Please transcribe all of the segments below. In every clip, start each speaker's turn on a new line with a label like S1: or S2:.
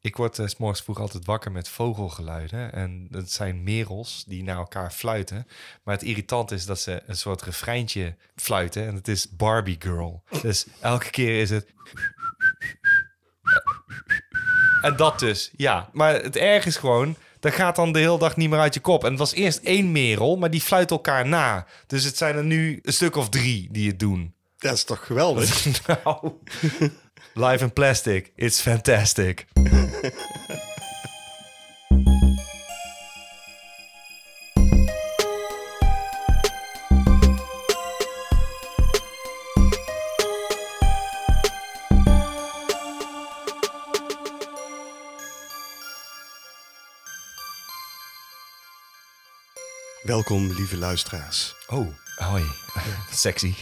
S1: Ik word eh, s morgens vroeg altijd wakker met vogelgeluiden. En dat zijn merels die naar elkaar fluiten. Maar het irritant is dat ze een soort refreintje fluiten. En het is Barbie Girl. Dus elke keer is het... En dat dus, ja. Maar het erg is gewoon, dat gaat dan de hele dag niet meer uit je kop. En het was eerst één merel, maar die fluit elkaar na. Dus het zijn er nu een stuk of drie die het doen.
S2: Dat is toch geweldig?
S1: nou, live in plastic, it's fantastic.
S2: Welkom, lieve luisteraars.
S1: Oh, hoi. Sexy.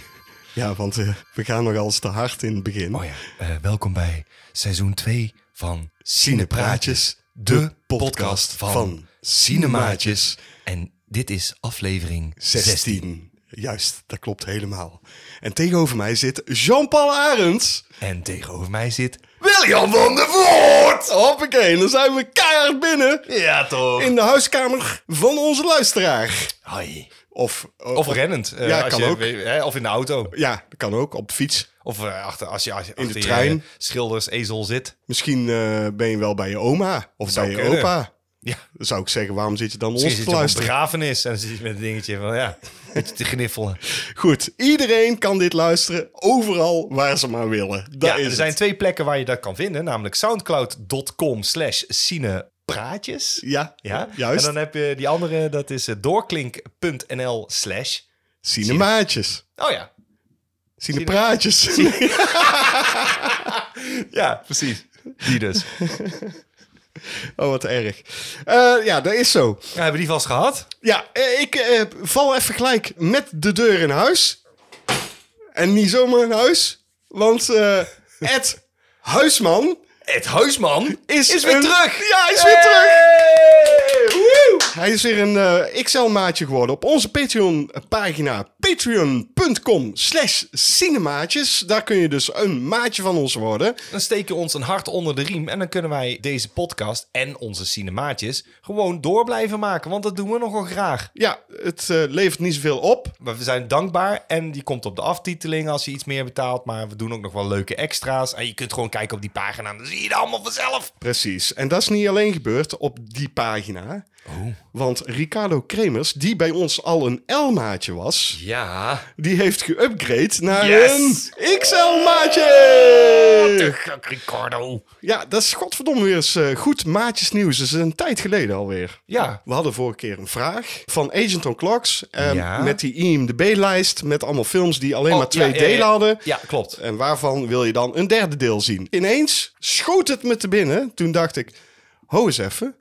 S2: Ja, want eh, we gaan nog als te hard in het begin.
S1: Oh ja, eh, welkom bij seizoen 2 van Cinepraatjes.
S2: Cinepraatjes,
S1: De podcast van, Cinemaatjes.
S2: Cinemaatjes.
S1: En dit is aflevering 16.
S2: 16. Juist, dat klopt helemaal. En tegenover mij zit Jean-Paul Arends.
S1: En tegenover mij zit...
S2: William van der Voort! Hoppakee, dan zijn we keihard binnen
S1: Ja, toch?
S2: in de huiskamer van onze luisteraar.
S1: Hoi.
S2: Of, eh,
S1: Of rennend. eh,
S2: Ja,
S1: als
S2: kan
S1: je-
S2: ook.
S1: hè, of in de auto.
S2: Ja, dat kan ook, op fiets.
S1: Of eh, achter, als je, als je
S2: de
S1: achter je
S2: trein.
S1: eh, schilders-ezel zit.
S2: Misschien eh, ben je wel bij je oma of
S1: Zou
S2: bij je
S1: kunnen.
S2: opa.
S1: Ja.
S2: Dan zou ik zeggen, waarom zit je dan
S1: Misschien
S2: ons
S1: zit
S2: te
S1: je op een
S2: luisteren?
S1: begrafenis en dan zit je met een dingetje van ja, een beetje te gniffelen.
S2: Goed, iedereen kan dit luisteren, overal waar ze maar willen. Dat
S1: ja,
S2: is
S1: er
S2: het.
S1: zijn twee plekken waar je dat kan vinden, namelijk soundcloud.com slash cinepraatjes.
S2: Ja,
S1: Ja,
S2: juist.
S1: En dan heb je die andere, dat is eh, doorklink.nl slash.
S2: Cinemaatjes.
S1: Oh ja,
S2: Cinepraatjes.
S1: ja, precies. Die dus. Ja,
S2: oh, wat erg. Eh, ja, dat is zo.
S1: hebben we die vast gehad?
S2: Ja, eh, ik eh, val even gelijk met de deur in huis. En niet zomaar in huis, want eh, Ed Huisman
S1: Ed Huisman
S2: is,
S1: is weer
S2: een-
S1: terug.
S2: Ja, hij is weer terug.
S1: terug.
S2: Hij is weer een eh, XL-maatje geworden. Op onze Patreon-pagina patreon.com slash cinemaatjes. Daar kun je dus een maatje van ons worden.
S1: Dan steek je ons een hart onder de riem en dan kunnen wij deze podcast en onze cinemaatjes gewoon door blijven maken. Want dat doen we nogal graag.
S2: Ja, het eh, levert niet zoveel op.
S1: Maar We zijn dankbaar en die komt op de aftiteling als je iets meer betaalt. Maar we doen ook nog wel leuke extra's. En je kunt gewoon kijken op die pagina. Dan zie je het allemaal vanzelf.
S2: Precies. En dat is niet alleen gebeurd op die pagina. Want Ricardo Kremers, die bij ons al een L-maatje was,
S1: Ja.
S2: die heeft geüpgrade naar
S1: Yes!
S2: een
S1: Eh.
S2: XL-maatje.
S1: Ricardo.
S2: Ja, dat is godverdomme weer eens eh, goed maatjesnieuws. Dat is een tijd geleden alweer.
S1: Ja.
S2: We hadden vorige keer een vraag van Agent on Clocks. eh,
S1: Ja.
S2: Met die IMDB-lijst. Met allemaal films die alleen
S1: Oh,
S2: maar twee
S1: ja, ja, ja.
S2: delen hadden.
S1: Ja, klopt.
S2: En waarvan wil je dan een derde deel zien? Ineens schoot het me te binnen. Toen dacht ik, ho eens even.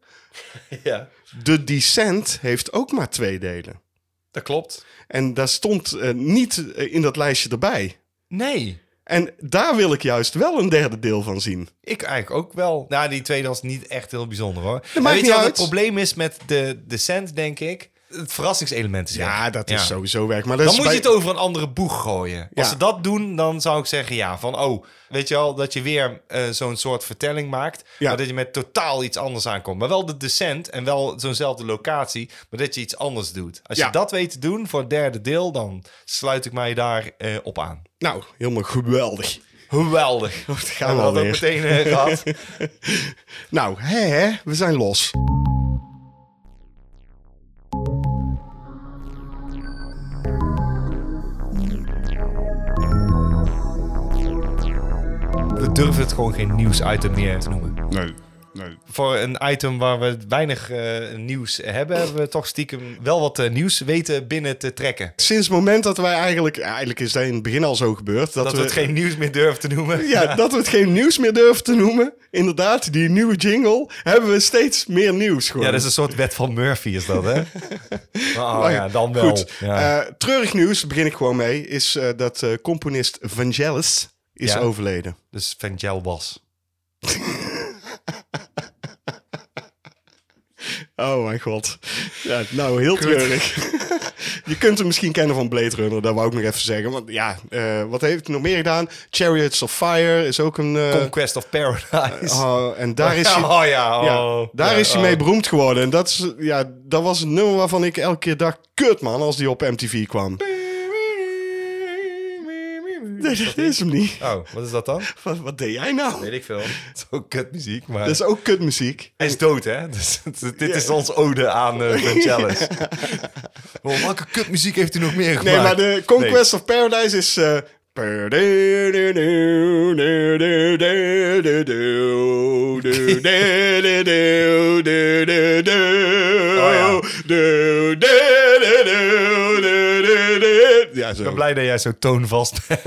S1: Ja.
S2: The Descent heeft ook maar twee delen.
S1: Dat klopt.
S2: En daar stond eh, niet eh, in dat lijstje erbij.
S1: Nee.
S2: En daar wil ik juist wel een derde deel van zien.
S1: Ik eigenlijk ook wel. Nou, die tweede was niet echt heel bijzonder hoor. Maar
S2: maakt
S1: weet
S2: niet
S1: je wat
S2: uit.
S1: het probleem is met de Descent, denk ik? Het verrassingselement is
S2: Ja,
S1: weg.
S2: dat is sowieso werk. Maar dat
S1: Dan
S2: is
S1: moet
S2: Dus bij-
S1: je het over een andere boeg gooien. Als
S2: Ja.
S1: ze dat doen, dan zou ik zeggen ja. Van oh, weet je wel, dat je weer eh, zo'n soort vertelling maakt.
S2: Ja.
S1: Maar dat je met totaal iets anders aankomt. Maar wel de descent en wel zo'nzelfde locatie. Maar dat je iets anders doet. Als
S2: Ja.
S1: je dat weet te doen voor het derde deel, dan sluit ik mij daar eh, op aan.
S2: Nou, helemaal geweldig.
S1: Geweldig.
S2: Dat gaan
S1: Hebben
S2: we
S1: we dat ook
S2: alweer.
S1: meteen eh, gehad?
S2: Nou, hè, hè, we zijn los.
S1: We durven het gewoon geen nieuwsitem meer te noemen.
S2: Nee, nee.
S1: Voor een item waar we weinig eh, nieuws hebben, hebben we toch stiekem wel wat eh, nieuws weten binnen te trekken.
S2: Sinds het moment dat wij eigenlijk... ja, Eigenlijk is dat in het begin al zo gebeurd. Dat,
S1: Dat we het geen nieuws meer durven te noemen.
S2: Ja, dat we het geen nieuws meer durven te noemen. Inderdaad, die nieuwe jingle hebben we steeds meer nieuws gewoon.
S1: Ja, dat is een soort wet van Murphy, is dat, hè? Oh
S2: Maar
S1: ja, dan wel.
S2: Goed,
S1: ja.
S2: eh, treurig nieuws, daar begin ik gewoon mee, is eh, dat eh, componist Vangelis is
S1: Ja.
S2: overleden.
S1: dus Vangel was.
S2: Oh mijn god. Ja, nou, heel treurig. Je kunt hem misschien kennen van Blade Runner, dat wou ik nog even zeggen. Want ja, eh, wat heeft hij nog meer gedaan? Chariots of Fire is ook een... eh,
S1: Conquest of Paradise.
S2: oh, en daar is hij...
S1: Oh ja, oh.
S2: Ja, daar
S1: Ja,
S2: is hij
S1: oh.
S2: mee beroemd geworden. En dat, is, ja, dat was een nummer waarvan ik elke keer dacht... Kut man, als die op MTV kwam. Nee, dat is hem niet.
S1: Oh, wat is dat dan?
S2: Wat, wat deed jij nou?
S1: Weet ik veel. Het is ook kutmuziek, maar...
S2: Dat is ook kutmuziek.
S1: Hij is dood, hè? Dus, dit is ons ode aan eh Vangelis. Oh, welke kutmuziek heeft hij nog meer gemaakt? Oh,
S2: Nee, maar de Conquest of Paradise is... eh,
S1: ja.
S2: Ja,
S1: Ik ben
S2: zo.
S1: blij dat jij zo toonvast bent.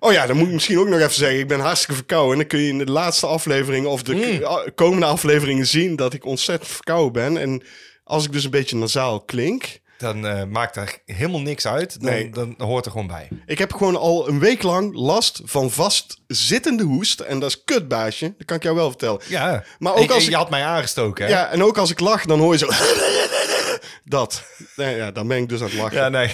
S2: Oh ja, dan moet ik misschien ook nog even zeggen. Ik ben hartstikke verkouden. En dan kun je in de laatste aflevering of de
S1: Hmm.
S2: k- a- komende afleveringen zien dat ik ontzettend verkouden ben. En als ik dus een beetje nasaal klink.
S1: Dan eh, maakt er helemaal niks uit. Dan,
S2: Nee.
S1: dan hoort er gewoon bij.
S2: Ik heb gewoon al een week lang last van vastzittende hoest. En dat is kutbaasje. Dat kan ik jou wel vertellen.
S1: Ja,
S2: Maar ook
S1: Ik-
S2: als
S1: je
S2: ik-
S1: had mij aangestoken, hè?
S2: Ja, en ook als ik lach, dan hoor je zo... Dat. Nou ja, dan ben ik dus aan het lachen.
S1: Ja, nee.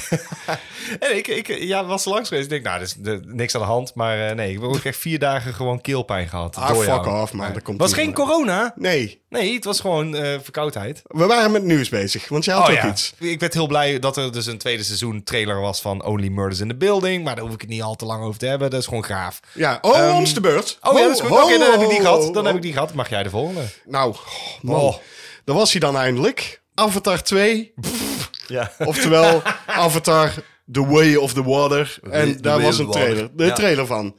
S1: en ik, ik ja, was langs geweest. Ik denk, nou, er is er- niks aan de hand. Maar eh, nee, ik heb ook echt vier dagen gewoon keelpijn gehad.
S2: Ah,
S1: door
S2: fuck
S1: jou.
S2: off, man. Dat komt
S1: was
S2: niet
S1: geen
S2: meer.
S1: corona.
S2: Nee,
S1: Nee, het was gewoon eh, verkoudheid.
S2: we waren met nieuws bezig. Want jij had
S1: Oh
S2: ook iets.
S1: Ik werd heel blij dat er dus een tweede seizoen trailer was van Only Murders in the Building. Maar daar hoef ik het niet al te lang over te hebben. Dat is gewoon gaaf.
S2: Ja, oh, ons de beurt.
S1: Oh ja, dat is goed. Oké, dan heb ik die gehad. Dan heb
S2: die.
S1: ik die gehad. Mag jij de volgende?
S2: Nou, man.
S1: Oh.
S2: Daar was hij dan eindelijk. Avatar 2.
S1: Ja.
S2: Oftewel, Avatar The Way of the Water. En daar
S1: Way
S2: was
S1: of
S2: een
S1: the Water.
S2: trailer. De
S1: Ja.
S2: trailer van.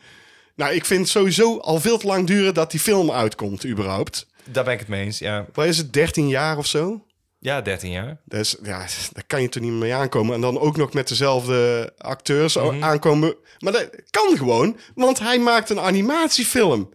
S2: Nou, ik vind het sowieso al veel te lang duren dat die film uitkomt, überhaupt.
S1: Daar ben ik het mee eens. Ja,
S2: Waar is het, 13 jaar of zo?
S1: ja 13 jaar.
S2: Dus ja, daar kan je toch niet mee aankomen. En dan ook nog met dezelfde acteurs
S1: Mhm.
S2: aankomen. Maar dat kan gewoon, want hij maakt een animatiefilm.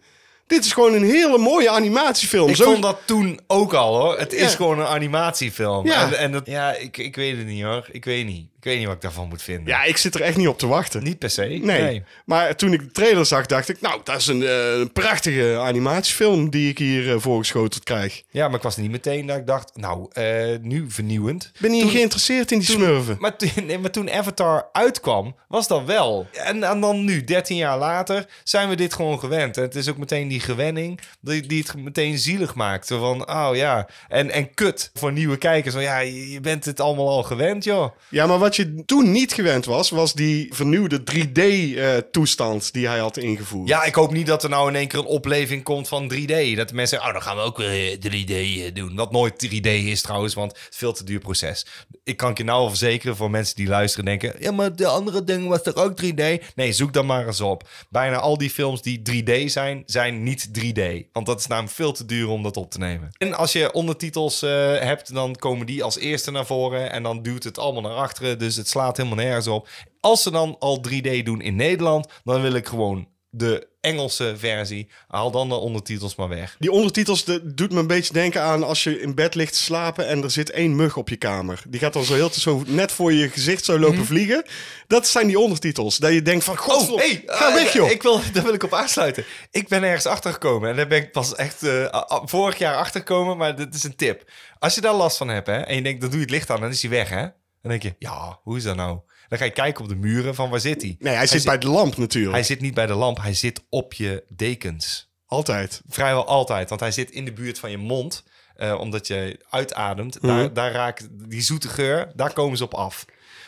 S2: Dit is gewoon een hele mooie animatiefilm.
S1: Ik
S2: Zo-
S1: vond dat toen ook al hoor. Het is
S2: Ja.
S1: gewoon een animatiefilm.
S2: Ja.
S1: En, en dat, ja, ik, ik weet het niet hoor. Ik weet niet. Ik weet niet wat ik daarvan moet vinden.
S2: Ja, ik zit er echt niet op te wachten.
S1: Niet per se.
S2: Nee. Maar toen ik de trailer zag, dacht ik, nou, dat is een, eh, een prachtige animatiefilm die ik hier eh, voorgeschoteld krijg.
S1: Ja, maar ik was niet meteen dat ik dacht, nou, eh, nu vernieuwend.
S2: Ik ben niet geïnteresseerd in die smurven.
S1: Maar, toen- nee, maar toen Avatar uitkwam, was dat wel. En, en dan nu, 13 jaar later, zijn we dit gewoon gewend. En het is ook meteen die gewenning die, die het meteen zielig maakt. Zo van, oh ja, en, en kut voor nieuwe kijkers. Van, ja, je je bent dit allemaal al gewend, joh.
S2: Ja, maar wat je toen niet gewend was, was die vernieuwde 3D-toestand die hij had ingevoerd.
S1: Ja, ik hoop niet dat er nou in één keer een opleving komt van 3D. Dat de mensen zeggen, oh, dan gaan we ook eh, 3D eh, doen. Wat nooit 3D is trouwens, want het is veel te duur proces. Ik kan het je nou al verzekeren voor mensen die luisteren en denken... ja, maar de andere ding was toch ook 3D? Nee, zoek dan maar eens op. Bijna al die films die 3D zijn, zijn niet 3D. Want dat is namelijk veel te duur om dat op te nemen. En als je ondertitels eh, hebt, dan komen die als eerste naar voren... en dan duwt het allemaal naar achteren, dus het slaat helemaal nergens op. Als ze dan al 3D doen in Nederland, dan wil ik gewoon de Engelse versie. Haal dan de ondertitels maar weg.
S2: Die ondertitels de, doet me een beetje denken aan als je in bed ligt te slapen en er zit één mug op je kamer. Die gaat dan zo heel zo net voor je gezicht zo
S1: Mhm.
S2: lopen vliegen. Dat zijn die ondertitels. Dat je denkt van, god,
S1: hey,
S2: ga
S1: eh,
S2: weg joh.
S1: Ik wil, daar wil ik op aansluiten. Ik ben ergens achtergekomen. En daar ben ik pas echt eh, a- a- vorig jaar achtergekomen. Maar dit is een tip. Als je daar last van hebt hè, en je denkt, dan doe je het licht aan. Dan is hij weg hè. Dan denk je, ja, hoe is dat nou? Dan ga je kijken op de muren van waar zit hij.
S2: Nee, hij zit bij de lamp natuurlijk.
S1: Hij zit niet bij de lamp, hij zit op je dekens.
S2: Altijd.
S1: Vrijwel altijd, want hij zit in de buurt van je mond. eh, omdat je uitademt.
S2: Mhm.
S1: Daar, daar raakt die zoete geur, daar komen ze op af.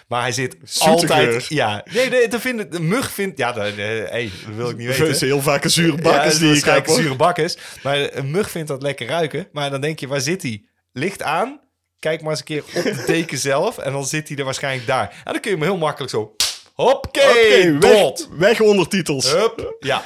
S1: Maar hij zit
S2: Zoete
S1: altijd...
S2: geur.
S1: Ja, nee, nee dat vindt, de mug vindt... Ja, dat, eh, hey, dat wil ik niet
S2: Het is
S1: weten.
S2: heel vaak een zure bak is
S1: ja,
S2: die ik heb.
S1: waarschijnlijk
S2: hoor.
S1: zure bak is. Maar een mug vindt dat lekker ruiken. Maar dan denk je, waar zit hij? Licht aan, kijk maar eens een keer op de deken zelf. En dan zit hij er waarschijnlijk daar. En dan kun je hem heel makkelijk zo... Hoppakee,
S2: Oké,
S1: dood.
S2: weg, weg ondertitels.
S1: Hup, ja.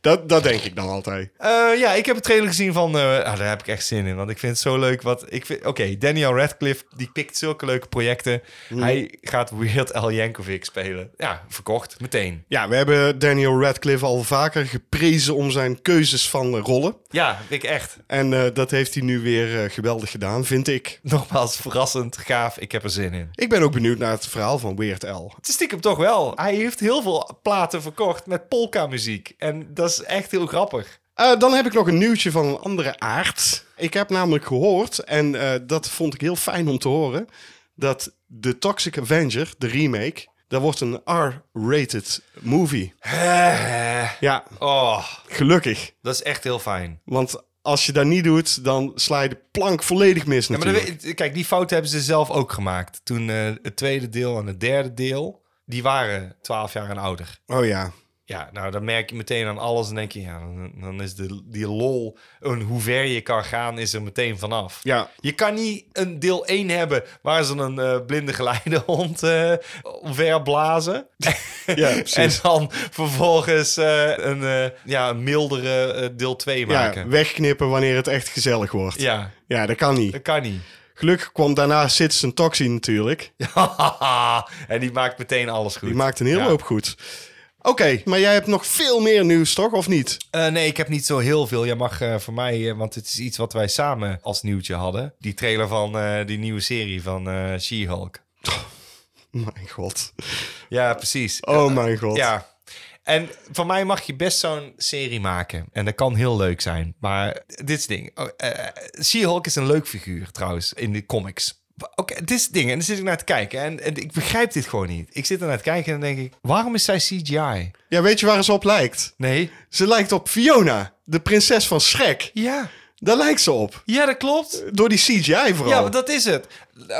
S2: Dat, dat denk ik dan altijd.
S1: Eh, ja, ik heb een trailer gezien van... eh, ah, daar heb ik echt zin in, want ik vind het zo leuk. wat ik vind- Oké, Daniel Radcliffe, die pikt zulke leuke projecten. Hij gaat Weird Al Yankovic spelen. Ja, verkocht, meteen.
S2: Ja, we hebben Daniel Radcliffe al vaker geprezen om zijn keuzes van eh, rollen.
S1: Ja, ik echt.
S2: En eh, dat heeft hij nu weer eh, geweldig gedaan, vind ik.
S1: Nogmaals, verrassend, gaaf. Ik heb er zin in.
S2: Ik ben ook benieuwd naar het verhaal van Weird Al.
S1: Het is stiekem toch wel. Hij heeft heel veel platen verkocht met polka-muziek. En dat is echt heel grappig.
S2: Eh, dan heb ik nog een nieuwtje van een andere aard. Ik heb namelijk gehoord, en eh, dat vond ik heel fijn om te horen... dat de Toxic Avenger, de remake, daar wordt een R-rated movie. Ja,
S1: Eh, Oh,
S2: gelukkig.
S1: dat is echt heel fijn.
S2: Want als je dat niet doet, dan sla je de plank volledig mis
S1: Ja, maar dan
S2: natuurlijk.
S1: weet- kijk, die fouten hebben ze zelf ook gemaakt. Toen eh, het tweede deel en het derde deel, die waren 12 jaar en ouder.
S2: Oh ja.
S1: Ja, nou dan merk je meteen aan alles en denk je, ja, dan, dan is de, die lol, en hoe ver je kan gaan, is er meteen vanaf.
S2: Ja.
S1: Je kan niet een deel 1 hebben waar ze een eh, blinde geleidehond eh verblazen.
S2: Ja,
S1: en
S2: precies.
S1: dan vervolgens eh, een, eh, ja, een mildere eh, deel 2
S2: Ja,
S1: maken. Ja,
S2: wegknippen wanneer het echt gezellig wordt. Ja, dat kan niet.
S1: dat kan niet.
S2: Gelukkig kwam daarna Citizen Toxie natuurlijk.
S1: en die maakt meteen alles goed.
S2: Die maakt een hele
S1: Ja.
S2: hoop goed. Oké, maar jij hebt nog veel meer nieuws, toch? Of niet?
S1: Eh, nee, ik heb niet zo heel veel. Jij mag eh, voor mij, eh, want het is iets wat wij samen als nieuwtje hadden. Die trailer van eh, die nieuwe serie van eh, She-Hulk.
S2: Mijn god.
S1: Ja, precies.
S2: Oh mijn god.
S1: Ja. En van mij mag je best zo'n serie maken. En dat kan heel leuk zijn. Maar dit is het ding. Oh, eh, She-Hulk is een leuk figuur trouwens in de comics. Oké, dit is het ding. En dan zit ik naar te kijken. En, en ik begrijp dit gewoon niet. Ik zit er naar te kijken en dan denk ik... Waarom is zij CGI?
S2: Ja, weet je waar ze op lijkt?
S1: Nee.
S2: Ze lijkt op Fiona, de prinses van Shrek.
S1: Ja.
S2: Daar lijkt ze op.
S1: Ja, dat klopt.
S2: Door die CGI vooral.
S1: Ja, maar dat is het.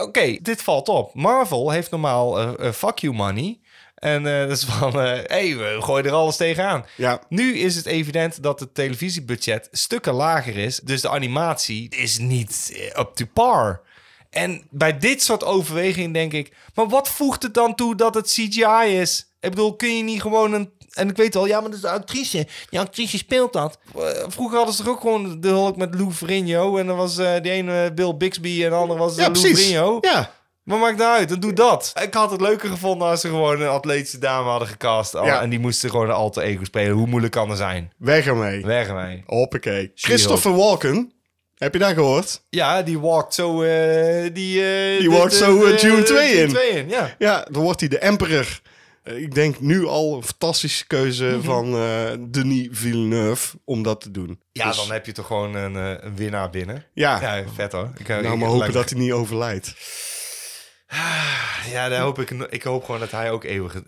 S1: Oké, dit valt op. Marvel heeft normaal eh, eh, fuck you money. En eh, dat is van, hé, hey, we gooien er alles tegenaan.
S2: Ja.
S1: Nu is het evident dat het televisiebudget stukken lager is. Dus de animatie is niet eh, up to par. En bij dit soort overwegingen denk ik... Maar wat voegt het dan toe dat het CGI is? Ik bedoel, kun je niet gewoon een... En ik weet wel, ja, maar dat is de actrice. Die actrice speelt dat. Eh, Vroeger hadden ze toch ook gewoon de Hulk met Lou Ferrigno. En dan was eh de ene Bill Bixby en de andere was eh,
S2: Ja,
S1: Lou
S2: precies.
S1: Ferrigno.
S2: Ja.
S1: Maar maakt nou uit, dan doe dat. Ik had het leuker gevonden als ze gewoon een atletische dame hadden gecast. al-
S2: Ja.
S1: En die moesten gewoon een alter ego spelen. Hoe moeilijk kan er zijn?
S2: Weg ermee.
S1: Weg ermee.
S2: Hoppakee. Christopher Walken. Heb je dat gehoord?
S1: Ja, die walkt zo... eh, die eh, de-
S2: Die walkt
S1: de-
S2: zo, eh,
S1: de-
S2: Dune
S1: de-
S2: 2
S1: Dune
S2: in.
S1: 2 in, ja.
S2: Ja, dan wordt hij de emperor. Eh, Ik denk nu al een fantastische keuze
S1: Mhm.
S2: van eh, Denis Villeneuve om dat te doen.
S1: Ja,
S2: Dus-
S1: dan heb je toch gewoon een, eh, een winnaar binnen.
S2: Ja,
S1: Ja, vet hoor. Ik,
S2: nou maar hopen dat hij niet overlijdt.
S1: Ja, daar hoop ik, no- ik hoop gewoon dat hij ook eeuwig... eh,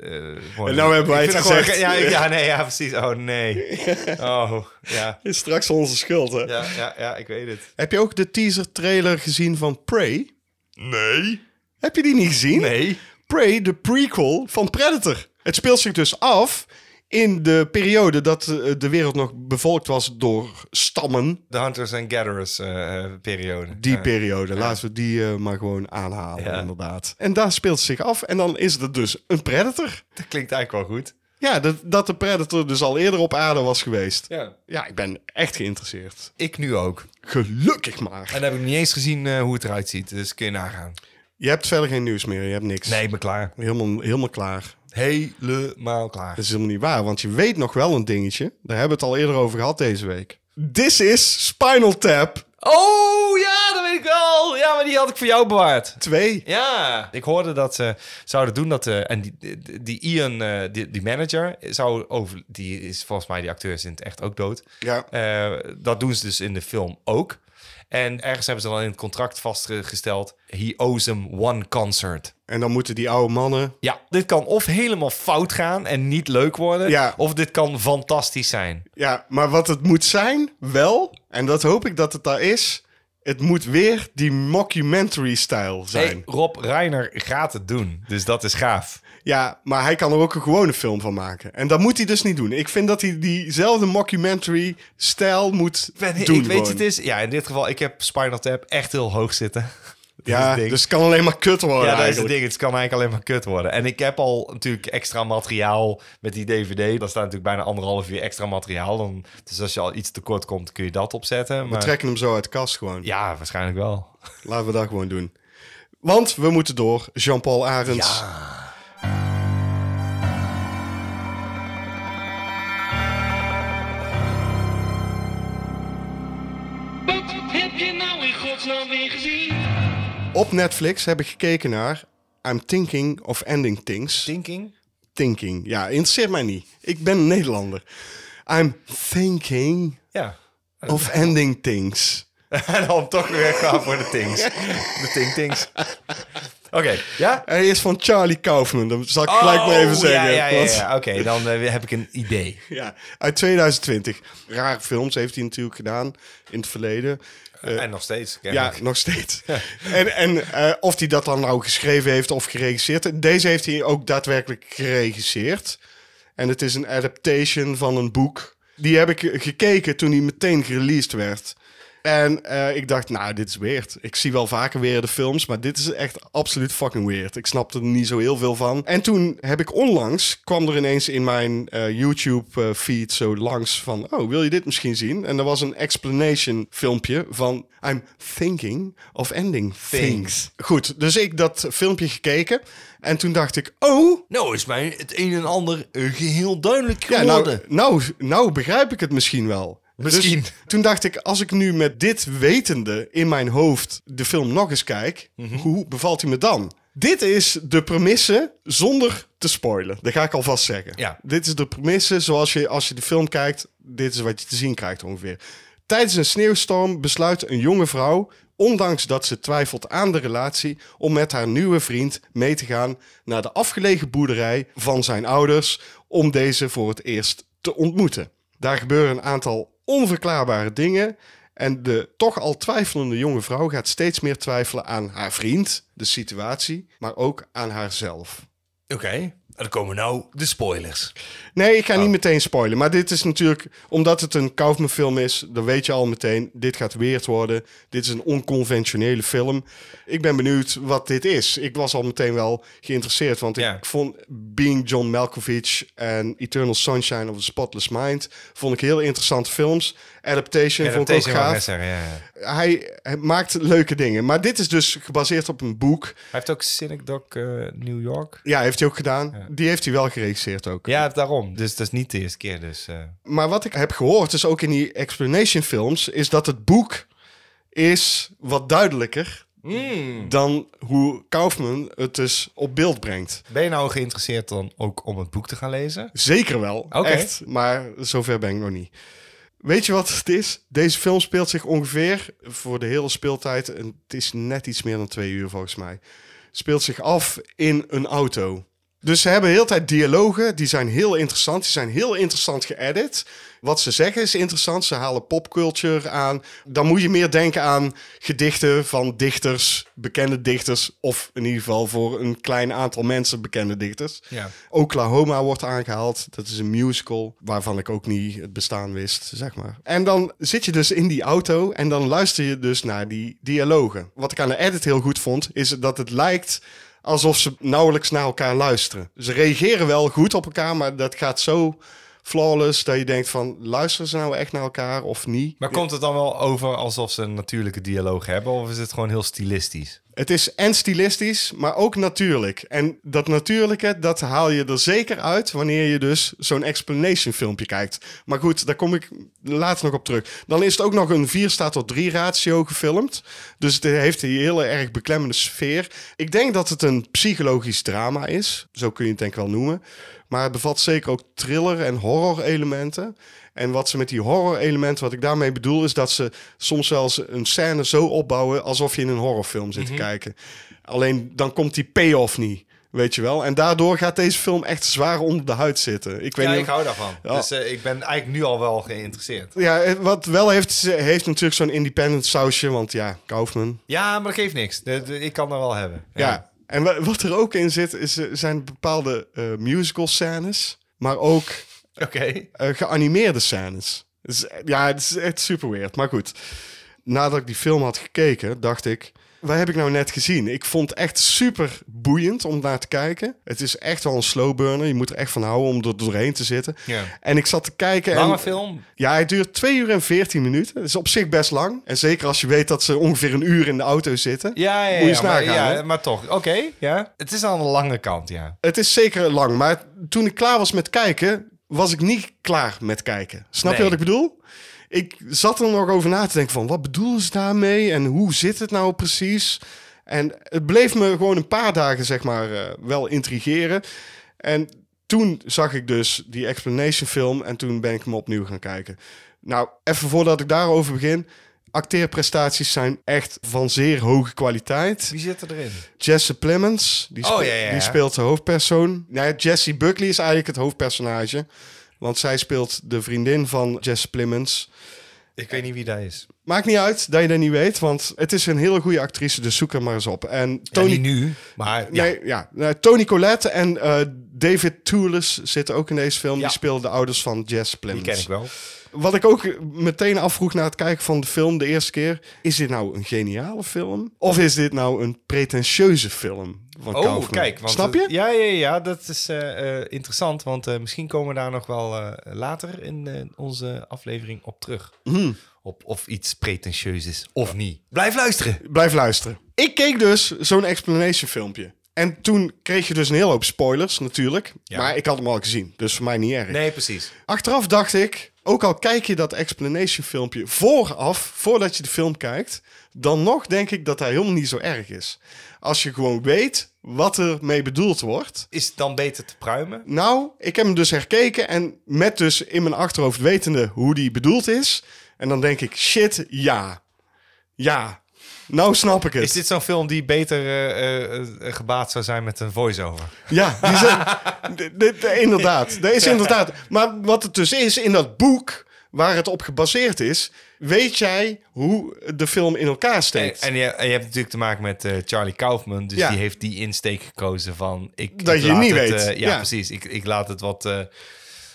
S1: gewoon-
S2: En nou hebben wij
S1: Ik
S2: het
S1: vind
S2: gezegd.
S1: Gewoon, ja, ik- ja, nee, ja, precies. Oh, nee. Oh, ja.
S2: Is straks onze schuld, hè?
S1: Ja, ja, ja, ik weet het.
S2: Heb je ook de teaser trailer gezien van Prey?
S1: Nee.
S2: Heb je die niet gezien?
S1: Nee.
S2: Prey, de prequel van Predator. Het speelt zich dus af in de periode dat eh, de wereld nog bevolkt was door stammen.
S1: De Hunters and Gatherers eh, eh, periode.
S2: Die
S1: Ja.
S2: periode, laten we die eh, maar gewoon aanhalen,
S1: Ja.
S2: inderdaad. En daar speelt het zich af en dan is er dus een Predator.
S1: Dat klinkt eigenlijk wel goed.
S2: Ja, dat, dat de Predator dus al eerder op aarde was geweest.
S1: Ja.
S2: Ja, ik ben echt geïnteresseerd.
S1: Ik nu ook.
S2: Gelukkig maar.
S1: En dan heb ik niet eens gezien eh, hoe het eruit ziet. Dus kun je nagaan.
S2: Je hebt verder geen nieuws meer, je hebt niks.
S1: Nee, ik ben klaar. Dus-
S2: Helemaal, helemaal klaar.
S1: Helemaal klaar.
S2: Dat is helemaal niet waar, want je weet nog wel een dingetje. Daar hebben we het al eerder over gehad deze week. This is Spinal Tap
S1: Oh ja, dat weet ik wel. Ja, maar die had ik voor jou bewaard.
S2: 2.
S1: Ja. Ik hoorde dat ze zouden doen dat... eh, en die, die- die Ian, eh, die, die manager, zou over, die is volgens mij, die acteur is in het echt ook dood.
S2: Ja.
S1: Eh, dat doen ze dus in de film ook. En ergens hebben ze dan in het contract vastgesteld... He owes him one concert.
S2: En dan moeten die oude mannen...
S1: Ja, dit kan of helemaal fout gaan en niet leuk worden...
S2: Ja.
S1: of dit kan fantastisch zijn.
S2: Ja, maar wat het moet zijn, wel, en dat hoop ik dat het daar is... Het moet weer die mockumentary-stijl zijn.
S1: Hey, Rob Reiner gaat het doen, dus dat is gaaf.
S2: Ja, maar hij kan er ook een gewone film van maken. En dat moet hij dus niet doen. Ik vind dat hij diezelfde mockumentary-stijl moet
S1: Ik, ben, ik
S2: doen.
S1: weet
S2: gewoon.
S1: het is... Ja, in dit geval, ik heb Spinal Tap echt heel hoog zitten. Dat is
S2: Ja,
S1: het ding.
S2: dus het kan alleen maar kut worden
S1: ja, dat is het
S2: eigenlijk.
S1: ding. Het kan eigenlijk alleen maar kut worden. En ik heb al natuurlijk extra materiaal met die DVD. Daar staat natuurlijk bijna anderhalf uur extra materiaal. Dan, dus als je al iets tekort komt, kun je dat opzetten.
S2: We
S1: Maar,
S2: trekken hem zo uit de kast gewoon.
S1: ja, waarschijnlijk wel.
S2: Laten we dat gewoon doen. Want we moeten door. Jean-Paul Arends.
S3: Wat heb je nou in godsnaam weer gezien?
S2: Op Netflix heb ik gekeken naar I'm Thinking of Ending Things.
S1: Thinking?
S2: Thinking. Ja, interesseert mij niet. Ik ben een Nederlander. I'm Thinking
S1: Ja.
S2: of Ending Things.
S1: En dan toch weer gaan voor de things. De ting-tings. Oké, ja?
S2: Hij is van Charlie Kaufman, dat zal ik gelijk maar even
S1: Oh,
S2: zeggen.
S1: Ja, ja, ja,
S2: want-
S1: ja. oké, dan eh, heb ik een idee.
S2: ja, uit 2020. Rare films heeft hij natuurlijk gedaan in het verleden.
S1: en nog steeds.
S2: Ja,
S1: kennelijk.
S2: nog steeds. En, en eh, of hij dat dan nou geschreven heeft of geregisseerd. Deze heeft hij ook daadwerkelijk geregisseerd. En het is een adaptation van een boek. Die heb ik gekeken toen hij meteen gereleased werd. En eh, ik dacht, nou, dit is weird. Ik zie wel vaker weer de films, maar dit is echt absoluut fucking weird. Ik snapte er niet zo heel veel van. En toen heb ik onlangs, kwam er ineens in mijn eh, YouTube-feed zo langs van... Oh, wil je dit misschien zien? En er was een explanation filmpje van... I'm thinking of ending things.
S1: Things.
S2: Goed, dus ik dat filmpje gekeken. En toen dacht ik, oh...
S1: Nou is mij het een en ander eh, geheel duidelijk
S2: Ja,
S1: geworden.
S2: nou, nou, nou begrijp ik het misschien wel.
S1: Misschien.
S2: Dus toen dacht ik, als ik nu met dit wetende in mijn hoofd de film nog eens kijk,
S1: Mhm.
S2: hoe bevalt hij me dan? Dit is de premisse zonder te spoilen. Dat ga ik alvast zeggen.
S1: Ja.
S2: Dit is de premisse zoals je als je de film kijkt, dit is wat je te zien krijgt ongeveer. Tijdens een sneeuwstorm besluit een jonge vrouw, ondanks dat ze twijfelt aan de relatie, om met haar nieuwe vriend mee te gaan naar de afgelegen boerderij van zijn ouders om deze voor het eerst te ontmoeten. Daar gebeuren een aantal onverklaarbare dingen en de toch al twijfelende jonge vrouw gaat steeds meer twijfelen aan haar vriend, de situatie, maar ook aan haarzelf.
S1: Oké, en dan komen nou de spoilers.
S2: Nee, ik ga niet meteen spoilen. Maar dit is natuurlijk, omdat het een Kaufman film is, dan weet je al meteen, dit gaat weird worden. Dit is een onconventionele film. Ik ben benieuwd wat dit is. Ik was al meteen wel geïnteresseerd, want
S1: Ja.
S2: ik vond Being John Malkovich en Eternal Sunshine of the Spotless Mind, vond ik heel interessante films. Adaptation,
S1: Ja, dat
S2: vond ik ook
S1: deze wou ik
S2: gaaf.
S1: net zeggen, ja, ja. Hij
S2: Hij, hij maakt leuke dingen. Maar dit is dus gebaseerd op een boek.
S1: heeft ook Cynic Doc eh, New York.
S2: Ja, heeft hij ook gedaan. Die heeft hij wel geregisseerd ook.
S1: Ja, daarom. Dus dat is niet de eerste keer. Dus, eh.
S2: Maar wat ik heb gehoord, dus ook in die explanation films, is dat het boek is wat duidelijker dan hoe Kaufman het dus op beeld brengt.
S1: Ben je nou geïnteresseerd dan ook om het boek te gaan lezen?
S2: Zeker wel,
S1: Oké.
S2: echt, maar zover ben ik nog niet. Weet je wat het is? Deze film speelt zich ongeveer voor de hele speeltijd, en het is net iets meer dan twee uur volgens mij, speelt zich af in een auto. Dus ze hebben de hele tijd dialogen, die zijn heel interessant. Die zijn heel interessant geëdit. Wat ze zeggen is interessant. Ze halen popculture aan. Dan moet je meer denken aan gedichten van dichters, bekende dichters. Of in ieder geval voor een klein aantal mensen bekende dichters.
S1: Ja.
S2: Oklahoma wordt aangehaald. Dat is een musical waarvan ik ook niet het bestaan wist, zeg maar. En dan zit je dus in die auto en dan luister je dus naar die dialogen. Wat ik aan de edit heel goed vond, is dat het lijkt alsof ze nauwelijks naar elkaar luisteren. Ze reageren wel goed op elkaar, maar dat gaat zo flawless dat je denkt van... luisteren ze nou echt naar elkaar of niet?
S1: Maar komt het dan wel over alsof ze een natuurlijke dialoog hebben? Of is het gewoon heel stilistisch?
S2: Het is en stilistisch, maar ook natuurlijk. En dat natuurlijke, dat haal je er zeker uit wanneer je dus zo'n explanation filmpje kijkt. Maar goed, daar kom ik later nog op terug. Dan is het ook nog een 4 staat tot 3 ratio gefilmd. Dus het heeft een hele erg beklemmende sfeer. Ik denk dat het een psychologisch drama is. Zo kun je het denk ik wel noemen. Maar het bevat zeker ook thriller en horror elementen. En wat ze met die horror-elementen, wat ik daarmee bedoel, is dat ze soms wel eens een scène zo opbouwen alsof je in een horrorfilm zit
S1: Mhm.
S2: te kijken. Alleen dan komt die payoff niet, weet je wel. En daardoor gaat deze film echt zwaar onder de huid zitten. Ik weet
S1: Ja,
S2: niet.
S1: ik hou daarvan.
S2: Ja.
S1: Dus eh, ik ben eigenlijk nu al wel geïnteresseerd.
S2: Ja, eh, wat wel heeft, ze heeft natuurlijk zo'n independent sausje, want ja, Kaufman.
S1: Ja, maar dat geeft niks. De- de- ik kan dat wel hebben.
S2: Ja. En wa- wat er ook in zit, is, eh, zijn bepaalde eh, musical scènes, maar ook
S1: Oké.
S2: eh, geanimeerde scènes. Dus, eh, ja, het is echt super weird. Maar goed, nadat ik die film had gekeken, dacht ik... Wat heb ik nou net gezien? Ik vond het echt super boeiend om naar te kijken. Het is echt wel een slow burner. Je moet er echt van houden om er doorheen te zitten.
S1: Ja.
S2: En ik zat te kijken...
S1: Lange
S2: en,
S1: film.
S2: Ja, hij duurt 2 uur en 14 minuten. Dat is op zich best lang. En zeker als je weet dat ze ongeveer een uur in de auto zitten.
S1: Ja, ja,
S2: Moet je
S1: ja,
S2: eens
S1: maar,
S2: nagaan,
S1: ja,
S2: hè?
S1: maar toch. Oké, ja. Het is aan de lange kant, ja.
S2: Het is zeker lang, maar toen ik klaar was met kijken, was ik niet klaar met kijken. Snap je
S1: Nee.
S2: wat ik bedoel? Ik zat er nog over na te denken van, wat bedoelen ze daarmee en hoe zit het nou precies? En het bleef me gewoon een paar dagen, zeg maar, eh, wel intrigeren. En toen zag ik dus die explanation film en toen ben ik hem opnieuw gaan kijken. Nou, even voordat ik daarover begin. Acteerprestaties zijn echt van zeer hoge kwaliteit.
S1: Wie zit er erin?
S2: Jesse Plemons, die,
S1: Oh,
S2: speel-
S1: ja, ja, ja.
S2: die speelt de hoofdpersoon. Nou ja, Jesse Buckley is eigenlijk het hoofdpersonage. Want zij speelt de vriendin van Jesse Plemons.
S1: Ik weet niet wie dat is.
S2: Maakt niet uit dat je dat niet weet, want het is een hele goede actrice, dus zoek er maar eens op. En
S1: Tony
S2: Tony,
S1: nu, maar ja.
S2: nee, ja. Nou, Tony Collette en eh, David Toulis zitten ook in deze film.
S1: Ja.
S2: Die spelen de ouders van Jess
S1: die
S2: Plemons.
S1: ken ik wel.
S2: Wat ik ook meteen afvroeg na het kijken van de film de eerste keer... is dit nou een geniale film? Of is dit nou een pretentieuze film van
S1: Oh,
S2: Kaufman?
S1: kijk. Want
S2: Snap je?
S1: het- ja, ja, ja, dat is eh, eh, interessant. Want eh, misschien komen we daar nog wel eh, later in eh, onze aflevering op terug.
S2: Hmm.
S1: Op of iets pretentieus is of niet. Blijf luisteren.
S2: Blijf luisteren. Ik keek dus zo'n explanation filmpje. En toen kreeg je dus een hele hoop spoilers natuurlijk.
S1: Ja.
S2: Maar ik had hem al gezien, dus voor mij niet erg.
S1: Nee, precies.
S2: Achteraf dacht ik, ook al kijk je dat explanation filmpje vooraf, voordat je de film kijkt, dan nog denk ik dat hij helemaal niet zo erg is. Als je gewoon weet wat er mee bedoeld wordt.
S1: Is het dan beter te pruimen?
S2: Nou, ik heb hem dus herkeken en met dus in mijn achterhoofd wetende hoe die bedoeld is. En dan denk ik, shit, ja. Ja. Nou snap ik het.
S1: Is dit zo'n film die beter eh, eh, eh, gebaat zou zijn met een voice-over?
S2: Ja, die zijn- d- d- d- inderdaad. Dat is inderdaad. Maar wat het dus is, in dat boek waar het op gebaseerd is, weet jij hoe de film in elkaar
S1: En,
S2: steekt.
S1: en je, en je hebt natuurlijk te maken met eh, Charlie Kaufman. Dus
S2: Ja.
S1: die heeft die insteek gekozen van... Ik,
S2: Dat
S1: ik
S2: je
S1: laat
S2: niet
S1: het,
S2: weet.
S1: eh, ja,
S2: Ja.
S1: precies. Ik, ik laat het wat eh,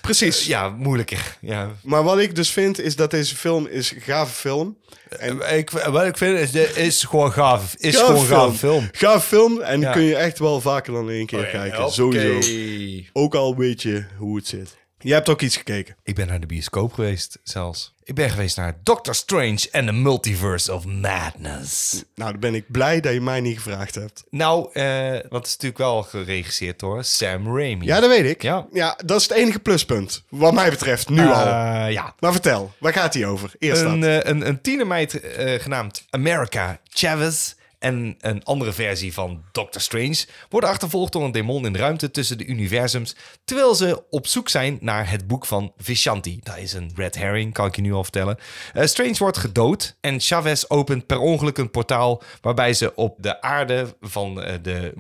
S2: Precies.
S1: ja, moeilijker. Ja.
S2: Maar wat ik dus vind, is dat deze film is een gave film. En
S1: Ik, wat ik vind is, dit is gewoon gaaf. Eh, Is
S2: Gaaf
S1: gewoon gaaf film.
S2: Gaaf film en die
S1: Ja.
S2: kun je echt wel vaker dan één keer kijken. Sowieso. Ook al weet je hoe het zit. Je hebt ook iets gekeken.
S1: Ik ben naar de bioscoop geweest zelfs. Ik ben geweest naar Doctor Strange and the Multiverse of Madness.
S2: Nou, dan ben ik blij dat je mij niet gevraagd hebt.
S1: Nou, eh, want het is natuurlijk wel geregisseerd door Sam Raimi.
S2: Ja, dat weet ik.
S1: Ja.
S2: ja, dat is het enige pluspunt. Wat mij betreft, nu al.
S1: Eh, ja.
S2: Maar vertel, waar gaat hij over? Eerst
S1: Een,
S2: dat.
S1: eh, een, een tienermeid eh, genaamd America Chavez en een andere versie van Doctor Strange worden achtervolgd door een demon in de ruimte tussen de universums, terwijl ze op zoek zijn naar het boek van Vishanti. Dat is een red herring, kan ik je nu al vertellen. Eh, Strange wordt gedood en Chavez opent per ongeluk een portaal waarbij ze op de aarde van eh, de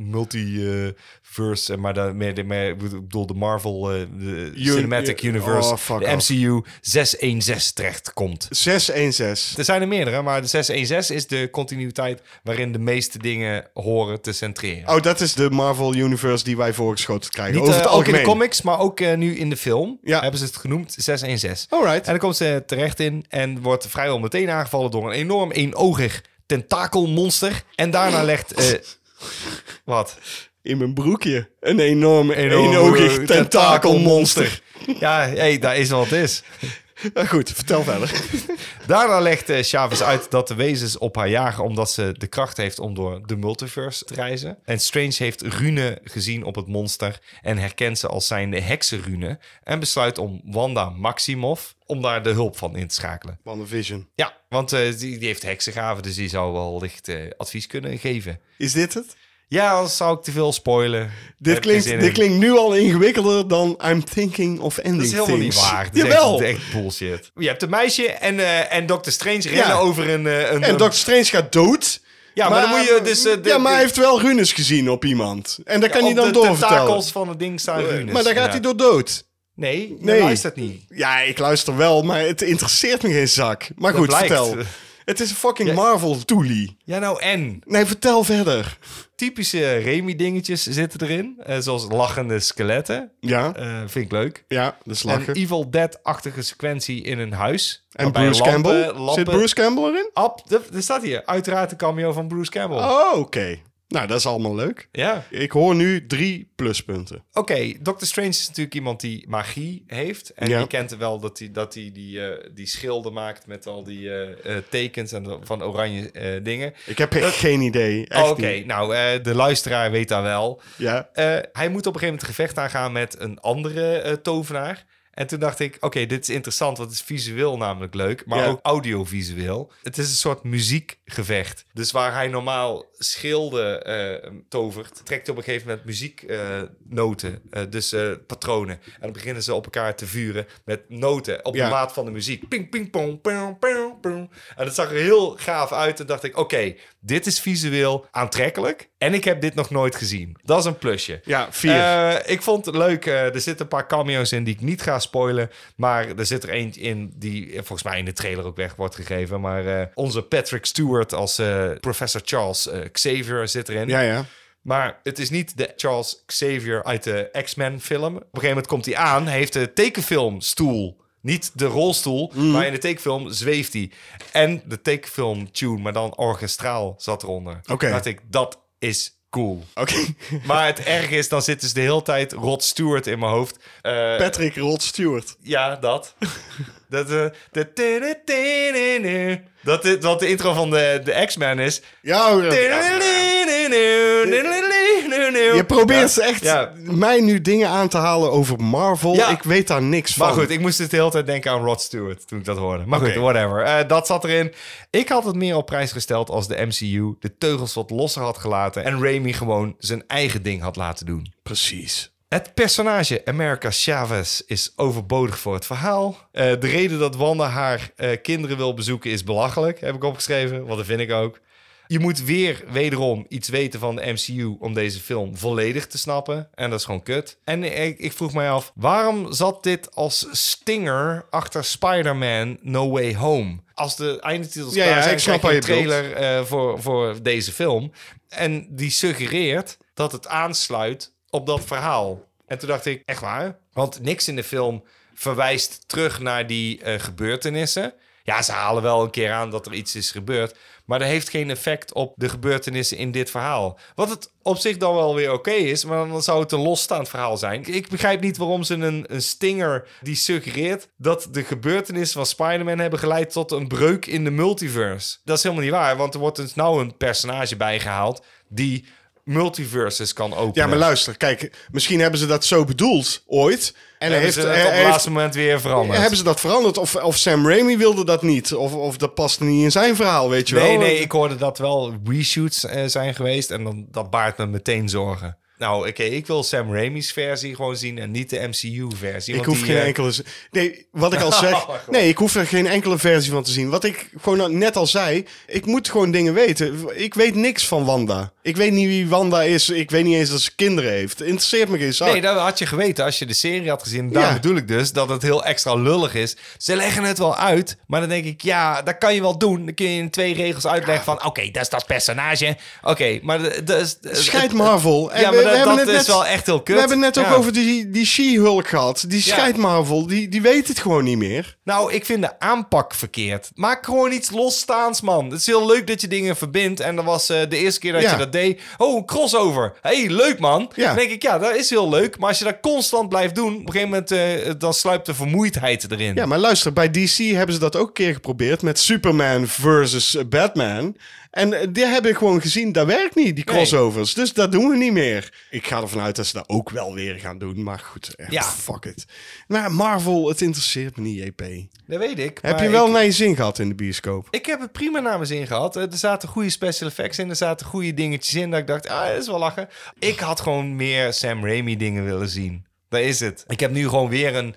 S1: multiverse, eh, maar dan meer, de- meer, ik bedoel de Marvel eh, de Cinematic
S2: eh,
S1: Universe,
S2: oh, fuck
S1: de
S2: off.
S1: MCU 616 terechtkomt.
S2: 616.
S1: Er zijn er meerdere, maar de 616 is de continuïteit waarin de meeste dingen horen te centreren.
S2: Oh, dat is de Marvel Universe die wij voorgeschoten krijgen.
S1: Niet
S2: Over het
S1: eh, ook in
S2: algemeen.
S1: de comics, maar ook eh, nu in de film
S2: Ja.
S1: hebben ze het genoemd 616.
S2: Alright.
S1: En dan komt ze terecht in en wordt vrijwel meteen aangevallen door een enorm eenoogig tentakelmonster. En daarna legt... eh, wat?
S2: In mijn broekje. Een enorm,
S1: Enorm,
S2: eenoogig
S1: eh,
S2: tentakelmonster.
S1: Ja, hey, daar is wat het is.
S2: Ah, goed, vertel verder.
S1: Daarna legt eh, Chavez uit dat de wezens op haar jagen omdat ze de kracht heeft om door de multiverse te reizen. En Strange heeft runen gezien op het monster en herkent ze als zijnde heksenrunen. En besluit om Wanda Maximoff om daar de hulp van in te schakelen.
S2: WandaVision.
S1: Ja, want eh, die, die heeft heksengaven, dus die zou wel licht eh, advies kunnen geven.
S2: Is dit het?
S1: Ja, anders zou ik te veel spoilen. Heb
S2: Dit
S1: geen
S2: klinkt,
S1: zin
S2: dit
S1: in.
S2: klinkt nu al ingewikkelder dan I'm thinking of ending
S1: Dat is helemaal
S2: things.
S1: niet waar. Dat is
S2: Jawel.
S1: Echt, dat is echt bullshit. Je hebt een meisje en, eh en Dr. Strange rennen
S2: Ja.
S1: over een... eh, een
S2: En Doctor Strange gaat dood.
S1: Ja, maar dan moet je dus, eh, de-
S2: ja, maar hij
S1: de-
S2: heeft wel runes gezien op iemand. En dat kan
S1: Op
S2: hij dan
S1: de
S2: doorvertellen.
S1: tentakels van het ding staan runes.
S2: Maar daar gaat
S1: Ja.
S2: hij door dood.
S1: Nee, nee,
S2: Nee.
S1: luistert niet.
S2: Ja, ik luister wel, maar het interesseert me geen zak. Maar goed,
S1: blijkt.
S2: vertel. Het is een fucking
S1: Ja.
S2: Marvel-toelie.
S1: Ja, nou en?
S2: Nee, vertel verder.
S1: Typische Remy-dingetjes zitten erin. eh, zoals lachende skeletten.
S2: Ja,
S1: Eh, vind ik leuk.
S2: ja, dat is lachen.
S1: Een
S2: En,
S1: Evil Dead-achtige sequentie in een huis. waarbij
S2: Bruce
S1: lampen-
S2: Campbell?
S1: lampen-
S2: Zit Bruce Campbell erin?
S1: Ab, de- er staat hier. Uiteraard een cameo van Bruce Campbell.
S2: Oh, oké. Nou, dat is allemaal leuk.
S1: Ja.
S2: Ik hoor nu drie pluspunten.
S1: Oké, Doctor Strange is natuurlijk iemand die magie heeft. En
S2: Ja.
S1: je kent er wel dat hij dat die, die, eh, die schilden maakt met al die eh, eh, tekens en van oranje eh, dingen.
S2: Ik heb echt geen idee. Echt
S1: Oh, Oké,
S2: niet.
S1: nou, eh, de luisteraar weet dat wel.
S2: Ja.
S1: Eh, hij moet op een gegeven moment een gevecht aangaan met een andere eh, tovenaar. En toen dacht ik, oké, dit is interessant, want het is visueel namelijk leuk, maar
S2: Ja.
S1: ook audiovisueel. Het is een soort muziekgevecht. Dus waar hij normaal schilden eh, tovert, trekt hij op een gegeven moment muzieknoten, noten, eh, dus eh, patronen. En dan beginnen ze op elkaar te vuren met noten op
S2: Ja.
S1: de maat van de muziek. Ping, ping, pong, pong, pong, En dat zag er heel gaaf uit. En dacht ik, oké, dit is visueel aantrekkelijk. En ik heb dit nog nooit gezien. Dat is een plusje.
S2: Ja, vier.
S1: Eh, ik vond het leuk. eh, er zitten een paar cameo's in die ik niet ga spoilen. Maar er zit er eentje in die eh, volgens mij in de trailer ook weg wordt gegeven. Maar eh, onze Patrick Stewart als eh, professor Charles eh, Xavier zit erin.
S2: Ja, ja.
S1: Maar het is niet de Charles Xavier uit de X-Men film. Op een gegeven moment komt hij aan, hij heeft de tekenfilmstoel. Niet de rolstoel,
S2: Mhm.
S1: maar in de tekenfilm zweeft hij. En de tekenfilm tune, maar dan orchestraal zat eronder.
S2: Oké.
S1: Dacht ik, dat is cool.
S2: Oké.
S1: Maar het erg is, dan zit dus de hele tijd Rod Stewart in mijn hoofd. Eh,
S2: Patrick Rod Stewart.
S1: ja, dat. dat, eh, de tiri-tiri-nu. dat is wat de intro van de, de X-Men is.
S2: Ja, hoor. Je probeert
S1: Ja.
S2: echt
S1: Ja.
S2: mij nu dingen aan te halen over Marvel.
S1: Ja.
S2: Ik weet daar niks
S1: Maar
S2: van.
S1: goed, ik moest dus de hele tijd denken aan Rod Stewart toen ik dat hoorde. Maar
S2: Oké.
S1: goed, whatever. Eh, dat zat erin. Ik had het meer op prijs gesteld als de MCU de teugels wat losser had gelaten en Raimi gewoon zijn eigen ding had laten doen.
S2: Precies.
S1: Het personage America Chavez is overbodig voor het verhaal. Eh, de reden dat Wanda haar eh, kinderen wil bezoeken is belachelijk, heb ik opgeschreven, want dat vind ik ook. Je moet weer wederom iets weten van de MCU om deze film volledig te snappen. En dat is gewoon kut. En ik, ik vroeg mij af, waarom zat dit als stinger achter Spider-Man No Way Home? Als de eindtitels
S2: Ja,
S1: klaar
S2: ja,
S1: zijn,
S2: ik snap
S1: krijg je een
S2: wat je bedoelt.
S1: trailer eh, voor, voor deze film. En die suggereert dat het aansluit op dat verhaal. En toen dacht ik, echt waar? Want niks in de film verwijst terug naar die eh, gebeurtenissen. Ja, ze halen wel een keer aan dat er iets is gebeurd. Maar dat heeft geen effect op de gebeurtenissen in dit verhaal. Wat het op zich dan wel weer oké is, maar dan zou het een losstaand verhaal zijn. Ik- Ik begrijp niet waarom ze een, een stinger die suggereert dat de gebeurtenissen van Spider-Man hebben geleid tot een breuk in de multiverse. Dat is helemaal niet waar, want er wordt dus nou een personage bijgehaald die multiverses kan openen.
S2: Ja, maar luister, kijk, misschien hebben ze dat zo bedoeld ooit. En hij
S1: Hebben
S2: heeft,
S1: ze dat op
S2: hij- hij
S1: het
S2: heeft,
S1: laatste moment weer veranderd.
S2: hebben ze dat veranderd? Of, of Sam Raimi wilde dat niet? Of, of dat paste niet in zijn verhaal, weet je
S1: Nee,
S2: wel?
S1: nee, ik hoorde dat wel reshoots eh, zijn geweest. En dan, dat baart me meteen zorgen. Nou, oké, ik wil Sam Raimi's versie gewoon zien en niet de MCU-versie.
S2: Ik hoef geen enkele. Nee, wat ik al zeg.
S1: eh. Oh, God.
S2: nee, ik hoef er geen enkele versie van te zien. Wat ik gewoon al- net al zei. Ik moet gewoon dingen weten. Ik weet niks van Wanda. Ik weet niet wie Wanda is. Ik weet niet eens dat ze kinderen heeft. Interesseert me geen zak.
S1: Nee, dat had je geweten als je de serie had gezien. Daar
S2: Ja.
S1: bedoel ik dus dat het heel extra lullig is. Ze leggen het wel uit, maar dan denk ik, ja, dat kan je wel doen. Dan kun je in twee regels uitleggen van, oké, dat is dat personage. Oké, maar d- dat is...
S2: Schijt Marvel. En
S1: Ja, maar dat, dat
S2: het
S1: is wel echt heel kut.
S2: We hebben het net ook
S1: Ja.
S2: over die, die She-Hulk gehad. Die scheidt Marvel. Die, die weet het gewoon niet meer.
S1: Nou, ik vind de aanpak verkeerd. Maak gewoon iets losstaands, man. Het is heel leuk dat je dingen verbindt. En dat was eh, de eerste keer dat
S2: Ja.
S1: je dat deed. Oh, een crossover. hey, leuk, man.
S2: Ja.
S1: Dan denk ik, ja, dat is heel leuk. Maar als je dat constant blijft doen, op een gegeven moment, eh, dan sluipt de vermoeidheid erin.
S2: Ja, maar luister, bij DC hebben ze dat ook een keer geprobeerd met Superman versus eh, Batman. En eh, die hebben gewoon gezien, dat werkt niet, die
S1: Nee.
S2: crossovers. Dus dat doen we niet meer. Ik ga ervan uit dat ze dat ook wel weer gaan doen, maar goed, echt,
S1: Ja.
S2: fuck it. Maar Marvel, het interesseert me niet, JP.
S1: Dat weet ik.
S2: Heb
S1: maar
S2: je wel
S1: ik-
S2: naar je zin gehad in de bioscoop?
S1: Ik heb het prima naar mijn zin gehad. Eh, Er zaten goede special effects in. Er zaten goede dingetjes in. Dat ik dacht, ah, dat is wel lachen. Ik had gewoon meer Sam Raimi dingen willen zien. Daar is het. Ik heb nu gewoon weer een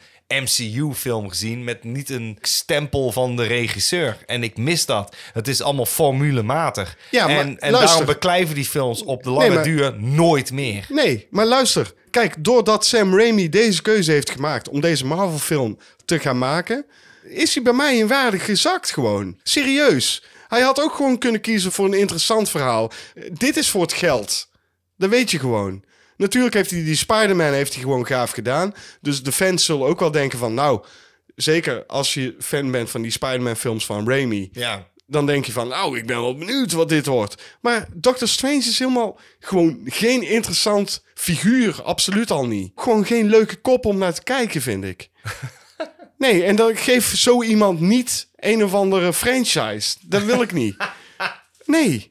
S1: MCU-film gezien met niet een stempel van de regisseur. En ik mis dat. Het is allemaal formulematig.
S2: Ja, maar
S1: en en
S2: luister.
S1: daarom beklijven die films op de lange
S2: Nee, maar-
S1: duur nooit meer.
S2: Nee, maar luister. Kijk, doordat Sam Raimi deze keuze heeft gemaakt om deze Marvel-film te gaan maken, is hij bij mij in waarde gezakt gewoon. Serieus. Hij had ook gewoon kunnen kiezen voor een interessant verhaal. Eh, Dit is voor het geld. Dat weet je gewoon. Natuurlijk heeft hij die Spider-Man heeft hij gewoon gaaf gedaan. Dus de fans zullen ook wel denken van, nou, zeker als je fan bent van die Spider-Man-films van Raimi,
S1: Ja.
S2: dan denk je van, nou, ik ben wel benieuwd wat dit wordt. Maar Doctor Strange is helemaal gewoon geen interessant figuur, absoluut al niet. Gewoon geen leuke kop om naar te kijken, vind ik. Nee, en dan geef zo iemand niet een of andere franchise. Dat wil ik niet. Nee.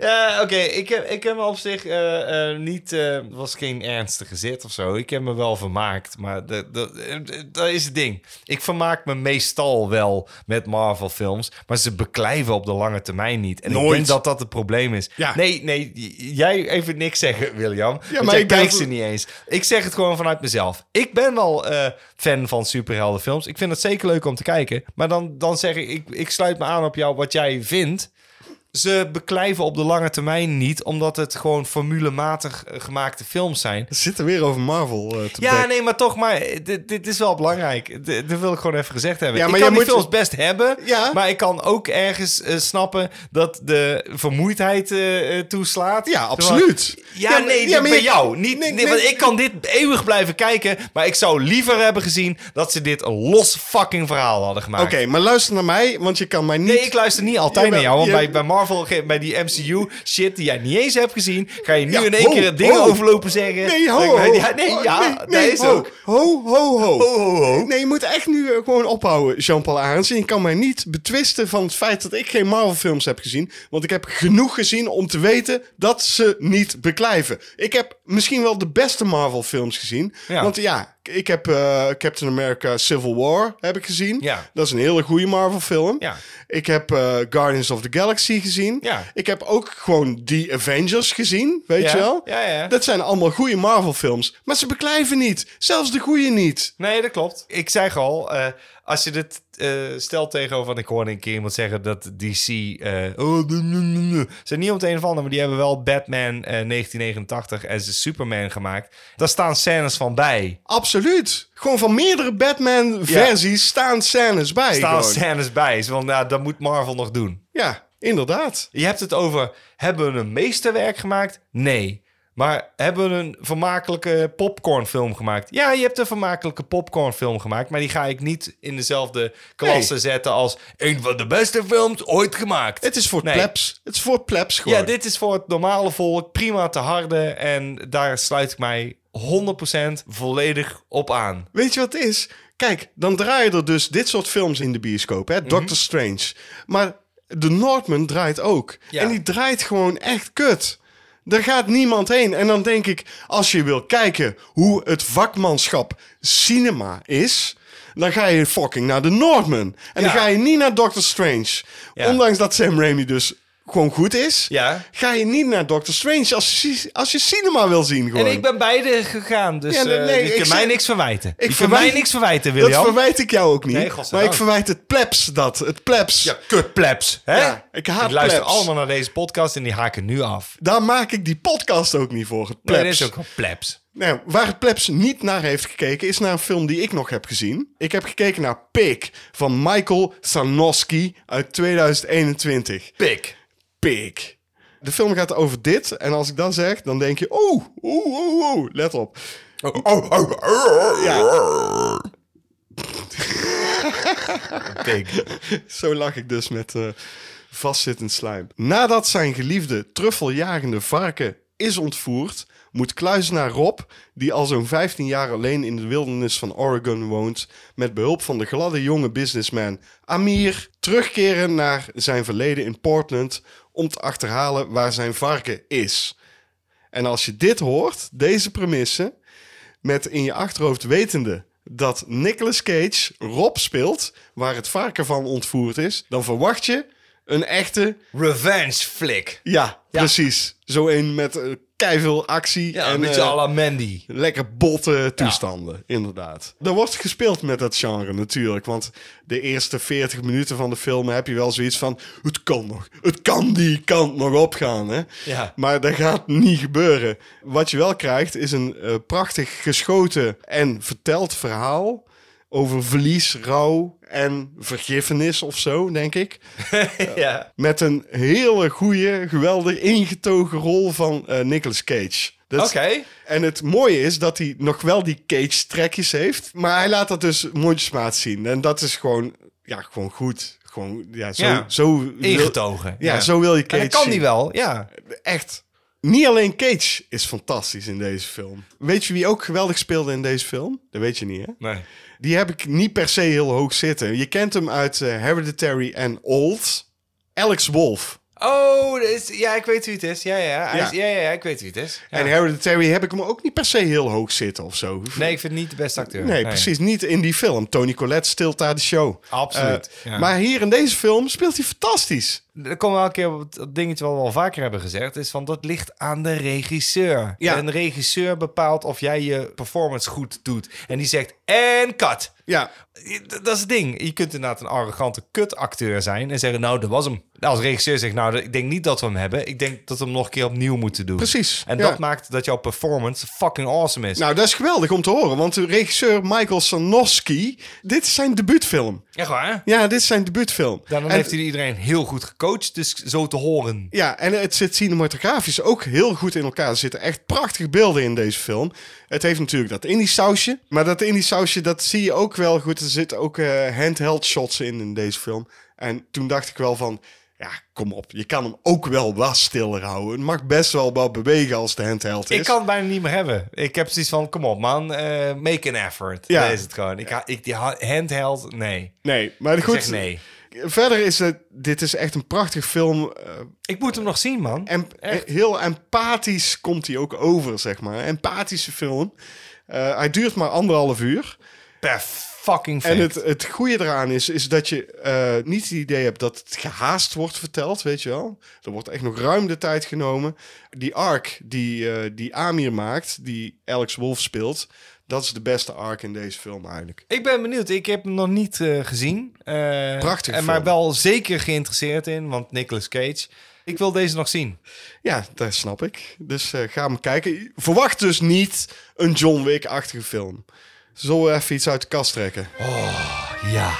S1: Ja, oké. Ik, heb, ik heb me op zich eh, eh, niet... eh, was geen ernstige zit of zo. Ik heb me wel vermaakt. Maar dat, dat, eh, dat is het ding. Ik vermaak me meestal wel met Marvel films. Maar ze beklijven op de lange termijn niet. En ik
S2: Nooit.
S1: denk dat dat het probleem is.
S2: Ja.
S1: Nee, nee. j- Jij even niks zeggen, William. Ja, maar
S2: maar
S1: ik
S2: ik ben
S1: kijk
S2: v-
S1: ze niet eens. Ik zeg het gewoon vanuit mezelf. Ik ben al eh, fan van superheldenfilms. Ik vind het zeker leuk om te kijken. Maar dan, dan zeg ik, ik, ik sluit me aan op jou wat jij vindt ze beklijven op de lange termijn niet, omdat het gewoon formulematig eh, gemaakte films zijn.
S2: We zitten weer over Marvel eh, te
S1: Ja,
S2: bekken.
S1: nee, maar toch, maar eh, dit, dit is wel belangrijk. D- Dat wil ik gewoon even gezegd hebben.
S2: Ja,
S1: ik
S2: maar
S1: kan
S2: jij
S1: die
S2: moet-
S1: films best hebben,
S2: Ja.
S1: maar ik kan ook ergens eh, snappen dat de vermoeidheid eh, eh, toeslaat.
S2: Ja, absoluut.
S1: Ja,
S2: maar-
S1: nee,
S2: ja,
S1: bij
S2: maar je-
S1: jou. Niet,
S2: nee,
S1: nee,
S2: nee.
S1: want ik kan dit eeuwig blijven kijken, maar ik zou liever hebben gezien dat ze dit een los fucking verhaal hadden gemaakt.
S2: Oké, maar luister naar mij, want je kan mij niet...
S1: Nee, ik luister niet altijd
S2: Jawel,
S1: naar jou. Want
S2: je-
S1: bij, bij Marvel, ge- bij die MCU shit die jij niet eens hebt gezien, ga je nu
S2: Ja,
S1: in één
S2: ho,
S1: keer het ding
S2: ho.
S1: overlopen zeggen.
S2: Nee, ho,
S1: Dat ik
S2: ho.
S1: bij- Ja, nee,
S2: Oh,
S1: ja,
S2: nee, nee,
S1: dat is
S2: ho.
S1: ook.
S2: Ho, ho, ho.
S1: Ho, ho, ho.
S2: Nee, je moet echt nu eh, gewoon ophouden, Jean-Paul Arends. En je kan mij niet betwisten van het feit dat ik geen Marvel-films heb gezien. Want ik heb genoeg gezien om te weten dat ze niet beklijven. Ik heb misschien wel de beste Marvel-films gezien.
S1: Ja.
S2: Want ja, ik heb eh, Captain America Civil War heb ik gezien.
S1: Ja.
S2: Dat is een hele goede Marvel-film.
S1: Ja.
S2: Ik heb eh, Guardians of the Galaxy gezien.
S1: Ja.
S2: Ik heb ook gewoon The Avengers gezien, weet
S1: Ja,
S2: je wel?
S1: ja, ja.
S2: Dat zijn allemaal goede Marvel-films. Maar ze beklijven niet. Zelfs de goede niet.
S1: Nee, dat klopt. Ik zeg al, eh, als je dit eh, stelt tegenover, want ik hoorde een keer iemand zeggen dat DC. eh oh, de- de- de- de- zijn niet om het een of ander, maar die hebben wel Batman eh, 1989 en ze Superman gemaakt. Daar staan scènes van bij.
S2: Absoluut. Gewoon van meerdere Batman-versies staan scènes bij.
S1: Staan
S2: gewoon.
S1: scènes bij. Zo van, nou, dat moet Marvel nog doen.
S2: Ja, inderdaad.
S1: Je hebt het over, hebben we een meesterwerk gemaakt? Nee. Maar hebben we een vermakelijke popcornfilm gemaakt? Ja, je hebt een vermakelijke popcornfilm gemaakt, maar die ga ik niet in dezelfde klasse
S2: Nee.
S1: zetten als een van de beste films ooit gemaakt.
S2: Het is voor
S1: Nee.
S2: plebs. Het is voor plebs gewoon.
S1: ja, dit is voor het normale volk prima te harden en daar sluit ik mij 100% volledig op aan.
S2: Weet je wat het is? Kijk, dan draaien er dus dit soort films in de bioscoop,
S1: Mhm.
S2: hè? Doctor Strange. Maar de Northman draait ook.
S1: Ja.
S2: En die draait gewoon echt kut. Daar gaat niemand heen. En dan denk ik, als je wil kijken hoe het vakmanschap cinema is, dan ga je fucking naar de Northman.
S1: Ja.
S2: En dan ga je niet naar Doctor Strange.
S1: Ja.
S2: Ondanks dat Sam Raimi dus gewoon goed is,
S1: Ja.
S2: ga je niet naar Doctor Strange als je, als je cinema wil zien. Gewoon.
S1: En ik ben beide gegaan, dus
S2: Ja, nee,
S1: eh, je
S2: nee, ik
S1: kan mij
S2: zeg-
S1: niks verwijten.
S2: ik
S1: je kan
S2: verwijt-
S1: mij niks verwijten, William.
S2: Dat verwijt ik jou ook niet.
S1: Nee, godzijdank.
S2: maar ik verwijt het plebs dat. Het plebs.
S1: Ja, kutplebs. Hè?
S2: Ja, ik haat
S1: luister
S2: plebs.
S1: allemaal naar deze podcast en die haken nu af.
S2: Daar maak ik die podcast ook niet voor. Het plebs.
S1: Nee, dit is ook wel plebs.
S2: Nou, waar het plebs niet naar heeft gekeken, is naar een film die ik nog heb gezien. Ik heb gekeken naar Pig van Michael Sanofsky uit 2021.
S1: Pik.
S2: Pig. De film gaat over dit. En als ik dat zeg, dan denk je... oh, Oeh, oeh, oeh, oeh. oh, Let op.
S1: Oh,
S2: Ja.
S1: Pik.
S2: Zo lag ik dus met eh, vastzittend slijm. Nadat zijn geliefde truffeljagende varken is ontvoerd, moet kluizenaar Rob, die al zo'n 15 jaar alleen in de wildernis van Oregon woont, met behulp van de gladde jonge businessman Amir terugkeren naar zijn verleden in Portland om te achterhalen waar zijn varken is. En als je dit hoort, deze premisse, met in je achterhoofd wetende dat Nicolas Cage Rob speelt, waar het varken van ontvoerd is, dan verwacht je een echte,
S1: Revenge flick.
S2: ja,
S1: Ja.
S2: precies, zo een met eh, keiveel actie
S1: Ja,
S2: en
S1: een beetje
S2: eh,
S1: à la Mandy.
S2: lekker botte toestanden, inderdaad. Er wordt gespeeld met dat genre natuurlijk, want de eerste 40 minuten van de film heb je wel zoiets van, het kan nog, het kan die kant nog opgaan, hè?
S1: Ja.
S2: Maar dat gaat niet gebeuren. Wat je wel krijgt is een eh, prachtig geschoten en verteld verhaal over verlies, rouw en vergiffenis of zo, denk ik.
S1: ja.
S2: Met een hele goede, geweldig ingetogen rol van eh, Nicolas Cage. Dat is-
S1: Oké.
S2: En het mooie is dat hij nog wel die Cage-trekjes heeft, maar hij laat dat dus mondjesmaat zien. En dat is gewoon, ja, gewoon goed. Gewoon, ja, zo...
S1: Ja.
S2: zo wil-
S1: Ingetogen.
S2: Ja, zo wil je
S1: En
S2: Cage
S1: dat kan
S2: zien.
S1: die wel, ja.
S2: Echt. Niet alleen Cage is fantastisch in deze film. Weet je wie ook geweldig speelde in deze film? Dat weet je niet, hè?
S1: Nee.
S2: Die heb ik niet per se heel hoog zitten. Je kent hem uit eh, Hereditary en Old. Alex Wolf.
S1: Oh, dat is- ja, ik weet wie het is. Ja, ja, hij
S2: Ja.
S1: is- ja, ja, ja, ik weet wie het is. Ja.
S2: En Hereditary heb ik hem ook niet per se heel hoog zitten of zo.
S1: Nee, ik vind het niet de beste acteur.
S2: Nee, precies. Niet in die film. Tony Collette stilt daar de show.
S1: Absoluut,
S2: Eh,
S1: ja.
S2: Maar hier in deze film speelt hij fantastisch.
S1: Er komen we elke keer op het- dat dingetje wat we al vaker hebben gezegd. Is van dat ligt aan de regisseur.
S2: Ja.
S1: Een regisseur bepaalt of jij je performance goed doet. En die zegt, en cut.
S2: Ja,
S1: D- Dat is het ding. Je kunt inderdaad een arrogante kutacteur zijn en zeggen, nou, dat was hem. Als regisseur zegt, nou, ik denk niet dat we hem hebben. Ik denk dat we hem nog een keer opnieuw moeten doen.
S2: Precies,
S1: En
S2: ja.
S1: dat maakt dat jouw performance fucking awesome is.
S2: nou dat is geweldig om te horen. Want de regisseur Michael Sanofsky, dit is zijn debuutfilm.
S1: Echt waar?
S2: Ja, dit is zijn debuutfilm.
S1: Dan
S2: En-
S1: heeft hij iedereen heel goed gecoacht, dus zo te horen.
S2: Ja, en het zit cinematografisch ook heel goed in elkaar. Er zitten echt prachtige beelden in deze film. Het heeft natuurlijk dat indie sausje. Maar dat indie sausje, dat zie je ook wel goed. Er zitten ook eh, handheld shots in in deze film. En toen dacht ik wel van... Ja, kom op. Je kan hem ook wel wat stiller houden. Het mag best wel wat bewegen als de handheld is.
S1: Ik kan het bijna niet meer hebben. Ik heb zoiets van, kom op man, eh, make an effort.
S2: Ja.
S1: Dat is het gewoon. Ik, ha- ik, die ha- handheld, nee.
S2: Nee, maar
S1: Ik
S2: goed.
S1: zeg nee.
S2: Verder is het... Dit is echt een prachtig film. eh,
S1: Ik moet hem nog zien, man.
S2: en, heel empathisch komt hij ook over, zeg maar. Empathische film. Eh, hij duurt maar anderhalf uur.
S1: Per fucking
S2: En
S1: fact.
S2: het, het goede eraan is, is dat je eh, niet het idee hebt dat het gehaast wordt verteld, weet je wel. Er wordt echt nog ruim de tijd genomen. Die arc die, eh, die Amir maakt, die Alex Wolf speelt, dat is de beste arc in deze film eigenlijk.
S1: Ik ben benieuwd. Ik heb hem nog niet eh, gezien. Eh,
S2: Prachtig
S1: en Maar
S2: film.
S1: wel zeker geïnteresseerd in, want Nicolas Cage. Ik wil deze nog zien.
S2: Ja, dat snap ik. Dus eh, ga hem kijken. Verwacht dus niet een John Wick-achtige film. Zullen we even iets uit de kast trekken?
S1: Ja.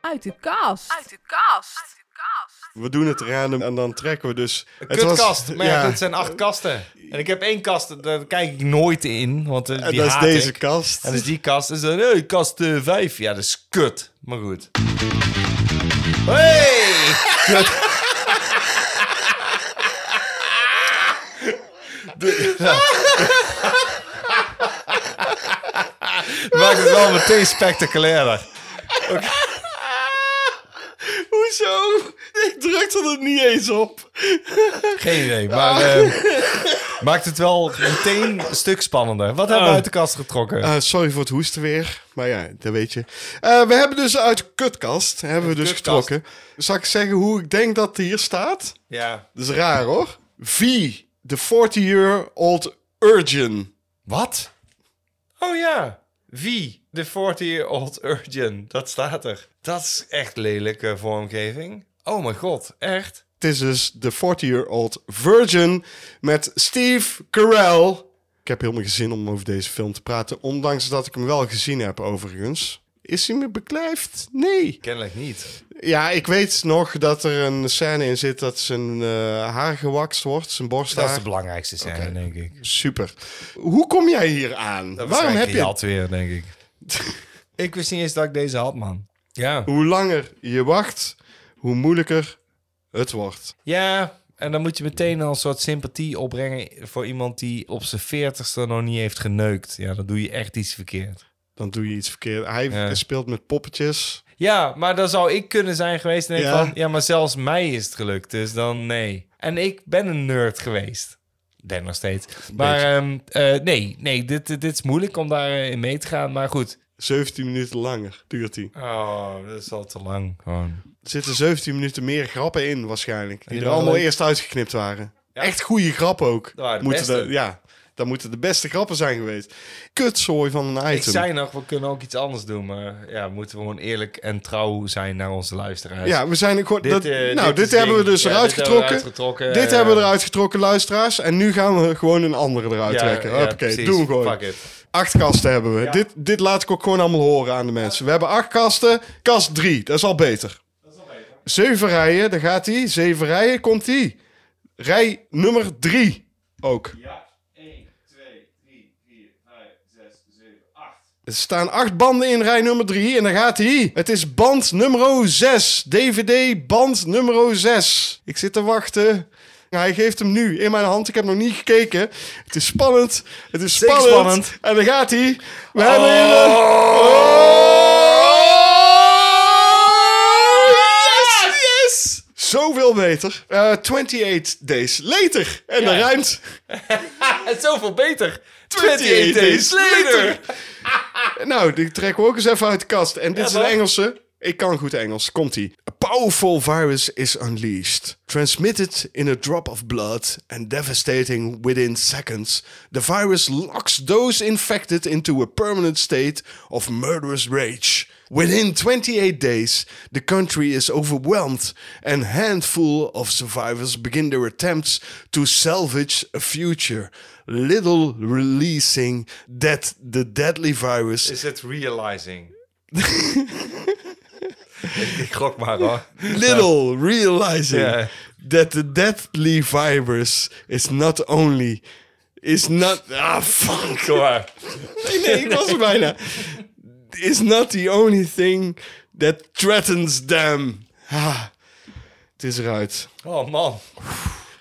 S4: Uit de kast.
S2: We doen het random en dan trekken we dus... Het was-
S1: Kutkast. maar ja,
S2: ja,
S1: dit zijn acht kasten. En ik heb één kast, daar kijk ik nooit in. Want eh,
S2: en
S1: die
S2: dat is
S1: haat
S2: deze
S1: ik.
S2: kast.
S1: En dus die kast is dan, hey, kast 5. vijf. Ja, dat is kut. Maar goed. Hey! Kut. Maakt het wel meteen spectaculairder.
S2: Hoezo? Ik drukte er niet eens op.
S1: Geen idee, maar eh, maakt het wel meteen een stuk spannender. Wat hebben we uit de kast getrokken?
S2: Eh, sorry voor het hoesten weer, maar ja, dat weet je. Eh, we hebben dus uit de kutkast, hebben we dus
S1: Kutkast.
S2: getrokken. Zal ik zeggen hoe ik denk dat die hier staat?
S1: Ja.
S2: Dat is raar hoor. V, the 40-year-old urgent.
S1: Wat? Oh ja. Wie? De 40-year-old Urgent. Dat staat er. Dat is echt lelijke vormgeving. Oh mijn god, echt?
S2: Het is dus de 40-year-old virgin met Steve Carell. Ik heb helemaal geen zin om over deze film te praten, ondanks dat ik hem wel gezien heb overigens. Is hij me beklijft? Nee.
S1: Kennelijk niet.
S2: Ja, ik weet nog dat er een scène in zit dat zijn eh, haar gewakst wordt, zijn
S1: Dat is
S2: borsthaar.
S1: de belangrijkste scène, denk ik.
S2: Super. Hoe kom jij hier aan? Waarom heb je...
S1: dat weer, denk ik. ik wist niet eens dat ik deze had, man. Ja.
S2: Hoe langer je wacht, hoe moeilijker het wordt.
S1: Ja, en dan moet je meteen al een soort sympathie opbrengen voor iemand die op zijn veertigste nog niet heeft geneukt. Ja, dan doe je echt iets verkeerd.
S2: Dan doe je iets verkeerd. Hij
S1: Ja.
S2: speelt met poppetjes.
S1: Ja, maar dan zou ik kunnen zijn geweest. En denk
S2: Ja.
S1: van, ja, maar zelfs mij is het gelukt. Dus dan nee. En ik ben een nerd geweest. Ben nog steeds. Maar ehm, eh, nee, nee dit, dit is moeilijk om daarin mee te gaan. Maar goed.
S2: 17 minuten langer duurt hij.
S1: Oh, dat is al te lang. Gewoon.
S2: Er zitten 17 minuten meer grappen in waarschijnlijk. Die
S1: die
S2: er
S1: waren
S2: allemaal
S1: leuk.
S2: eerst uitgeknipt waren. Echt goede grappen ook.
S1: Dat waren de
S2: moeten
S1: beste.
S2: de- ja, dat moeten de beste grappen zijn geweest. Kutzooi van een item.
S1: Ik zei nog, we kunnen ook iets anders doen. Maar ja, moeten we gewoon eerlijk en trouw zijn naar onze luisteraars.
S2: Ja, we zijn er gewoon.
S1: Dit,
S2: dat,
S1: eh,
S2: nou, dit,
S1: dit is
S2: hebben we
S1: ding.
S2: dus
S1: Ja, dit
S2: eruit
S1: hebben we
S2: getrokken.
S1: eruit getrokken.
S2: Dit
S1: Eh,
S2: hebben we eruit getrokken, luisteraars. En nu gaan we gewoon een andere eruit trekken.
S1: ja,
S2: Hoppakee,
S1: precies.
S2: doen we gewoon.
S1: Fuck it.
S2: Acht kasten hebben we. Dit, dit laat ik ook gewoon allemaal horen aan de mensen. We hebben acht kasten. Kast drie, dat is al beter. Zeven rijen, daar gaat hij. Zeven rijen, komt hij. Rij nummer drie ook. Er staan acht banden in rij nummer 3 en daar gaat hij. Het is band nummer 6. DVD band nummer 6. Ik zit te wachten. Hij geeft hem nu in mijn hand. Ik heb nog niet gekeken. Het is spannend. Het is
S1: Zeker
S2: spannend.
S1: spannend.
S2: En dan gaat hij.
S1: Oh.
S2: We hebben hier een- Oh, Yes! Yes! Zoveel beter. Eh 28 days later. En dan
S1: Ja.
S2: ruimt
S1: En zoveel beter.
S2: 28 days later. nou, die trekken we ook eens even uit de kast. En dit is een
S1: toch?
S2: Engelse. Ik kan goed Engels. Komt-ie. A powerful virus is unleashed. Transmitted in a drop of blood and devastating within seconds. The virus locks those infected into a permanent state of murderous rage. Within 28 days, the country is overwhelmed and handful of survivors begin their attempts to salvage a future, little releasing that the deadly virus
S1: Is het realizing? ik gok maar hoor.
S2: little realizing
S1: Yeah.
S2: that the deadly virus is not only is not ah fuck
S1: Kom maar.
S2: nee, nee, ik was er bijna is not the only thing that threatens them ah, het is eruit
S1: Oh man.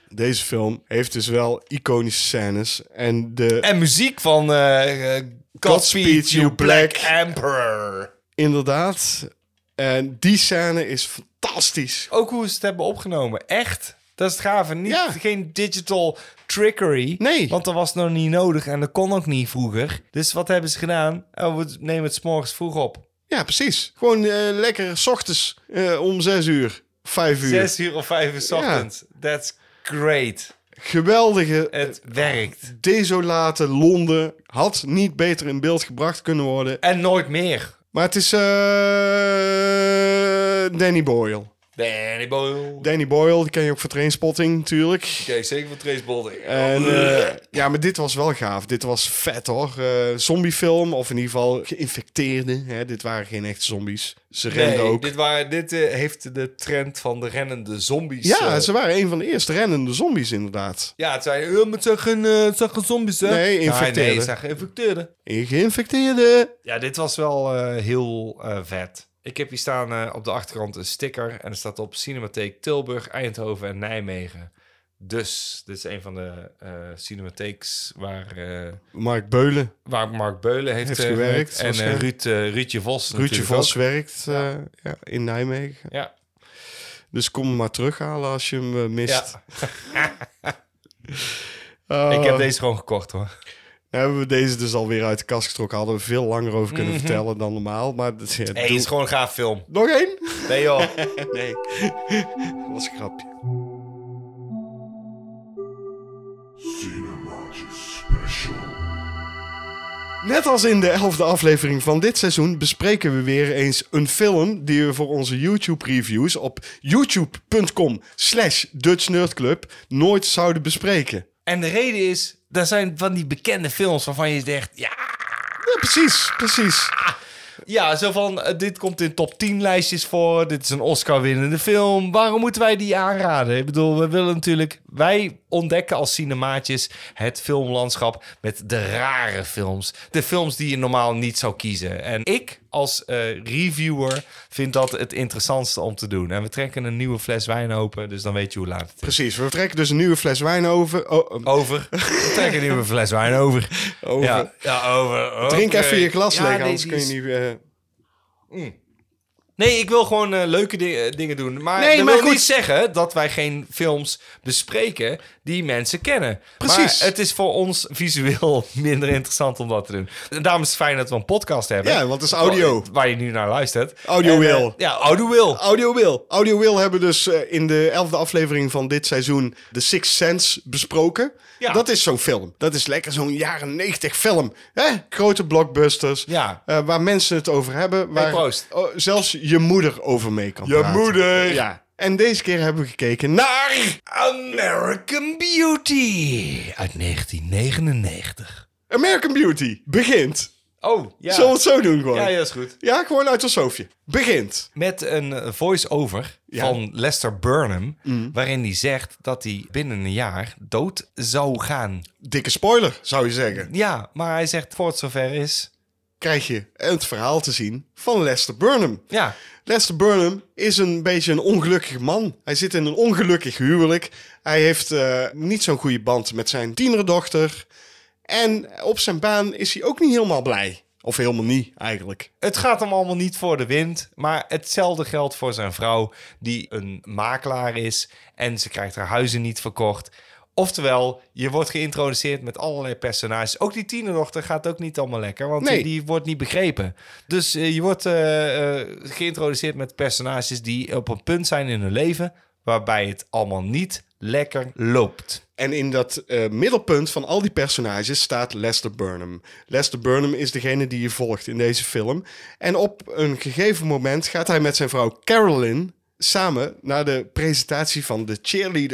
S2: deze film heeft dus wel iconische scènes en de
S1: En muziek van eh, eh, Godspeed You Black Emperor.
S2: inderdaad en die scène is fantastisch
S1: Ook hoe ze het hebben opgenomen. Echt. Dat is het gave. Niet,
S2: Ja.
S1: Geen digital trickery.
S2: Nee.
S1: Want dat was nog niet nodig en dat kon ook niet vroeger. Dus wat hebben ze gedaan? Oh, we nemen het 's morgens vroeg op.
S2: ja precies gewoon eh, lekker s ochtends eh, om zes uur vijf uur
S1: Zes uur of vijf uur 's
S2: Ja.
S1: ochtends. That's great.
S2: geweldige
S1: Het werkt.
S2: oh. desolate Londen had niet beter in beeld gebracht kunnen worden.
S1: En nooit meer.
S2: Maar het is eh, Danny Boyle.
S1: Danny Boyle.
S2: Danny Boyle, die ken je ook voor Trainspotting natuurlijk.
S1: Oké, zeker voor Trace Bolding.
S2: En, eh, ja, maar dit was wel gaaf. Dit was vet hoor. Eh, zombiefilm, of in ieder geval geïnfecteerden. Hè? Dit waren geen echte zombies. Ze renden
S1: nee,
S2: ook.
S1: dit, waren, dit eh, heeft de trend van de rennende zombies.
S2: Ja,
S1: eh,
S2: ze waren een van de eerste rennende zombies inderdaad.
S1: ja het zijn, eh, maar het zijn geen, eh, het zijn geen zombies, hè?
S2: Nee,
S1: infecteerden. Nee,
S2: infecteerden.
S1: het zijn geïnfecteerden.
S2: En geïnfecteerden.
S1: Ja, dit was wel eh, heel eh, vet. Ik heb hier staan eh, op de achterkant een sticker. En er staat op Cinematheek Tilburg, Eindhoven en Nijmegen. Dus, dit is een van de eh cinematheeks waar, eh,
S2: Mark Beulen,
S1: waar Mark Beulen heeft,
S2: Heeft
S1: eh,
S2: gewerkt,
S1: En eh,
S2: waarschijnlijk.
S1: Ruud, eh, Ruudje Vos
S2: Ruudje
S1: natuurlijk
S2: Vos
S1: ook.
S2: werkt eh, ja, in Nijmegen.
S1: Ja,
S2: Dus kom hem maar terughalen als je hem eh, mist.
S1: ja.
S2: Eh,
S1: ik heb deze gewoon gekocht hoor.
S2: Hebben we deze dus alweer uit de kast getrokken. Hadden we veel langer over kunnen vertellen dan normaal. Maar dat ja,
S1: Nee,
S2: doe-
S1: het Mhm. is gewoon een gaaf film.
S2: Nog één?
S1: Nee joh.
S2: nee, dat was een grapje. Net als in de elfde aflevering van dit seizoen bespreken we weer eens een film die we voor onze YouTube-reviews op youtube.com slash Dutch Nerd Club nooit zouden bespreken.
S1: En de reden is, daar zijn van die bekende films waarvan je zegt, ja,
S2: Ja, precies, precies.
S1: ja zo van, eh, dit komt in top 10 lijstjes voor, dit is een Oscar-winnende film, waarom moeten wij die aanraden? Ik bedoel, we willen natuurlijk, wij ontdekken als cinemaatjes het filmlandschap met de rare films. De films die je normaal niet zou kiezen. En ik als eh, reviewer vind dat het interessantste om te doen. En we trekken een nieuwe fles wijn open, dus dan weet je hoe laat het is.
S2: Precies, we trekken dus een nieuwe fles wijn over. Oh, eh,
S1: Over. We trekken een nieuwe fles wijn over.
S2: over.
S1: Ja, ja over.
S2: Drink
S1: Oh, Oké.
S2: even je glas
S1: Ja,
S2: leeg,
S1: nee,
S2: anders
S1: die
S2: kun je
S1: is-
S2: niet... eh,
S1: Nee, ik wil gewoon eh, leuke di- eh, dingen doen. Maar
S2: Nee,
S1: dat
S2: maar
S1: wil
S2: goed.
S1: niet zeggen dat wij geen films bespreken die mensen kennen.
S2: Precies.
S1: Maar het is voor ons visueel minder interessant om dat te doen. En daarom is het fijn dat we een podcast hebben.
S2: Ja, want het is audio.
S1: Waar je nu naar luistert.
S2: Audio
S1: En, eh,
S2: wil.
S1: ja, audio wil.
S2: Audio Will. Audio Will hebben dus eh, in de elfde aflevering van dit seizoen The Sixth Sense besproken.
S1: Ja.
S2: Dat is zo'n film. Dat is lekker zo'n jaren negentig film. Hè? Grote blockbusters.
S1: Ja.
S2: eh, waar mensen het over hebben. Waar
S1: proost.
S2: oh, zelfs je moeder over mee kan praten.
S1: moeder.
S2: Ja. En deze keer hebben we gekeken naar
S1: American Beauty uit 1999.
S2: American Beauty. Begint.
S1: Oh, ja.
S2: Zullen we het zo doen gewoon?
S1: Ja, ja, is goed.
S2: Ja, gewoon uit ons hoofdje. Begint.
S1: Met een eh, voice-over
S2: Ja.
S1: van Lester Burnham. Waarin hij zegt dat hij binnen een jaar dood zou gaan.
S2: Dikke spoiler, zou je zeggen.
S1: Ja, maar hij zegt voor het zover is,
S2: krijg je het verhaal te zien van Lester Burnham.
S1: Ja,
S2: Lester Burnham is een beetje een ongelukkig man. Hij zit in een ongelukkig huwelijk. Hij heeft eh, niet zo'n goede band met zijn tienerdochter. En op zijn baan is hij ook niet helemaal blij. Of helemaal niet, eigenlijk.
S1: het gaat hem allemaal niet voor de wind. Maar hetzelfde geldt voor zijn vrouw, die een makelaar is en ze krijgt haar huizen niet verkocht. Oftewel, je wordt geïntroduceerd met allerlei personages. Ook die tienerdochter gaat ook niet allemaal lekker, want die,
S2: Nee.
S1: die wordt niet begrepen. Dus eh, je wordt eh, eh, geïntroduceerd met personages die op een punt zijn in hun leven waarbij het allemaal niet lekker loopt.
S2: En in dat eh, middelpunt van al die personages staat Lester Burnham. Lester Burnham is degene die je volgt in deze film. En op een gegeven moment gaat hij met zijn vrouw Carolyn samen naar de presentatie van de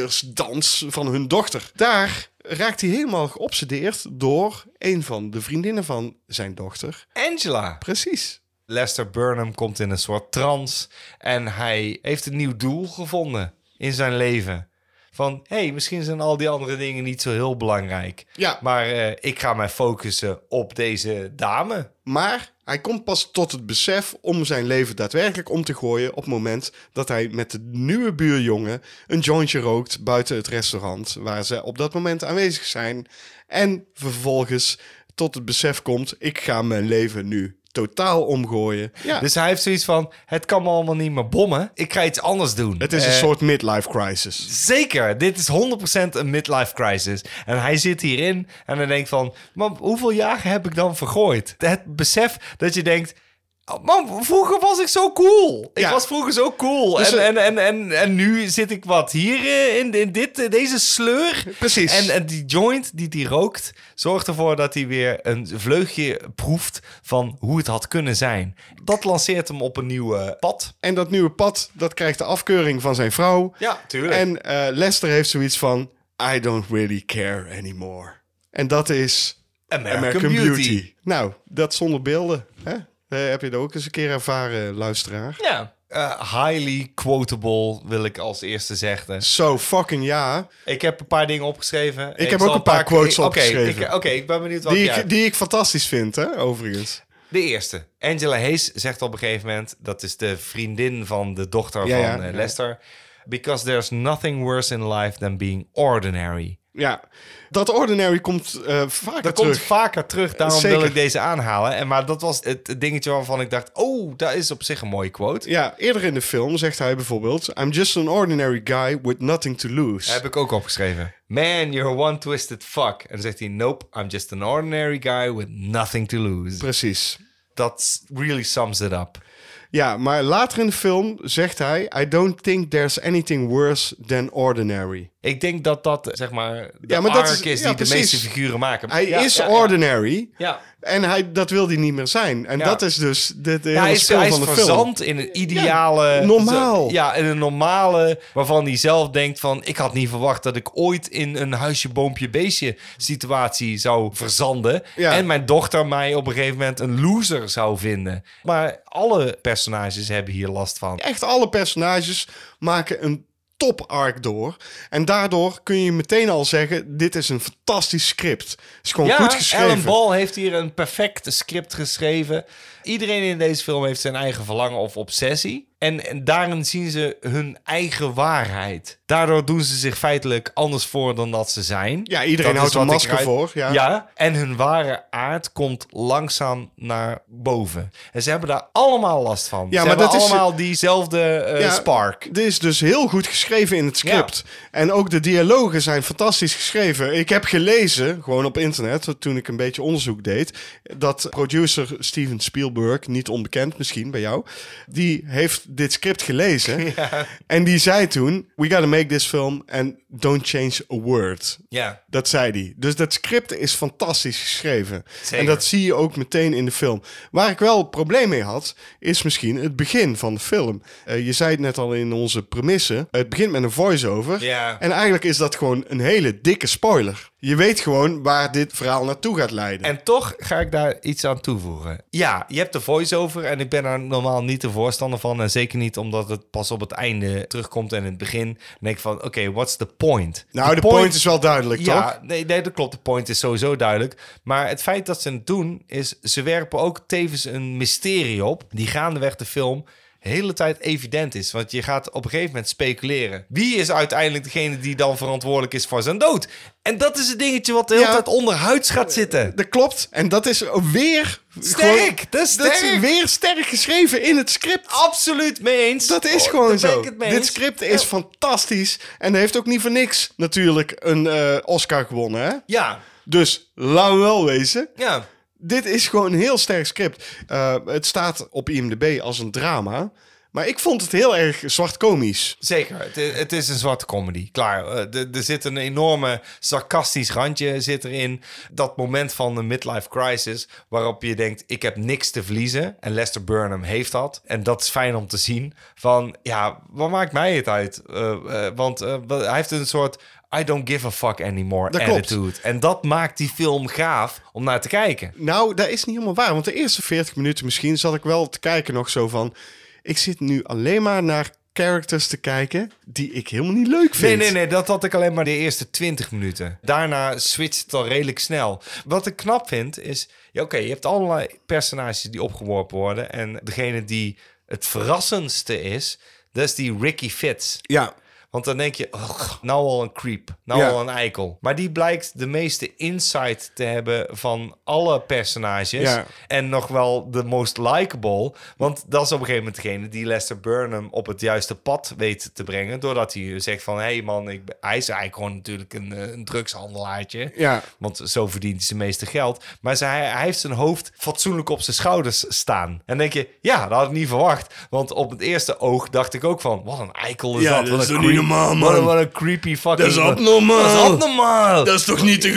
S2: cheerleadersdans van hun dochter. Daar raakt hij helemaal geobsedeerd door een van de vriendinnen van zijn dochter.
S1: Angela,
S2: Precies.
S1: Lester Burnham komt in een soort trance en hij heeft een nieuw doel gevonden in zijn leven. Van, hé, hey, misschien zijn al die andere dingen niet zo heel belangrijk.
S2: Ja.
S1: Maar eh, ik ga mij focussen op deze dame.
S2: Maar hij komt pas tot het besef om zijn leven daadwerkelijk om te gooien op het moment dat hij met de nieuwe buurjongen een jointje rookt buiten het restaurant waar ze op dat moment aanwezig zijn. En vervolgens tot het besef komt, ik ga mijn leven nu totaal omgooien. Ja,
S1: Dus hij heeft zoiets van, het kan me allemaal niet meer bommen. Ik ga iets anders doen.
S2: het is een
S1: Eh,
S2: soort midlife crisis.
S1: Zeker, dit is 100% een midlife crisis. En hij zit hierin en hij denkt van... Man, hoeveel jaren heb ik dan vergooid? Het besef dat je denkt... "Oh, Man, vroeger was ik zo cool. Ik
S2: Ja.
S1: was vroeger zo cool.
S2: Dus,
S1: en,
S2: eh,
S1: en, en, en, en nu zit ik wat hier eh, in, in dit, eh, deze sleur.
S2: Precies.
S1: En, en die joint die die rookt... zorgt ervoor dat hij weer een vleugje proeft... van hoe het had kunnen zijn. Dat lanceert hem op een nieuw eh, pad.
S2: En dat nieuwe pad, dat krijgt de afkeuring van zijn vrouw.
S1: Ja, tuurlijk.
S2: En eh, Lester heeft zoiets van, I don't really care anymore. En dat is
S1: American,
S2: American, Beauty.
S1: Beauty.
S2: Nou, dat zonder beelden. Hè? Eh, heb je dat ook eens een keer ervaren, luisteraar?
S1: Ja. Eh, highly quotable wil ik als eerste zeggen.
S2: Zo fucking ja.
S1: Ik heb een paar dingen opgeschreven. Ik,
S2: heb
S1: zal
S2: ook een paar quotes
S1: ik- oké,
S2: opgeschreven.
S1: ik- Oké, ik ben benieuwd wat
S2: Die
S1: jij-
S2: ik, die ik fantastisch vind, hè, overigens.
S1: De eerste. Angela Hayes zegt op een gegeven moment... dat is de vriendin van de dochter
S2: Ja,
S1: van
S2: ja.
S1: eh, Lester... Because there's nothing worse in life than being ordinary.
S2: Ja. Dat ordinary komt eh vaker
S1: Dat
S2: terug.
S1: komt vaker terug, daarom
S2: Zeker.
S1: wil ik deze aanhalen. En, maar dat was het dingetje waarvan ik dacht... oh, dat is op zich een mooie quote.
S2: ja, eerder in de film zegt hij bijvoorbeeld... I'm just an ordinary guy with nothing to lose.
S1: Heb ik ook opgeschreven. Man, you're one twisted fuck. En dan zegt hij, nope, I'm just an ordinary guy with nothing to lose.
S2: Precies.
S1: Dat really sums it up.
S2: Ja, maar later in de film zegt hij... I don't think there's anything worse than ordinary.
S1: Ik denk dat dat, zeg maar, de
S2: Ja, maar dat
S1: arc
S2: is-
S1: is, die
S2: ja,
S1: de
S2: precies.
S1: meeste figuren maken.
S2: Hij
S1: Ja,
S2: is
S1: ja, ja.
S2: ordinary...
S1: Ja.
S2: En hij, dat wil hij niet meer zijn. En
S1: Ja.
S2: dat is dus de, de
S1: Ja,
S2: hele
S1: hij is,
S2: spil
S1: hij is
S2: van de film.
S1: verzand in een ideale...
S2: Ja, normaal.
S1: zo- Ja, in een normale waarvan hij zelf denkt van... ik had niet verwacht dat ik ooit in een huisje, boompje, beestje situatie zou verzanden.
S2: Ja.
S1: En mijn dochter mij op een gegeven moment een loser zou vinden. Maar alle personages hebben hier last van.
S2: Echt alle personages maken een top arc door. En daardoor kun je meteen al zeggen, dit is een fantastisch script. Het is gewoon goed geschreven.
S1: Alan Ball heeft hier een perfect script geschreven. Iedereen in deze film heeft zijn eigen verlangen of obsessie. En, en daarin zien ze hun eigen waarheid. Daardoor doen ze zich feitelijk anders voor dan dat ze zijn.
S2: Ja, iedereen
S1: Dat
S2: houdt
S1: is
S2: een
S1: wat ik
S2: masker
S1: eruit-
S2: voor, ja.
S1: en hun ware aard komt langzaam naar boven. En ze hebben daar allemaal last van.
S2: Ja,
S1: ze
S2: maar
S1: hebben
S2: dat is-
S1: allemaal diezelfde eh,
S2: Ja,
S1: spark.
S2: Dit is dus heel goed geschreven in het script. En ook de dialogen zijn fantastisch geschreven. Ik heb gelezen, gewoon op internet, toen ik een beetje onderzoek deed, dat producer Steven Spielberg, niet onbekend misschien bij jou, die heeft dit script gelezen. En die zei toen, we gotta make this film and don't change a word.
S1: Ja.
S2: Dat zei hij. Dus dat script is fantastisch geschreven.
S1: Zeker.
S2: En dat zie je ook meteen in de film. Waar ik wel een probleem mee had, is misschien het begin van de film. Eh, je zei het net al in onze premissen. Het begint met een voice-over.
S1: Ja.
S2: En eigenlijk is dat gewoon een hele dikke spoiler. Je weet gewoon waar dit verhaal naartoe gaat leiden.
S1: En toch ga ik daar iets aan toevoegen. Ja, je hebt de voice-over en ik ben daar normaal niet de voorstander van. En zeker niet omdat het pas op het einde terugkomt en in het begin. Dan denk ik van, oké, what's the point?
S2: nou, de, point, is wel duidelijk,
S1: Ja,
S2: toch?
S1: nee, nee, dat klopt. De point is sowieso duidelijk. Maar het feit dat ze het doen, is ze werpen ook tevens een mysterie op... die gaandeweg de film de hele tijd evident is. Want je gaat op een gegeven moment speculeren. Wie is uiteindelijk degene die dan verantwoordelijk is voor zijn dood? En dat is het dingetje wat de hele
S2: Ja.
S1: tijd onderhuids gaat zitten.
S2: Dat klopt. En dat is ook weer...
S1: Sterk,
S2: gewoon-
S1: dat is sterk.
S2: weer sterk geschreven in het script.
S1: Absoluut mee eens.
S2: Dat is
S1: Oh,
S2: gewoon
S1: daar ben
S2: zo.
S1: ik het mee
S2: Dit
S1: eens.
S2: script is fantastisch. En heeft ook niet voor niks natuurlijk een eh, Oscar gewonnen, hè?
S1: Ja,
S2: Dus laten we wel wezen.
S1: ja.
S2: Dit is gewoon een heel sterk script. Eh, het staat op IMDb als een drama. Maar ik vond het heel erg zwart-komisch.
S1: Zeker, het is, het is een zwarte comedy. Klaar, Eh, de- er zit een enorme sarcastisch randje zit erin. Dat moment van de midlife crisis waarop je denkt, ik heb niks te verliezen. En Lester Burnham heeft dat. En dat is fijn om te zien. Van, ja, wat maakt mij het uit? Eh, eh, want eh, wa- hij heeft een soort I don't give a fuck anymore
S2: Dat klopt.
S1: attitude. En dat maakt die film gaaf om naar te kijken.
S2: Nou, dat is niet helemaal waar. Want de eerste 40 minuten misschien zat ik wel te kijken nog zo van... Ik zit nu alleen maar naar characters te kijken die ik helemaal niet leuk vind.
S1: Nee, nee, nee, dat had ik alleen maar de eerste 20 minuten. Daarna switcht het al redelijk snel. Wat ik knap vind is, ja, oké, je hebt allerlei personages die opgeworpen worden. En degene die het verrassendste is, dat is die Ricky Fitz.
S2: Ja,
S1: Want dan denk je, "Och, nou al een creep, nou
S2: Ja.
S1: al een eikel. Maar die blijkt de meeste insight te hebben van alle personages.
S2: Ja.
S1: En nog wel de most likable. Want dat is op een gegeven moment degene die Lester Burnham op het juiste pad weet te brengen. Doordat hij zegt van, hé hey man, ik, ben- hij is eigenlijk gewoon natuurlijk een, eh, een drugshandelaartje.
S2: Ja.
S1: Want zo verdient hij zijn meeste geld. Maar ze, hij, hij heeft zijn hoofd fatsoenlijk op zijn schouders staan. En dan denk je, ja, dat had ik niet verwacht. Want op het eerste oog dacht ik ook van, wat een eikel is
S2: Ja,
S1: dat?
S2: dat
S1: Wat
S2: is
S1: een
S2: toch niet
S1: creep-
S2: normaal, man.
S1: Wat een, wat een creepy fucking...
S2: Dat is abnormaal.
S1: Dat is abnormaal.
S2: is toch niet te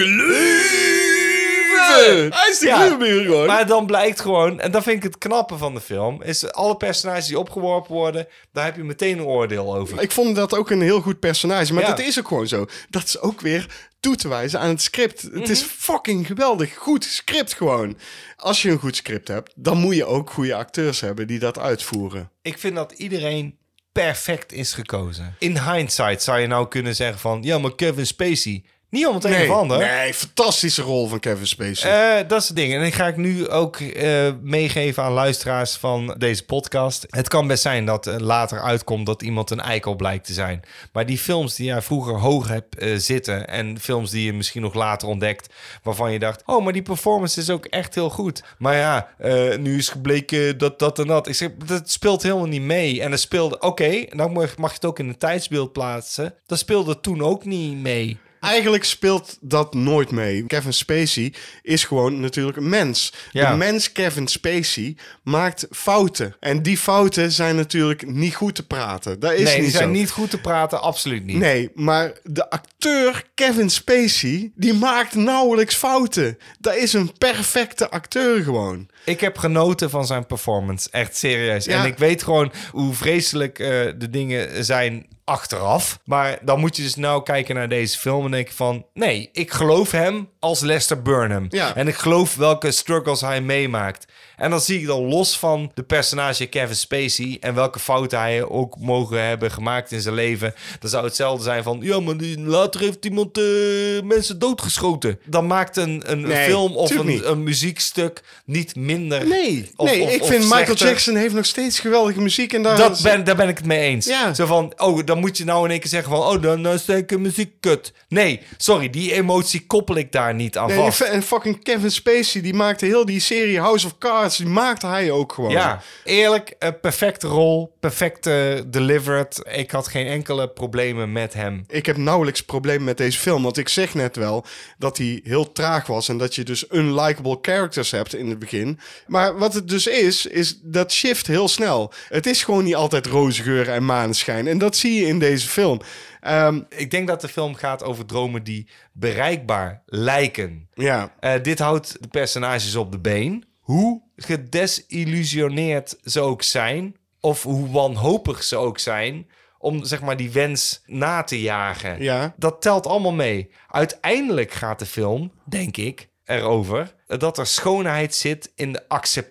S2: geloven? Hij is te
S1: Ja.
S2: geloven hier gewoon.
S1: Maar dan blijkt gewoon, en dat vind ik het knappe van de film, is alle personages die opgeworpen worden, daar heb je meteen een oordeel over.
S2: Ik vond dat ook een heel goed personage. Maar
S1: Ja.
S2: dat is ook gewoon zo. Dat is ook weer toe te wijzen aan het script. Het is fucking geweldig. Goed script gewoon. Als je een goed script hebt, dan moet je ook goede acteurs hebben die dat uitvoeren.
S1: Ik vind dat iedereen perfect is gekozen. In hindsight zou je nou kunnen zeggen van, ja, maar Kevin Spacey, niet om het een of ander.
S2: nee, fantastische rol van Kevin Spacey.
S1: Eh, dat soort dingen. En ik ga ik nu ook eh, meegeven aan luisteraars van deze podcast. Het kan best zijn dat eh, later uitkomt dat iemand een eikel blijkt te zijn. Maar die films die jij vroeger hoog hebt eh, zitten... en films die je misschien nog later ontdekt... waarvan je dacht, oh, maar die performance is ook echt heel goed. Maar ja, eh, nu is gebleken dat dat en dat. Ik zeg, dat speelt helemaal niet mee. En dat speelde, oké, dan mag, mag je het ook in een tijdsbeeld plaatsen. Dat speelde toen ook niet mee.
S2: Eigenlijk speelt dat nooit mee. Kevin Spacey is gewoon natuurlijk een mens.
S1: Ja.
S2: De mens Kevin Spacey maakt fouten. En die fouten zijn natuurlijk niet goed te praten. Dat is
S1: nee,
S2: niet
S1: die zijn
S2: zo.
S1: niet goed te praten, absoluut niet.
S2: Nee, maar de acteur Kevin Spacey, die maakt nauwelijks fouten. Dat is een perfecte acteur gewoon.
S1: Ik heb genoten van zijn performance. Echt serieus.
S2: Ja.
S1: En ik weet gewoon hoe vreselijk eh, de dingen zijn achteraf. Maar dan moet je dus nou kijken naar deze film en denken van... Nee, ik geloof hem als Lester Burnham.
S2: Ja.
S1: En ik geloof welke struggles hij meemaakt. En dan zie ik dan los van de personage Kevin Spacey... en welke fouten hij ook mogen hebben gemaakt in zijn leven... dan zou hetzelfde zijn van... ja, maar die- later heeft iemand eh, mensen doodgeschoten. Dan maakt een, een
S2: Nee,
S1: film of
S2: tuurlijk
S1: een,
S2: niet.
S1: een muziekstuk niet minder.
S2: Nee,
S1: of-
S2: nee
S1: of-
S2: ik
S1: of
S2: vind Michael
S1: slechter.
S2: Jackson heeft nog steeds geweldige muziek. En daar
S1: Dat ben, daar ben ik het mee eens.
S2: Ja.
S1: Zo van, oh, dan moet je nou in één keer zeggen van... oh, dan dan is ik een muziek kut. Nee, sorry, die emotie koppel ik daar niet aan
S2: Nee,
S1: vast.
S2: en fucking Kevin Spacey, die maakte heel die serie House of Cards, die maakte hij ook gewoon.
S1: Ja, eerlijk, eh, perfecte rol, perfect eh, delivered. Ik had geen enkele problemen met hem.
S2: Ik heb nauwelijks problemen met deze film, want ik zeg net wel dat hij heel traag was en dat je dus unlikable characters hebt in het begin. Maar wat het dus is, is dat shift heel snel. Het is gewoon niet altijd roze geuren en maneschijn en dat zie je in deze film. Ehm,
S1: Ik denk dat de film gaat over dromen die bereikbaar lijken.
S2: ja,
S1: Eh, dit houdt de personages op de been. Hoe gedesillusioneerd ze ook zijn, of hoe wanhopig ze ook zijn, om zeg maar die wens na te jagen.
S2: Ja.
S1: Dat telt allemaal mee. Uiteindelijk gaat de film, denk ik, erover dat er schoonheid zit in de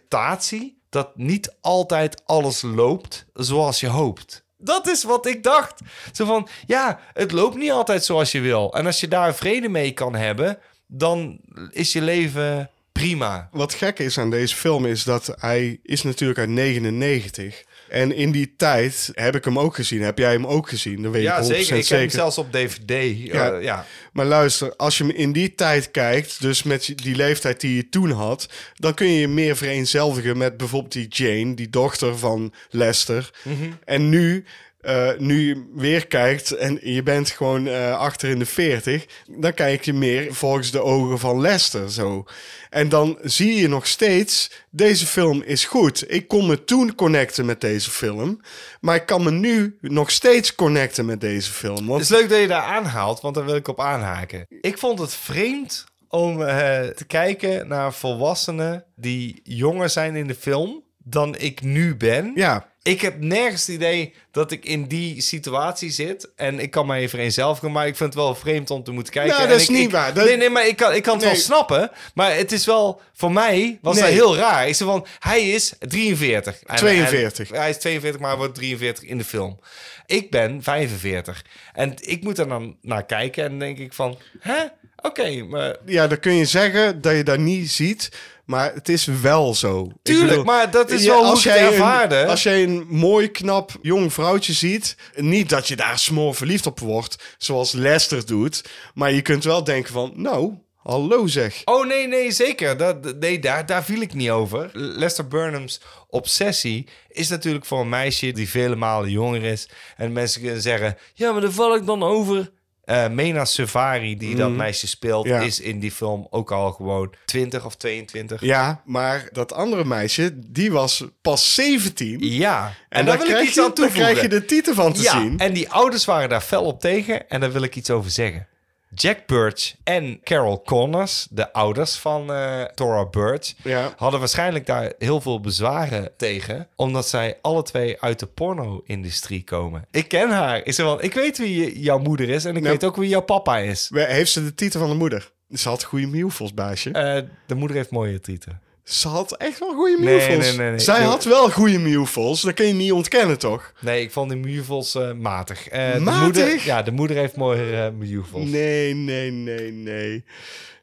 S1: acceptatie dat niet altijd alles loopt zoals je hoopt. Dat is wat ik dacht. Zo van, ja, het loopt niet altijd zoals je wil. En als je daar vrede mee kan hebben, dan is je leven prima.
S2: Wat gek is aan deze film is dat hij is natuurlijk uit 99. En in die tijd heb ik hem ook gezien. Heb jij hem ook gezien? Dat weet
S1: Ja,
S2: ik 100%
S1: zeker. Ik
S2: zeker.
S1: heb hem zelfs op DVD. Ja.
S2: Ja.
S1: eh, ja.
S2: Maar luister, als je hem in die tijd kijkt, dus met die leeftijd die je toen had, dan kun je je meer vereenzelvigen met bijvoorbeeld die Jane, die dochter van Lester.
S1: Mhm.
S2: En nu, eh, nu je weer kijkt en je bent gewoon eh, achter in de 40, dan kijk je meer volgens de ogen van Lester zo. En dan zie je nog steeds, deze film is goed. Ik kon me toen connecten met deze film, maar ik kan me nu nog steeds connecten met deze film. Want
S1: Het is leuk dat je daar aanhaalt, want daar wil ik op aanhaken. Ik vond het vreemd om eh, te kijken naar volwassenen die jonger zijn in de film dan ik nu ben.
S2: ja,
S1: Ik heb nergens het idee dat ik in die situatie zit. En ik kan mij even één zelf gaan, maar ik vind het wel vreemd om te moeten kijken.
S2: Nou,
S1: En
S2: dat is
S1: ik-
S2: niet
S1: ik-
S2: waar. Dat-
S1: Nee, nee, maar ik kan, ik kan het wel
S2: Nee.
S1: snappen. Maar het is wel, voor mij was dat
S2: Nee.
S1: heel raar. Ik zei van, hij is 43. En-
S2: 42.
S1: en hij is 42, maar hij wordt 43 in de film. Ik ben 45. En ik moet er dan naar kijken en dan denk ik van, hè? Oké, maar
S2: ja, dan kun je zeggen dat je dat niet ziet, maar het is wel zo. Ik
S1: Tuurlijk,
S2: bedoel,
S1: maar dat is wel hoe ik het
S2: jij
S1: ervaarde.
S2: Een, als jij een mooi, knap, jong vrouwtje ziet, niet dat je daar smoor verliefd op wordt, zoals Lester doet, maar je kunt wel denken van, nou, hallo zeg.
S1: Oh nee, nee, zeker. Dat, nee, daar, daar viel ik niet over. Lester Burnham's obsessie is natuurlijk voor een meisje die vele malen jonger is. En mensen kunnen zeggen: Ja, maar daar val ik dan over. Eh, Mena Savari, die dat meisje speelt,
S2: Mhm. Ja.
S1: is in die film ook al gewoon 20 of 22. Ja,
S2: Ja, maar dat andere meisje, die was pas 17.
S1: en,
S2: En,
S1: daar
S2: dan
S1: wil
S2: krijg
S1: ik iets
S2: je,
S1: aan toevoegen.
S2: Dan krijg je de titel van te
S1: ja,
S2: zien.
S1: en die ouders waren daar fel op tegen. En daar wil ik iets over zeggen. Jack Birch en Carol Connors, de ouders van eh Thora Birch,
S2: Ja.
S1: hadden waarschijnlijk daar heel veel bezwaren tegen. Omdat zij alle twee uit de porno-industrie komen. Ik ken haar. Ik, zei, wel, ik weet wie je- jouw moeder is en ik
S2: Nou.
S1: weet ook wie jouw papa is.
S2: We- Heeft ze de titel van de moeder? Ze had goede Mufels, baasje.
S1: Eh, de moeder heeft mooie tieten.
S2: Ze had echt wel goede
S1: Nee,
S2: Mufels.
S1: nee, nee, nee.
S2: Zij
S1: Nee.
S2: had wel goede Mufels. Dat kun je niet ontkennen, toch?
S1: Nee, ik vond die muurvels eh, matig. Eh, De
S2: Matig?
S1: moeder, ja, de moeder heeft mooie eh muurvels.
S2: Nee, nee, nee, nee.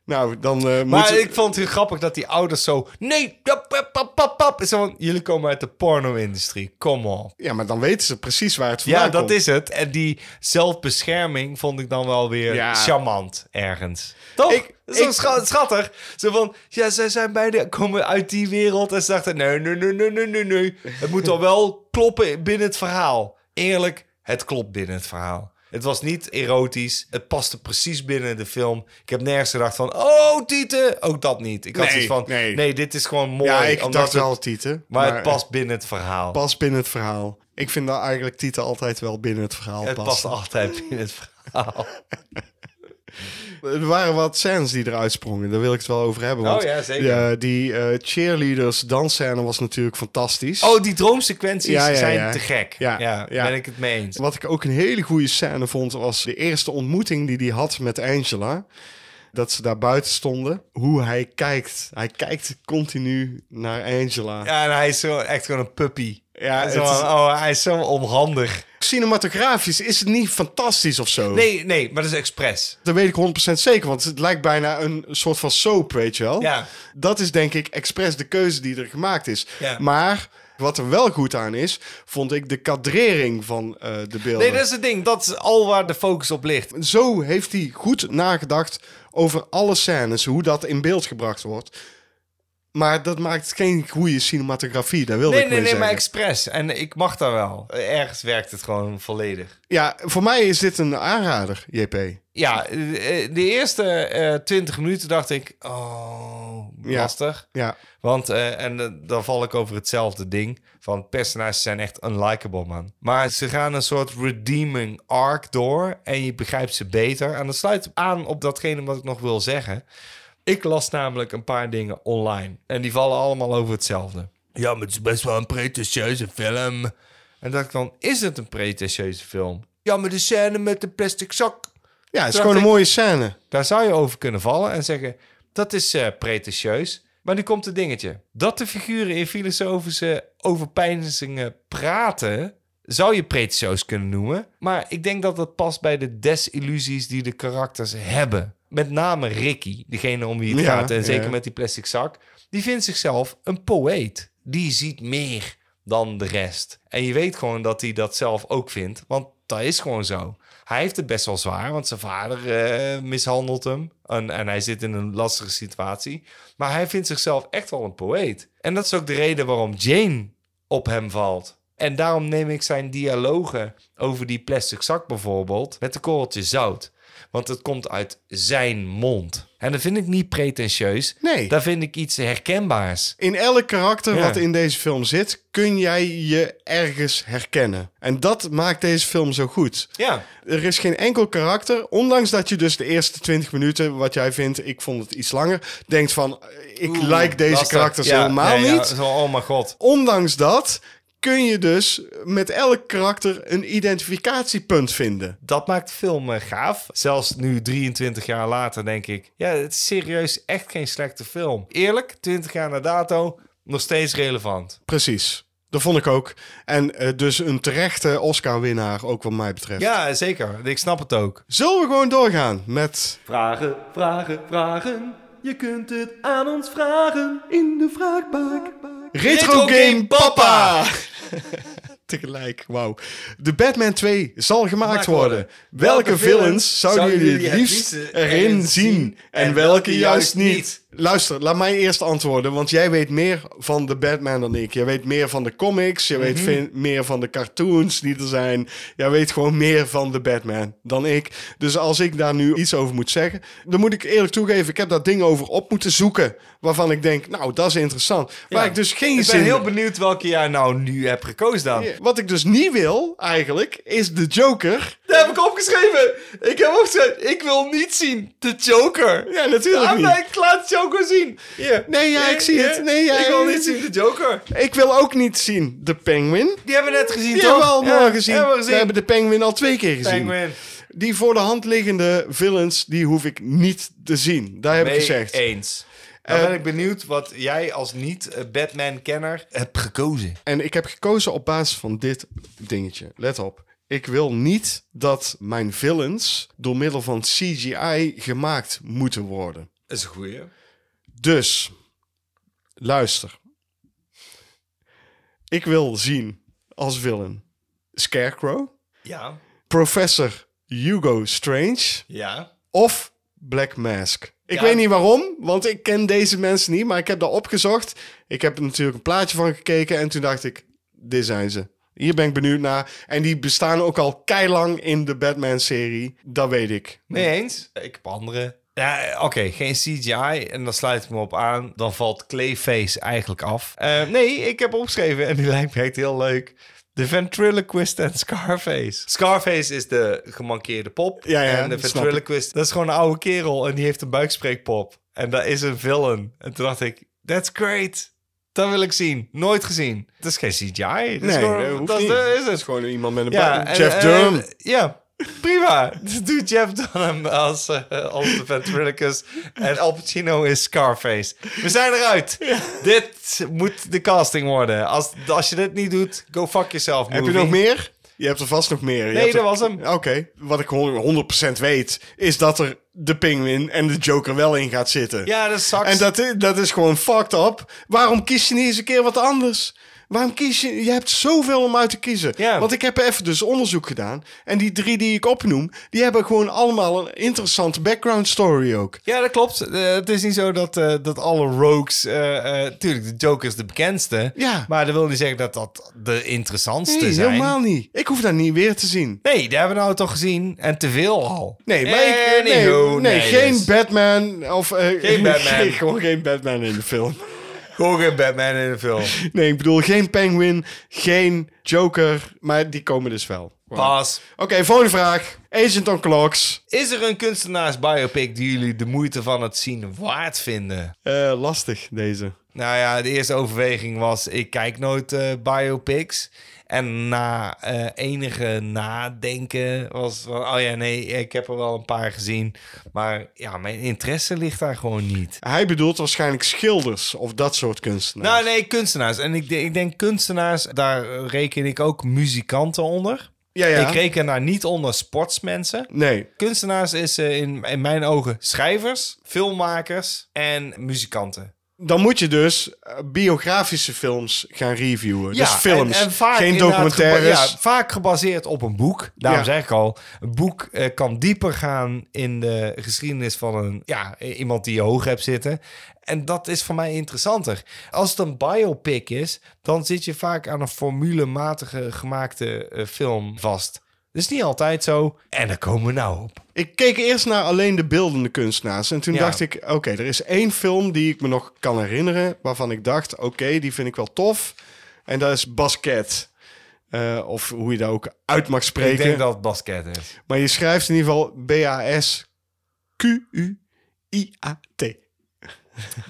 S2: Nou, dan eh
S1: Maar
S2: moet...
S1: ik vond het heel grappig dat die ouders zo... Nee, pap, pap, pap, pap, pap. Zo van, jullie komen uit de porno-industrie. Kom op.
S2: Ja, maar dan weten ze precies waar het vandaan
S1: Ja, dat
S2: komt.
S1: is het. En die zelfbescherming vond ik dan wel weer
S2: Ja.
S1: charmant ergens. Toch?
S2: Ik-
S1: dat is wel
S2: ik-
S1: scha- schattig. Zo van, ja, zij zijn beide komen uit die wereld. En ze dachten, nee, nee, nee, nee, nee, nee, nee. Het moet dan wel kloppen binnen het verhaal. Eerlijk, het klopt binnen het verhaal. Het was niet erotisch. Het paste precies binnen de film. Ik heb nergens gedacht van, oh, Tieten. Ook dat niet. Ik had
S2: Nee,
S1: zoiets van, nee.
S2: nee.
S1: dit is gewoon mooi.
S2: Ja, ik
S1: omdat
S2: dacht
S1: het-
S2: wel Tieten.
S1: Maar, het past binnen het verhaal.
S2: pas binnen het verhaal. Ik vind dat eigenlijk Tieten altijd wel binnen het verhaal
S1: het
S2: past.
S1: past altijd binnen het verhaal.
S2: Er waren wat scènes die eruit sprongen. Daar wil ik het wel over hebben. Want,
S1: Oh ja, zeker.
S2: ja, die eh, cheerleaders dansscène was natuurlijk fantastisch.
S1: Oh, die droomsequenties
S2: Ja, ja,
S1: zijn
S2: ja.
S1: te gek. Ja,
S2: Ja, ja.
S1: ben ik het mee eens.
S2: Wat ik ook een hele goede scène vond, was de eerste ontmoeting die hij had met Angela. Dat ze daar buiten stonden. Hoe hij kijkt. Hij kijkt continu naar Angela.
S1: Ja, en hij is zo echt gewoon een puppy.
S2: Ja,
S1: Zo
S2: het
S1: van,
S2: is-
S1: Oh, hij is zo onhandig.
S2: Cinematografisch is het niet fantastisch of zo.
S1: Nee, nee, maar dat is expres.
S2: Dat weet ik 100% zeker, want het lijkt bijna een soort van soap, weet je wel.
S1: Ja.
S2: Dat is denk ik expres de keuze die er gemaakt is.
S1: Ja.
S2: Maar wat er wel goed aan is, vond ik de kadrering van eh, de beelden.
S1: Nee, dat is het ding. Dat is al waar de focus op ligt.
S2: Zo heeft hij goed nagedacht over alle scènes, hoe dat in beeld gebracht wordt. Maar dat maakt geen goede cinematografie, daar wilde
S1: Nee,
S2: ik
S1: nee,
S2: mee
S1: nee, maar
S2: zeggen.
S1: expres. En ik mag daar wel. Ergens werkt het gewoon volledig.
S2: Ja, voor mij is dit een aanrader, JP.
S1: Ja, eh, de eerste eh, twintig minuten dacht ik... Oh,
S2: Ja.
S1: lastig.
S2: Ja,
S1: Want, eh, en eh, dan val ik over hetzelfde ding. Van personages zijn echt unlikable, man. Maar ze gaan een soort redeeming arc door. En je begrijpt ze beter. En dat sluit aan op datgene wat ik nog wil zeggen. Ik las namelijk een paar dingen online. En die vallen allemaal over hetzelfde. Ja, maar het is best wel een pretentieuze film. En dacht ik dan, is het een pretentieuze film? Ja, maar de scène met de plastic zak.
S2: Ja, het is
S1: Dacht
S2: gewoon een
S1: ik-
S2: mooie scène.
S1: Daar zou je over kunnen vallen en zeggen, dat is eh pretentieus. Maar nu komt het dingetje. Dat de figuren in filosofische overpeinzingen praten, zou je pretentieus kunnen noemen. Maar ik denk dat dat past bij de desillusies die de karakters hebben. Met name Ricky, degene om wie het
S2: Ja,
S1: gaat, en zeker
S2: ja.
S1: met die plastic zak. Die vindt zichzelf een poëet. Die ziet meer dan de rest. En je weet gewoon dat hij dat zelf ook vindt, want dat is gewoon zo. Hij heeft het best wel zwaar, want zijn vader eh, mishandelt hem. En, en hij zit in een lastige situatie. Maar hij vindt zichzelf echt wel een poëet. En dat is ook de reden waarom Jane op hem valt. En daarom neem ik zijn dialogen over die plastic zak bijvoorbeeld met een korreltje zout. Want het komt uit zijn mond. En dat vind ik niet pretentieus.
S2: Nee.
S1: Daar vind ik iets herkenbaars.
S2: In elk karakter
S1: Ja.
S2: wat in deze film zit, kun jij je ergens herkennen. En dat maakt deze film zo goed.
S1: Ja.
S2: Er is geen enkel karakter, ondanks dat je dus de eerste 20 minuten, wat jij vindt, ik vond het iets langer, denkt van, ik like deze karakters helemaal niet.
S1: zo, oh mijn god.
S2: Ondanks dat kun je dus met elk karakter een identificatiepunt vinden.
S1: Dat maakt de film eh, gaaf. Zelfs nu, 23 jaar later, denk ik... Ja, het is serieus echt geen slechte film. Eerlijk, 20 jaar na dato, nog steeds relevant.
S2: Precies. Dat vond ik ook. En eh, dus een terechte Oscar-winnaar, ook wat mij betreft.
S1: Ja, zeker. Ik snap het ook.
S2: Zullen we gewoon doorgaan met...
S5: Vragen, vragen, vragen. Je kunt het aan ons vragen in de vraagbaak.
S2: Retro Game Papa! Tegelijk, wauw. De Batman 2 zal gemaakt
S1: Gemaakt
S2: worden.
S1: worden.
S2: Welke villains zouden jullie het liefst erin zien en welke juist niet? Luister, laat mij eerst antwoorden, want jij weet meer van de Batman dan ik. Jij weet meer van de comics, jij
S1: Mhm.
S2: weet veel meer van de cartoons die er zijn. Jij weet gewoon meer van de Batman dan ik. Dus als ik daar nu iets over moet zeggen, dan moet ik eerlijk toegeven, ik heb dat ding over op moeten zoeken. Waarvan ik denk, nou, dat is interessant. Waar ik dus geen
S1: Ik
S2: zin
S1: ben heel benieuwd welke jij nou nu hebt gekozen dan.
S2: ja, Wat ik dus niet wil, eigenlijk, is de Joker.
S1: Daar heb ik opgeschreven. Ik heb opgeschreven. Ik wil niet zien. De Joker.
S2: Ja, natuurlijk
S1: Ah,
S2: niet.
S1: nee, ik laat Joker zien. Hier.
S2: Nee, ja, ik zie het. Nee, ja,
S1: ik wil
S2: ja.
S1: niet zien de Joker.
S2: Ik wil ook niet zien de Penguin.
S1: Die hebben we net gezien,
S2: Die
S1: toch?
S2: hebben we allemaal
S1: Ja,
S2: gezien.
S1: Hebben we gezien.
S2: We hebben de Penguin al twee keer gezien.
S1: Penguin.
S2: Die voor de hand liggende villains, die hoef ik niet te zien. Daar heb
S1: Mee
S2: ik gezegd.
S1: eens. Dan ben
S2: Eh,
S1: ik benieuwd wat jij als eh, niet-Batman-kenner hebt gekozen.
S2: En ik heb gekozen op basis van dit dingetje. Let op. Ik wil niet dat mijn villains door middel van CGI gemaakt moeten worden.
S1: Dat is een goeie.
S2: Dus, luister. Ik wil zien als villain Scarecrow,
S1: Ja.
S2: Professor Hugo Strange
S1: Ja.
S2: of Black Mask. Ik
S1: Ja.
S2: weet niet waarom, want ik ken deze mensen niet, maar ik heb dat opgezocht. Ik heb er natuurlijk een plaatje van gekeken en toen dacht ik, dit zijn ze. Hier ben ik benieuwd naar. En die bestaan ook al keilang in de Batman-serie. Dat weet ik.
S1: Mee eens. Ik heb andere. Ja, oké, geen CGI. En dan sluit ik me op aan. Dan valt Clayface eigenlijk af. Eh, nee, ik heb opgeschreven en die lijkt me echt heel leuk. De ventriloquist en Scarface. Scarface is de gemankeerde pop.
S2: Ja, ja,
S1: en de
S2: dat snap ik.
S1: ventriloquist, dat is gewoon een oude kerel en die heeft een buikspreekpop. En dat is een villain. En toen dacht ik, that's great. Dat wil ik zien. Nooit gezien. Het is geen CGI. Het is
S2: Nee,
S1: gewoon-
S2: dat hoeft
S1: dat
S2: niet.
S1: is
S2: Dat
S1: het.
S2: is gewoon iemand met een
S1: Ja,
S2: bui-
S1: en-
S2: Jeff
S1: en-
S2: Durham.
S1: ja, prima. Dus Doe Jeff Dunham als, eh, als de ventriloquist. En Al Pacino is Scarface. We zijn eruit. Dit moet de casting worden. Als, als je dit niet doet, go fuck yourself,
S2: Heb je
S1: movie.
S2: nog meer? Je hebt er vast nog meer. Je
S1: Nee,
S2: hebt er-
S1: dat was hem.
S2: Oké. Wat ik gewoon 100% weet, is dat er de Penguin en de Joker wel in gaat zitten.
S1: Ja, dat sucks.
S2: En dat, i- dat is gewoon fucked up. Waarom kies je niet eens een keer wat anders? Waarom kies je... Je hebt zoveel om uit te kiezen.
S1: Ja.
S2: Want ik heb even dus onderzoek gedaan. En die drie die ik opnoem, die hebben gewoon allemaal een interessante background story ook.
S1: Ja, dat klopt. Eh, het is niet zo dat, eh, dat alle rogues... eh, eh, tuurlijk, de Joker is de bekendste.
S2: Ja.
S1: Maar dat wil niet zeggen dat dat de interessantste
S2: Nee,
S1: zijn.
S2: helemaal niet. Ik hoef dat niet weer te zien.
S1: Nee, die hebben we nou toch gezien. En te veel al. Eh,
S2: Nee, maar ik, nee, nee,
S1: Anywho,
S2: geen
S1: dus-
S2: Batman of... eh,
S1: Geen Batman.
S2: geen- gewoon geen Batman in de film.
S1: Gewoon geen Batman in de film.
S2: Nee, ik bedoel geen Penguin, geen Joker, maar die komen dus wel. Oké,
S1: Pas.
S2: volgende vraag. Agent on Clocks.
S1: Is er een kunstenaars biopic die jullie de moeite van het zien waard vinden?
S2: Eh, lastig, deze.
S1: Nou ja, de eerste overweging was: ik kijk nooit eh, biopics. En na eh, enige nadenken was van: oh ja, nee, ik heb er wel een paar gezien. Maar ja, mijn interesse ligt daar gewoon niet.
S2: Hij bedoelt waarschijnlijk schilders of dat soort kunstenaars.
S1: Nou nee, kunstenaars. En ik, de- ik denk kunstenaars, daar eh, reken ik ook muzikanten onder.
S2: ja, ja.
S1: Ik reken daar niet onder sportsmensen.
S2: Nee,
S1: Kunstenaars is eh, in, in mijn ogen schrijvers, filmmakers en muzikanten.
S2: dan moet je dus eh, biografische films gaan reviewen. dus films,
S1: en- en vaak
S2: geen
S1: inderdaad
S2: documentaires.
S1: geba- ja, vaak gebaseerd op een boek. Daarom
S2: Ja.
S1: zeg ik al, een boek eh, kan dieper gaan in de geschiedenis van een, ja, i- iemand die je hoog hebt zitten. En dat is voor mij interessanter. Als het een biopic is, dan zit je vaak aan een formulematige gemaakte eh, film vast. Dat is niet altijd zo. En daar komen we nou op.
S2: Ik keek eerst naar alleen de beeldende kunstenaars. En toen
S1: Ja.
S2: dacht ik, oké, er is één film die ik me nog kan herinneren... waarvan ik dacht, oké, die vind ik wel tof. En dat is Basket. Eh, of hoe je dat ook uit mag
S1: Ik
S2: spreken.
S1: denk dat het basket is.
S2: Maar je schrijft in ieder geval B-A-S-Q-U-I-A-T.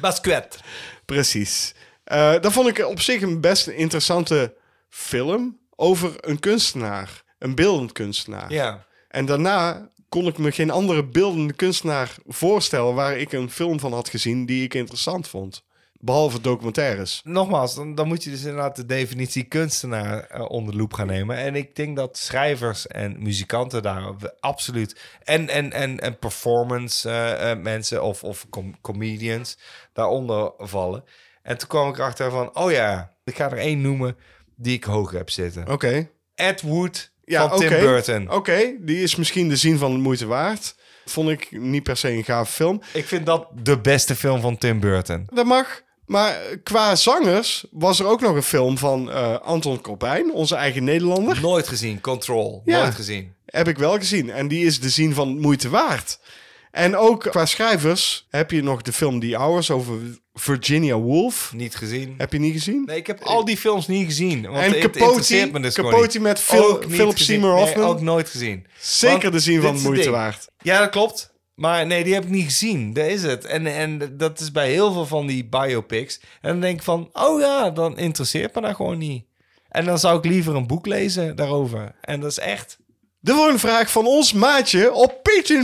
S1: Basket.
S2: Precies. Eh dat vond ik op zich een best interessante film over een kunstenaar. Een beeldend kunstenaar.
S1: Ja.
S2: En daarna kon ik me geen andere beeldende kunstenaar voorstellen waar ik een film van had gezien die ik interessant vond. Behalve documentaires.
S1: Nogmaals, dan, dan moet je dus inderdaad de definitie kunstenaar eh, onder de loep gaan nemen. En ik denk dat schrijvers en muzikanten daar we- absoluut. En, en, en, en performance eh, eh, mensen of, of com- comedians daaronder vallen. En toen kwam ik erachter van: oh ja, ik ga er één noemen die ik hoog heb zitten:
S2: Oké.
S1: Ed Wood
S2: Ja,
S1: van Tim
S2: oké. Oh.
S1: Burton.
S2: Oké, die is misschien de zin van de moeite waard. Vond ik niet per se een gave film.
S1: Ik vind dat de beste film van Tim Burton.
S2: Dat mag. Maar qua zangers was er ook nog een film van eh, Anton Corbijn, onze eigen Nederlander.
S1: Nooit gezien, Control.
S2: Ja.
S1: Nooit gezien.
S2: Heb ik wel gezien. En die is de zin van de moeite waard. En ook qua schrijvers heb je nog de film The Hours over Virginia Woolf.
S1: Niet gezien.
S2: Heb je niet gezien?
S1: Nee, ik heb al die films niet gezien. Want
S2: En
S1: het
S2: Capote-
S1: interesseert me dus gewoon
S2: Capote
S1: niet.
S2: met Phil-
S1: Ook niet
S2: Philip
S1: gezien.
S2: Seymour Hoffman.
S1: Nee, ook nooit gezien.
S2: Zeker
S1: Want
S2: de zin
S1: dit
S2: van
S1: is
S2: de
S1: het
S2: moeite
S1: ding.
S2: waard.
S1: Ja, dat klopt. Maar nee, die heb ik niet gezien. Dat is het. En, en dat is bij heel veel van die biopics. En dan denk ik van, oh ja, dan interesseert me dat gewoon niet. En dan zou ik liever een boek lezen daarover. En dat is echt...
S2: De woonvraag van ons maatje op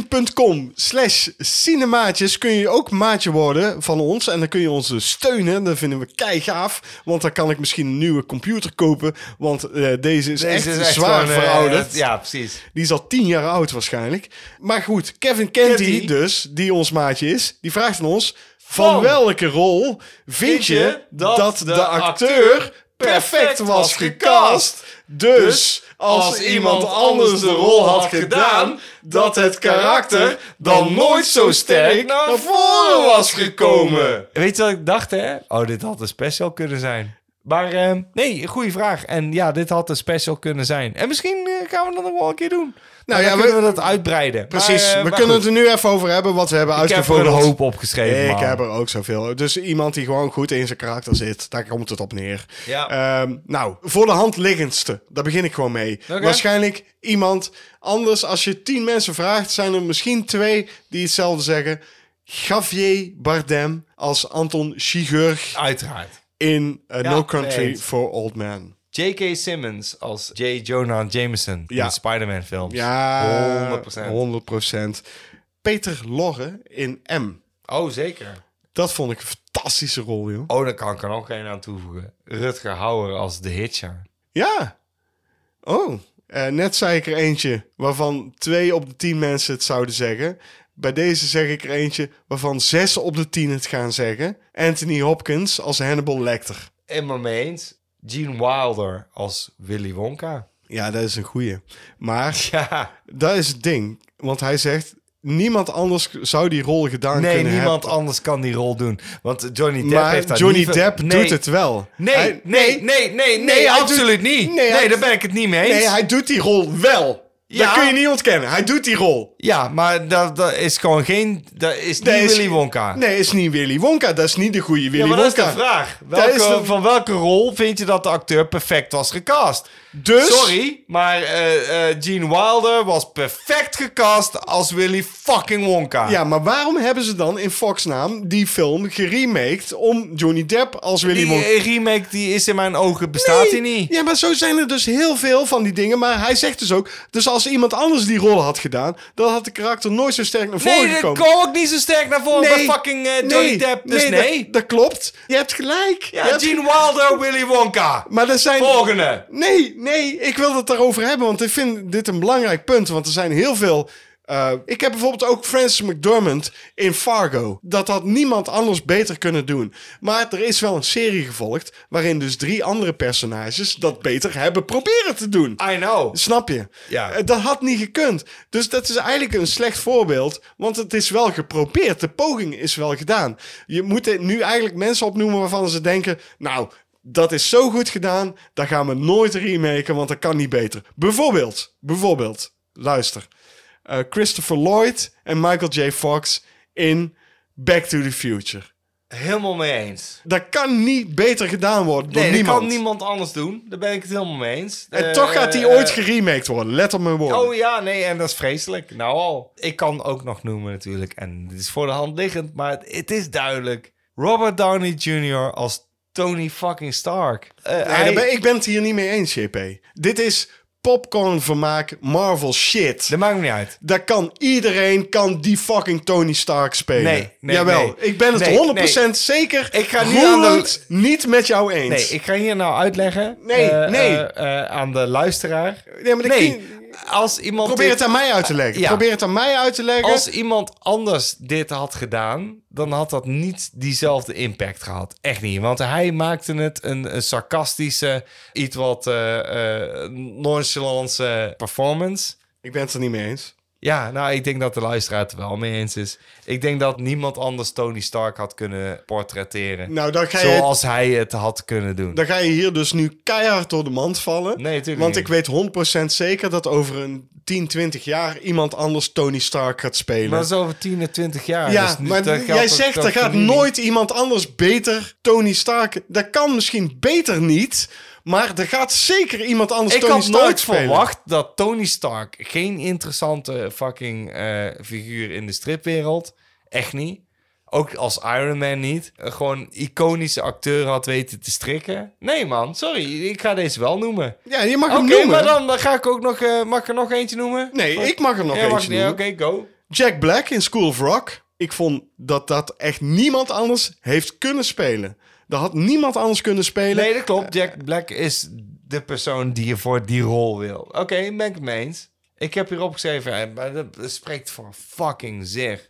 S2: patreon.com slash cinemaatjes kun je ook maatje worden van ons. En dan kun je ons dus steunen. Dat vinden we kei gaaf. Want dan kan ik misschien een nieuwe computer kopen. Want eh, deze is echt zwaar
S1: gewoon, eh,
S2: verouderd.
S1: ja, precies.
S2: Die is al tien jaar oud waarschijnlijk. Maar goed, Kevin Kenty
S1: Kenty.
S2: dus, die ons maatje is, die vraagt aan ons... Van,
S1: Van
S2: welke rol vind je dat, de, acteur perfect was gecast? Dus als iemand anders de rol had gedaan... dat het karakter dan nooit zo sterk naar voren was gekomen.
S1: Weet je wat ik dacht, hè? Oh, dit had een special kunnen zijn. Maar ehm, nee, goede vraag. En ja, dit had een special kunnen zijn. En misschien eh, gaan we dat nog wel een keer doen. Nou
S2: ja,
S1: ja,
S2: we-
S1: kunnen we dat uitbreiden.
S2: Precies,
S1: Maar, eh,
S2: we
S1: maar
S2: kunnen
S1: goed.
S2: het er nu even over hebben, want we hebben
S1: Ik heb er
S2: uitgevonden
S1: een hoop opgeschreven.
S2: Ik
S1: man.
S2: heb er ook zoveel. Dus iemand die gewoon goed in zijn karakter zit, daar komt het op neer.
S1: Ja.
S2: Ehm, nou, voor de hand liggendste, daar begin ik gewoon mee.
S1: Oké.
S2: Waarschijnlijk iemand anders. Als je tien mensen vraagt, zijn er misschien twee die hetzelfde zeggen. Javier Bardem als Anton Chigurh
S1: Uiteraard.
S2: in eh,
S1: Ja,
S2: No Country
S1: eens.
S2: for Old Men.
S1: J.K. Simmons als J. Jonah Jameson
S2: Ja.
S1: in de Spider-Man films.
S2: Ja,
S1: 100%.
S2: 100%. Peter Lorre in M.
S1: Oh, zeker.
S2: Dat vond ik een fantastische rol, joh.
S1: Oh, daar kan ik er nog geen aan toevoegen. Rutger Hauer als The Hitcher.
S2: Ja. Oh. Eh, net zei ik er eentje waarvan twee op de tien mensen het zouden zeggen. Bij deze zeg ik er eentje waarvan zes op de tien het gaan zeggen. Anthony Hopkins als Hannibal Lecter.
S1: Emma mee eens. Gene Wilder als Willy Wonka.
S2: Ja, dat is een goeie. Maar
S1: Ja.
S2: dat is het ding. Want hij zegt, niemand anders zou die rol gedaan
S1: Nee,
S2: kunnen
S1: niemand
S2: hebben.
S1: anders kan die rol doen. Want Johnny Depp heeft
S2: Maar
S1: daar
S2: Johnny
S1: niet ver-
S2: Depp
S1: Nee.
S2: doet het wel.
S1: Nee,
S2: Hij-
S1: nee, nee, nee, nee,
S2: Nee, hij
S1: absoluut
S2: doet-
S1: niet.
S2: Nee,
S1: Nee,
S2: hij-
S1: daar ben ik het niet mee eens.
S2: Nee, hij doet die rol wel.
S1: Ja.
S2: Dat kun je niet ontkennen. Hij doet die rol.
S1: Ja, maar dat, dat is gewoon geen... Dat is niet
S2: Dat is-
S1: Willy Wonka.
S2: Nee, is niet Willy Wonka. Dat is niet de goede Willy
S1: ja, maar dat is
S2: Wonka.
S1: de vraag.
S2: Dat
S1: Welke,
S2: is de-
S1: Van welke rol vind je dat de acteur perfect was gecast?
S2: Dus-
S1: Sorry, maar eh, eh, Gene Wilder was perfect gecast als Willy fucking Wonka.
S2: Ja, maar waarom hebben ze dan in Fox naam die film geremaked om Johnny Depp als Willy
S1: die
S2: Wonka?
S1: eh, remake die is in mijn ogen, bestaat die niet.
S2: Ja, maar zo zijn er dus heel veel van die dingen. Maar hij zegt dus ook, dus als iemand anders die rol had gedaan, dan had de karakter nooit zo sterk naar voren
S1: Nee, dat
S2: gekomen.
S1: kwam ook niet zo sterk naar voren bij fucking eh, Johnny Depp. Dus nee.
S2: dat- Dat, klopt. Je hebt gelijk.
S1: Ja,
S2: Je hebt-
S1: Gene Wilder, Willy Wonka.
S2: Maar er zijn...
S1: Volgende.
S2: Nee, nee, ik wil het daarover hebben, want ik vind dit een belangrijk punt. Want er zijn heel veel. eh, ik heb bijvoorbeeld ook Francis McDormand in Fargo. Dat had niemand anders beter kunnen doen. Maar er is wel een serie gevolgd. waarin dus drie andere personages dat beter hebben proberen te doen.
S1: I know.
S2: Snap je?
S1: Ja.
S2: Eh, Dat had niet gekund. Dus dat is eigenlijk een slecht voorbeeld. Want het is wel geprobeerd. De poging is wel gedaan. Je moet er nu eigenlijk mensen opnoemen waarvan ze denken... Nou, dat is zo goed gedaan. Dat gaan we nooit remaken, want dat kan niet beter. Bijvoorbeeld, bijvoorbeeld, luister. eh, Christopher Lloyd en Michael J. Fox in Back to the Future.
S1: Helemaal mee eens.
S2: Dat kan niet beter gedaan worden door
S1: Nee, dat
S2: niemand.
S1: kan niemand anders doen. Daar ben ik het helemaal mee eens.
S2: En
S1: Eh,
S2: toch gaat die
S1: eh,
S2: ooit geremaked worden. Let op mijn woorden.
S1: Oh ja, nee, en dat is vreselijk. Nou al. Ik kan ook nog noemen natuurlijk, en dit is voor de hand liggend, maar het, het is duidelijk. Robert Downey Jr. als Tony fucking Stark. Eh,
S2: Nee,
S1: hij-
S2: daar ben- ik ben het hier niet mee eens, JP. Dit is popcornvermaak Marvel shit.
S1: Dat maakt me niet uit.
S2: Daar kan iedereen kan die fucking Tony Stark spelen.
S1: Nee, nee,
S2: Jawel,
S1: nee.
S2: ik ben het
S1: Nee,
S2: 100% zeker.
S1: Ik ga nu aan de-
S2: roerend niet met jou eens.
S1: Nee, ik ga hier nou uitleggen.
S2: Nee,
S1: eh,
S2: nee.
S1: eh, eh, aan de luisteraar.
S2: Nee, maar dat
S1: nee,
S2: kun-
S1: als iemand.
S2: Probeer
S1: dit-
S2: het aan mij uit te leggen.
S1: ja.
S2: Probeer het aan mij uit te leggen.
S1: Als iemand anders dit had gedaan, dan had dat niet diezelfde impact gehad. Echt niet. Want hij maakte het een, een sarcastische, iets wat eh eh nonchalante performance.
S2: Ik ben het er niet mee eens.
S1: Ja, nou, ik denk dat de luisteraar het er wel mee eens is. Ik denk dat niemand anders Tony Stark had kunnen portretteren.
S2: Nou, dan ga, je,
S1: zoals hij het had kunnen doen.
S2: dan ga je hier dus nu keihard door de mand vallen.
S1: Nee, tuurlijk
S2: Want
S1: niet.
S2: ik weet 100% zeker dat over een 10, 20 jaar iemand anders Tony Stark gaat spelen.
S1: Maar dat is over 10 en 20 jaar.
S2: Ja,
S1: dus nu-
S2: maar
S1: dat geldt
S2: jij
S1: ook-
S2: zegt
S1: dat
S2: er gaat
S1: nu niet.
S2: nooit iemand anders beter Tony Stark. Dat kan misschien beter niet, maar er gaat zeker iemand anders
S1: Ik
S2: Tony
S1: had
S2: Stark
S1: nooit
S2: spelen.
S1: verwacht dat Tony Stark geen interessante fucking eh, figuur in de stripwereld. Echt niet. Ook als Iron Man niet. Eh, Gewoon iconische acteur had weten te strikken. Nee man, sorry. Ik ga deze wel noemen.
S2: Ja, je mag
S1: Oké,
S2: hem noemen.
S1: maar dan, dan ga ik ook nog... eh, mag ik er nog eentje noemen?
S2: Nee, ik mag er nog
S1: Ja, mag-
S2: eentje noemen.
S1: ja, Oké, go.
S2: Jack Black in School of Rock. Ik vond dat dat echt niemand anders heeft kunnen spelen. Dat had niemand anders kunnen spelen.
S1: Nee, dat klopt. Jack Eh, Black is de persoon die je voor die rol wil. Oké, ben ik het mee eens. Ik heb hier opgeschreven, eh, maar dat dat spreekt voor fucking zich.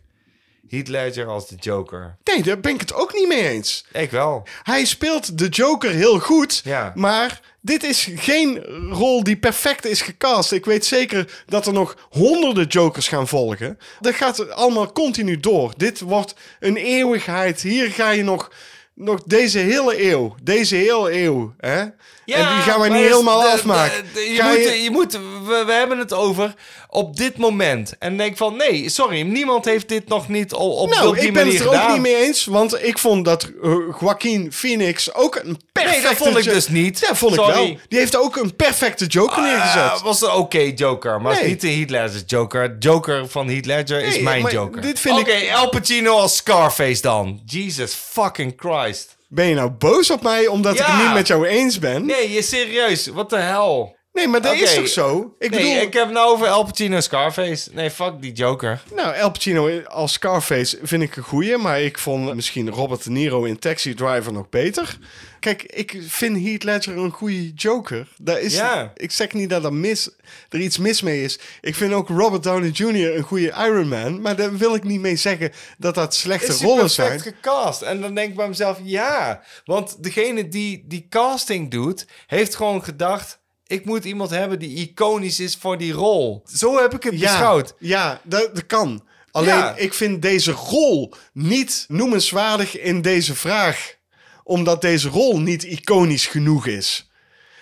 S1: Heath Ledger als de Joker.
S2: nee, daar ben ik het ook niet mee eens.
S1: Ik wel.
S2: Hij speelt de Joker heel goed,
S1: Ja.
S2: maar dit is geen rol die perfect is gecast. Ik weet zeker dat er nog honderden Jokers gaan volgen. Dat gaat allemaal continu door. Dit wordt een eeuwigheid. Hier ga je nog, nog deze hele eeuw, deze hele eeuw, hè? en die gaan wij
S1: maar
S2: niet
S1: dus
S2: helemaal
S1: de-
S2: afmaken.
S1: de- de- je,
S2: Ga
S1: moet,
S2: je-
S1: je... moet, we, we hebben het over op dit moment. En denk van, nee, sorry, niemand heeft dit nog niet op, op,
S2: nou,
S1: op die
S2: ik ben
S1: manier
S2: het er
S1: gedaan.
S2: ook niet mee eens, want ik vond dat eh, Joaquin Phoenix ook een perfecte...
S1: Nee, dat vond ik
S2: Jo-
S1: dus niet.
S2: Ja, vond
S1: Sorry.
S2: ik wel. Die heeft ook een perfecte Joker neergezet.
S1: Ah, was een oké Joker, maar het is
S2: Nee.
S1: niet de Heath Ledger Joker. Joker van Heath Ledger is
S2: Nee,
S1: mijn
S2: maar
S1: Joker.
S2: dit vind ik-
S1: Oké, Al Pacino als Scarface dan. Jesus fucking Christ.
S2: Ben je nou boos op mij omdat ik
S1: Ja.
S2: het niet met jou eens ben? Nee,
S1: Nee, je serieus. Wat de hel?
S2: maar dat is
S1: Oké.
S2: toch zo? Ik
S1: nee,
S2: bedoel,
S1: ik heb het nou over Al Pacino en Scarface. Nee, fuck die Joker.
S2: nou, El Pacino als Scarface vind ik een goeie, maar ik vond misschien Robert De Niro in Taxi Driver nog beter. Kijk, ik vind Heath Ledger een goede Joker. Daar is,
S1: Ja.
S2: Ik zeg niet dat er, mis, er iets mis mee is. Ik vind ook Robert Downey Jr. een goede Iron Man, maar daar wil ik niet mee zeggen dat dat slechte
S1: Is hij
S2: rollen
S1: perfect
S2: zijn.
S1: gecast? En dan denk ik bij mezelf, ja. Want degene die die casting doet, heeft gewoon gedacht... Ik moet iemand hebben die iconisch is voor die rol. Zo heb ik het beschouwd.
S2: Ja, dat, dat kan. Alleen
S1: Ja.
S2: ik vind deze rol niet noemenswaardig in deze vraag. Omdat deze rol niet iconisch genoeg is.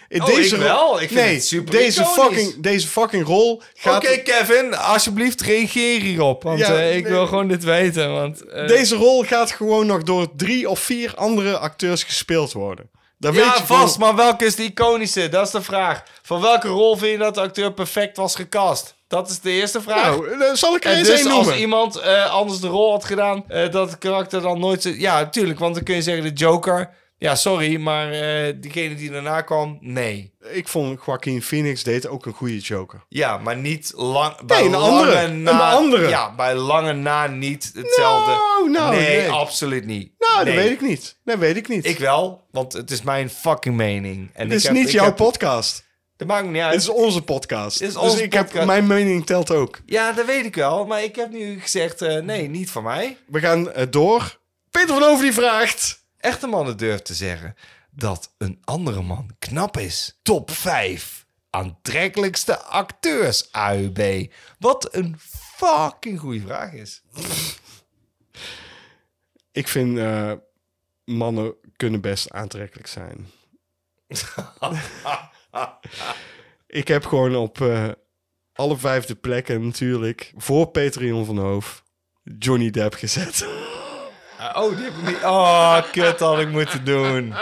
S2: In
S1: Oh,
S2: deze
S1: ik
S2: ro-
S1: wel. Ik vind
S2: nee,
S1: het super
S2: deze
S1: iconisch.
S2: fucking, deze fucking rol
S1: Oké,
S2: gaat...
S1: Kevin, alsjeblieft reageer hierop. Want
S2: Ja,
S1: eh, ik
S2: nee.
S1: wil gewoon dit weten. Want, eh,
S2: Deze rol gaat gewoon nog door drie of vier andere acteurs gespeeld worden. Dat weet
S1: ja,
S2: je gewoon-
S1: vast, maar welke is de iconische? Dat is de vraag. Van welke rol vind je dat de acteur perfect was gecast? Dat is de eerste vraag.
S2: Nou, eh, zal ik er
S1: en
S2: eens
S1: dus
S2: één
S1: als
S2: noemen?
S1: iemand eh, anders de rol had gedaan, eh, dat het karakter dan nooit... zo- Ja, tuurlijk, want dan kun je zeggen de Joker. Ja, sorry, maar eh, diegene die daarna kwam, nee.
S2: Ik vond Joaquin Phoenix deed ook een goede Joker.
S1: Ja, maar niet lang. bij
S2: een
S1: lange
S2: andere.
S1: Na,
S2: Een andere.
S1: Ja, bij lange na niet hetzelfde.
S2: Nou, nou,
S1: nee,
S2: nee.
S1: absoluut niet.
S2: Nou,
S1: nee.
S2: dat weet ik niet. Dat weet ik niet.
S1: Ik wel, want het is mijn fucking mening. En
S2: Het
S1: ik
S2: is
S1: heb-
S2: niet
S1: ik
S2: jouw
S1: heb-
S2: podcast.
S1: Dat maakt niet uit.
S2: Het is onze podcast.
S1: Het is onze
S2: dus ik
S1: podcast.
S2: heb mijn mening telt ook.
S1: Ja, dat weet ik wel. Maar ik heb nu gezegd, eh, nee, niet van mij.
S2: We gaan eh, door. Peter van Over die vraagt.
S1: Echte mannen durven te zeggen dat een andere man knap is. Top 5 aantrekkelijkste acteurs AUB. Wat een fucking goede vraag is.
S2: Ik vind eh, mannen kunnen best aantrekkelijk zijn. ik heb gewoon op eh, alle vijfde plekken natuurlijk voor Peter Jan van Hoof Johnny Depp gezet.
S1: Ah, oh, die heb ik niet. Oh, kut, had ik moeten doen.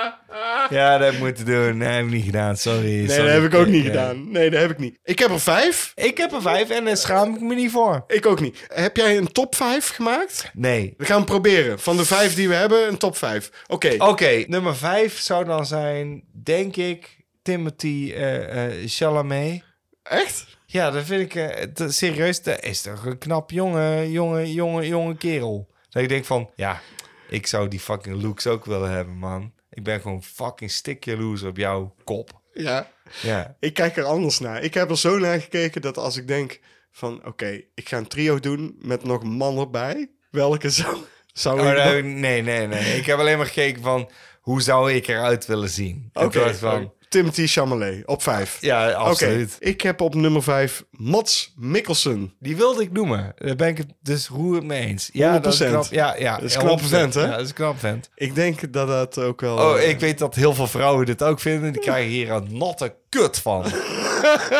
S1: Ja, dat heb ik moeten doen. Nee, heb ik niet gedaan. Sorry. Eh,
S2: Nee, dat heb ik ook niet gedaan. Nee, dat heb ik niet. Ik heb er vijf.
S1: Ik heb er vijf en daar schaam ik me niet voor.
S2: Ik ook niet. Heb jij een top vijf gemaakt?
S1: Nee.
S2: We gaan proberen. Van de vijf die we hebben, een top vijf. Oké.
S1: Oké, nummer vijf zou dan zijn, denk ik, Timothy eh, eh, Chalamet.
S2: Echt?
S1: Ja, dat vind ik eh, te- serieus. Dat is toch een knap jonge, jonge, jonge, jonge kerel. Dat ik denk van, ja, ik zou die fucking looks ook willen hebben, man. Ik ben gewoon fucking stik jaloers op jouw kop.
S2: Ja.
S1: Ja.
S2: Ik kijk er anders naar. Ik heb er zo naar gekeken dat als ik denk van... Oké, ik ga een trio doen met nog een man erbij. Welke zou... zou
S1: Oh,
S2: ik dan-
S1: nee, nee, nee, nee. Ik heb alleen maar gekeken van, hoe zou ik eruit willen zien? En
S2: Oké,
S1: toen was ik van,
S2: Timothy Chalamet op vijf.
S1: ja,
S2: Oké,
S1: absoluut.
S2: ik heb op nummer vijf Mats Mikkelsen.
S1: Die wilde ik noemen. Daar ben ik het dus roerend mee eens. Ja, dat is
S2: 100%.
S1: knap. Ja, ja.
S2: Dat is een knappe vent, hè?
S1: Ja, dat is een knap vent.
S2: Ik denk dat dat ook wel...
S1: Oh,
S2: eh,
S1: ik weet dat heel veel vrouwen dit ook vinden. Die krijgen hier een natte kut van.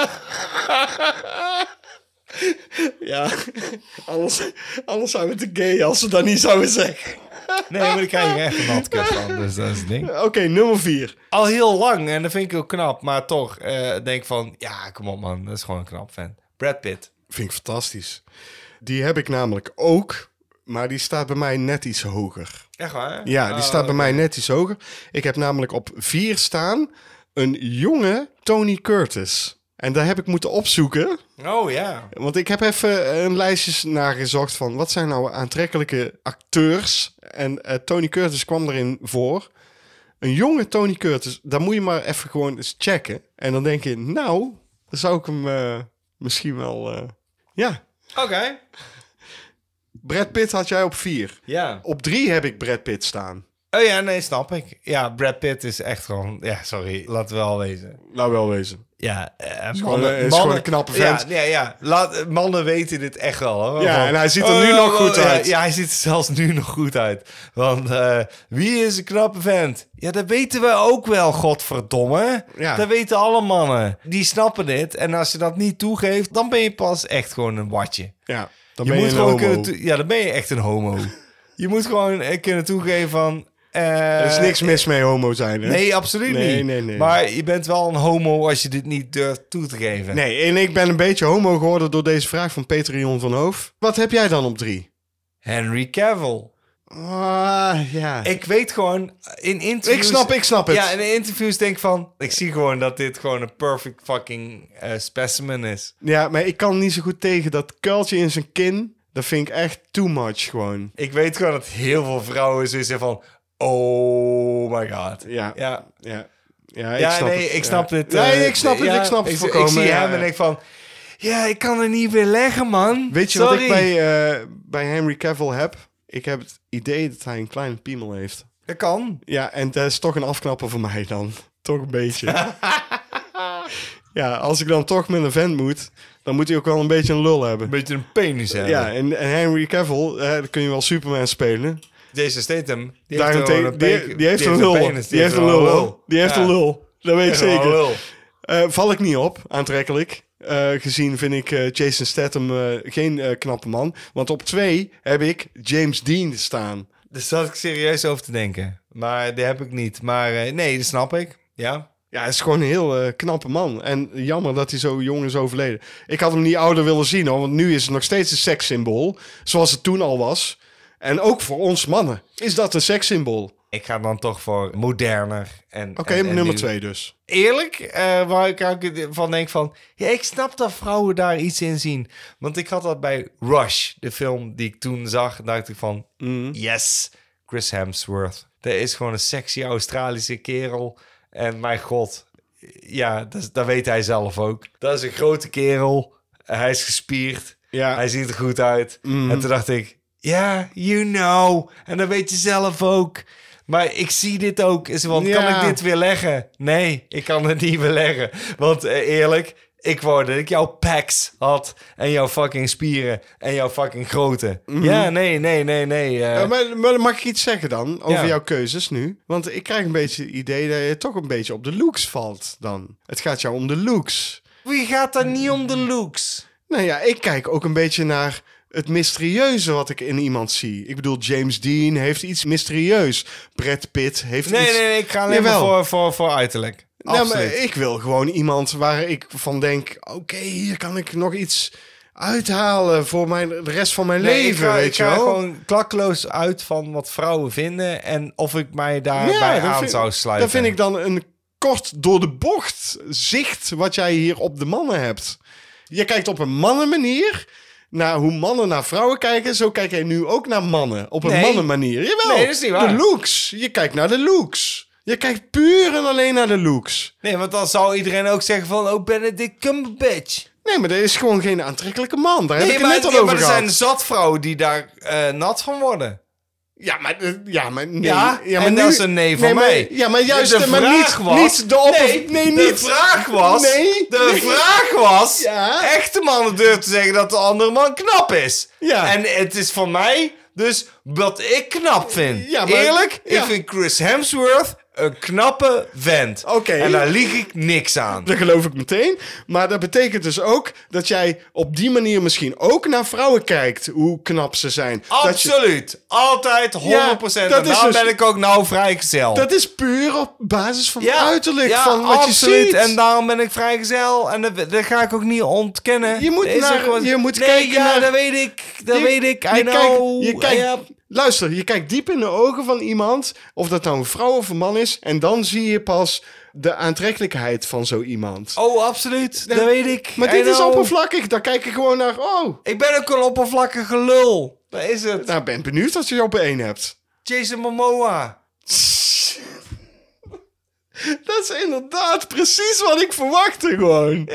S2: eh, Ja, anders, anders zouden we te gay als we dat niet zouden zeggen.
S1: Nee, maar die krijgen echt een natte kut van. Dus dat is het ding.
S2: Oké, nummer vier.
S1: Al heel lang. En dat vind ik ook knap. Maar toch eh, denk van... Ja, kom op man. Dat is gewoon een knap vent. Brad Pitt.
S2: Vind ik fantastisch. Die heb ik namelijk ook, maar die staat bij mij net iets hoger.
S1: Echt waar?
S2: Ja, die
S1: Oh,
S2: staat bij mij net iets hoger. Ik heb namelijk op vier staan een jonge Tony Curtis. En daar heb ik moeten opzoeken,
S1: Oh ja.
S2: want ik heb even eh, een lijstje nagezocht van wat zijn nou aantrekkelijke acteurs. En eh, Tony Curtis kwam erin voor. Een jonge Tony Curtis, daar moet je maar even gewoon eens checken. En dan denk je, nou, dan zou ik hem eh, misschien wel... eh, ja,
S1: Oké.
S2: Brad Pitt had jij op vier.
S1: Ja.
S2: Op drie heb ik Brad Pitt staan.
S1: Oh ja, nee, snap ik. Ja, Brad Pitt is echt gewoon... Ja, sorry. Laten we wel wezen.
S2: Nou, wel wezen.
S1: Ja, eh,
S2: gewoon
S1: mannen-
S2: een- is
S1: mannen-
S2: gewoon een knappe vent.
S1: Ja, ja, ja. Laat, mannen weten dit echt wel. Hoor.
S2: Ja,
S1: Want- Oh,
S2: en hij ziet er nu nog goed
S1: ja,
S2: uit.
S1: Ja, hij ziet er zelfs nu nog goed uit. Want eh, wie is een knappe vent? Ja, dat weten we ook wel, godverdomme.
S2: Ja.
S1: Dat weten alle mannen. Die snappen dit. En als je dat niet toegeeft, dan ben je pas echt gewoon een watje.
S2: Ja, dan
S1: Je
S2: ben
S1: moet
S2: je een
S1: gewoon
S2: homo.
S1: kunnen toe- Ja, dan ben je echt een homo. je moet gewoon eh, kunnen toegeven van... eh,
S2: Er is niks mis mee homo zijn, hè?
S1: Nee, absoluut
S2: Nee,
S1: niet.
S2: nee, nee.
S1: Maar je bent wel een homo als je dit niet durft toe te geven.
S2: Nee, en ik ben een beetje homo geworden door deze vraag van Peter Jon van Hoof. Wat heb jij dan op drie?
S1: Henry Cavill.
S2: Ah, ja. Ik,
S1: Ik weet gewoon in interviews.
S2: snap, ik snap het.
S1: Ja, in interviews denk ik van. Ik zie gewoon dat dit gewoon een perfect fucking eh, specimen is.
S2: Ja, maar ik kan niet zo goed tegen dat kuiltje in zijn kin. Dat vind ik echt too much gewoon.
S1: Ik weet gewoon dat heel veel vrouwen zo zijn van. Oh my god.
S2: Ja, ja,
S1: Ja.
S2: ja.
S1: ja,
S2: Ja, ik snap
S1: nee,
S2: het.
S1: ik
S2: Ja.
S1: snap dit. eh,
S2: Nee, ik snap het,
S1: ja,
S2: ik snap het
S1: ik,
S2: voorkomen.
S1: Ik zie
S2: ja,
S1: hem en
S2: ja.
S1: denk van. Ja, ik kan er niet weer leggen, man.
S2: Weet je wat
S1: Sorry.
S2: ik bij, eh, bij Henry Cavill heb? Ik heb het idee dat hij een kleine piemel heeft.
S1: Dat kan.
S2: Ja, en dat is toch een afknapper voor mij dan. Toch een beetje. ja, als ik dan toch met een vent moet, dan moet hij ook wel een beetje een lul hebben.
S1: Een beetje een penis hebben.
S2: Ja, en, en Henry Cavill, eh, dan kun je wel Superman spelen.
S1: Jason Statham. Die
S2: Daarentegen,
S1: gewoon een
S2: die,
S1: pe-
S2: die heeft een lul.
S1: penis,
S2: Die heeft een lul. hoor. Die heeft
S1: Ja.
S2: een lul. Dat weet ik zeker.
S1: wel.
S2: Eh, val ik niet op, aantrekkelijk. Eh, gezien vind ik eh, Jason Statham eh, geen eh, knappe man. Want op twee heb ik James Dean staan.
S1: Dus Daar zat ik serieus over te denken. Maar die heb ik niet. Maar eh, nee, dat snap ik. Ja.
S2: Ja, het is gewoon een heel eh, knappe man. En jammer dat hij zo jong is overleden. Ik had hem niet ouder willen zien, hoor, want nu is het nog steeds een sekssymbool. Zoals het toen al was. En ook voor ons mannen is dat een sekssymbool.
S1: Ik ga dan toch voor moderner. en-
S2: Oké,
S1: en- en
S2: nummer
S1: nieuw.
S2: twee dus.
S1: Eerlijk, eh, waar ik ook van denk van... Ja, ik snap dat vrouwen daar iets in zien. Want ik had dat bij Rush, de film die ik toen zag. dacht ik van,
S2: Mm.
S1: yes, Chris Hemsworth. Dat is gewoon een sexy Australische kerel. En mijn god, ja, dat, dat weet hij zelf ook. Dat is een grote kerel. Hij is gespierd.
S2: Ja. Mm.
S1: Hij ziet er goed uit. En toen dacht ik, ja, you know. En dat weet je zelf ook. Maar ik zie dit ook. Is, want kan
S2: Ja.
S1: ik dit weer leggen? Nee, ik kan het niet weer leggen. Want eh, eerlijk, ik wou dat ik jouw packs had. En jouw fucking spieren. En jouw fucking grootte. Ja, nee, nee, nee, nee. eh,
S2: Ja, maar, maar mag ik iets zeggen dan over
S1: Ja.
S2: jouw keuzes nu? Want ik krijg een beetje het idee dat je toch een beetje op de looks valt dan. Het gaat jou om de looks.
S1: Wie gaat daar niet om de looks?
S2: Nou ja, ik kijk ook een beetje naar het mysterieuze wat ik in iemand zie. Ik bedoel, James Dean heeft iets mysterieus. Brad Pitt heeft
S1: Nee,
S2: iets...
S1: nee, nee, ik ga alleen maar
S2: Jawel.
S1: voor, voor, voor uiterlijk.
S2: Nou, maar
S1: Absoluut.
S2: ik wil gewoon iemand waar ik van denk... Oké, hier kan ik nog iets uithalen voor mijn, de rest van mijn
S1: Nee,
S2: leven,
S1: ik ga,
S2: weet
S1: ik
S2: je
S1: ga
S2: wel?
S1: gewoon klakkeloos uit van wat vrouwen vinden en of ik mij daarbij
S2: Ja, dat
S1: aan
S2: vind-
S1: zou sluiten.
S2: Dat vind ik dan een kort door de bocht zicht wat jij hier op de mannen hebt. Je kijkt op een mannenmanier naar hoe mannen naar vrouwen kijken. Zo kijk jij nu ook naar mannen. Op een
S1: Nee.
S2: mannenmanier. Jawel.
S1: Nee, dat is niet waar.
S2: De looks. Je kijkt naar de looks. Je kijkt puur en alleen naar de looks.
S1: Nee, want dan zou iedereen ook zeggen van, oh Benedict Cumberbatch.
S2: Nee, maar dat is gewoon geen aantrekkelijke man. Daar heb
S1: Nee,
S2: ik het
S1: maar,
S2: net al
S1: ja, maar
S2: over
S1: er
S2: gehad.
S1: zijn zat vrouwen die daar eh, nat van worden.
S2: Ja, maar, eh, ja, maar nee.
S1: Ja,
S2: maar
S1: en dat is een nee van
S2: maar-
S1: mij. Dus
S2: Ja, maar juist
S1: de
S2: eh, maar
S1: vraag
S2: niet,
S1: was...
S2: niet de opper...
S1: nee, de
S2: niet.
S1: vraag was...
S2: Nee,
S1: De
S2: nee.
S1: vraag was...
S2: Ja.
S1: Echte mannen durven te zeggen dat de andere man knap is.
S2: Ja.
S1: En het is van mij dus wat ik knap vind.
S2: Ja, maar-
S1: Eerlijk,
S2: ja.
S1: ik vind Chris Hemsworth een knappe vent.
S2: Oké.
S1: En daar lieg ik niks aan.
S2: Dat geloof ik meteen. Maar dat betekent dus ook dat jij op die manier misschien ook naar vrouwen kijkt. Hoe knap ze zijn. Dat, je-
S1: Absoluut. Altijd 100%. en
S2: dat is
S1: daarom
S2: dus-
S1: ben ik ook nou vrijgezel.
S2: dat is puur op basis van uiterlijk. van wat je ziet.
S1: En daarom ben ik vrijgezel. En dat, dat ga ik ook niet ontkennen.
S2: Je moet
S1: Dat is
S2: naar-
S1: er gewoon-
S2: je moet
S1: nee,
S2: kijken
S1: ja,
S2: naar-
S1: dat weet ik. Dat
S2: Je-
S1: weet ik. I
S2: je
S1: know.
S2: kijkt- je kijkt-
S1: Ja.
S2: Luister, je kijkt diep in de ogen van iemand. Of dat nou een vrouw of een man is. En dan zie je pas de aantrekkelijkheid van zo iemand.
S1: Oh, absoluut. dat weet ik.
S2: maar
S1: I
S2: dit is
S1: know.
S2: oppervlakkig. Dan kijk je gewoon naar. Oh,
S1: Ik ben ook een oppervlakkige lul. Dat is het.
S2: nou ben benieuwd wat je op één hebt.
S1: Jason Momoa.
S2: Dat is inderdaad precies wat ik verwachtte gewoon.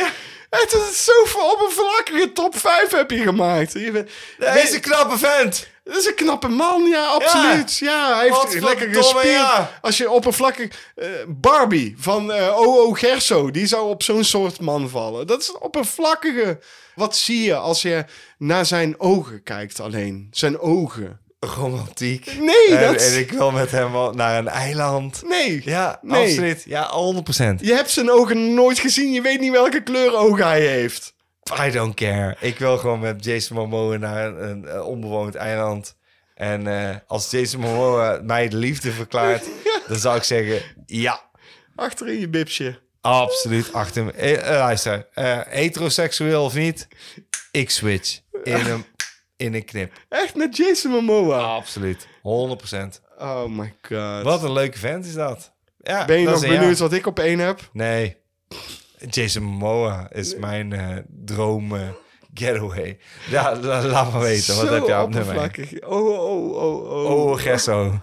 S2: Het is zoveel oppervlakkige top 5 heb je gemaakt. Je bent-
S1: Hij is een knappe vent.
S2: dat is een knappe man, ja, absoluut. Ja, hij heeft
S1: Godverdomme,
S2: lekker gespierd.
S1: ja.
S2: Als je oppervlakkig... eh, Barbie van eh O.O. Gerso, die zou op zo'n soort man vallen. Dat is een oppervlakkige... Wat zie je als je naar zijn ogen kijkt alleen? Zijn ogen.
S1: Romantiek.
S2: Nee,
S1: en,
S2: dat-
S1: en ik wil met hem wel naar een eiland.
S2: Nee.
S1: Ja,
S2: nee.
S1: absoluut. Ja, 100%.
S2: Je hebt zijn ogen nooit gezien. Je weet niet welke kleur ogen hij heeft.
S1: I don't care. Ik wil gewoon met Jason Momoa naar een, een, eh, onbewoond eiland. En eh, als Jason Momoa mij de liefde verklaart, dan zou ik zeggen ja.
S2: Achter in je bibsje.
S1: Absoluut achter me. Eh, eh, luister, eh, heteroseksueel of niet, ik switch in een, in een knip.
S2: Echt met Jason Momoa.
S1: Absoluut, 100%.
S2: Oh my god.
S1: Wat een leuke vent is dat. Ja,
S2: Ben je
S1: dat
S2: nog
S1: is een ja.
S2: benieuwd wat ik op één heb?
S1: Nee. Jason Momoa is mijn eh, droom eh, getaway. Ja, la- laat maar weten. Wat
S2: Zo
S1: heb je op nummer?
S2: oppervlakkig. Oh, oh, oh, oh.
S1: Oh, Gesso.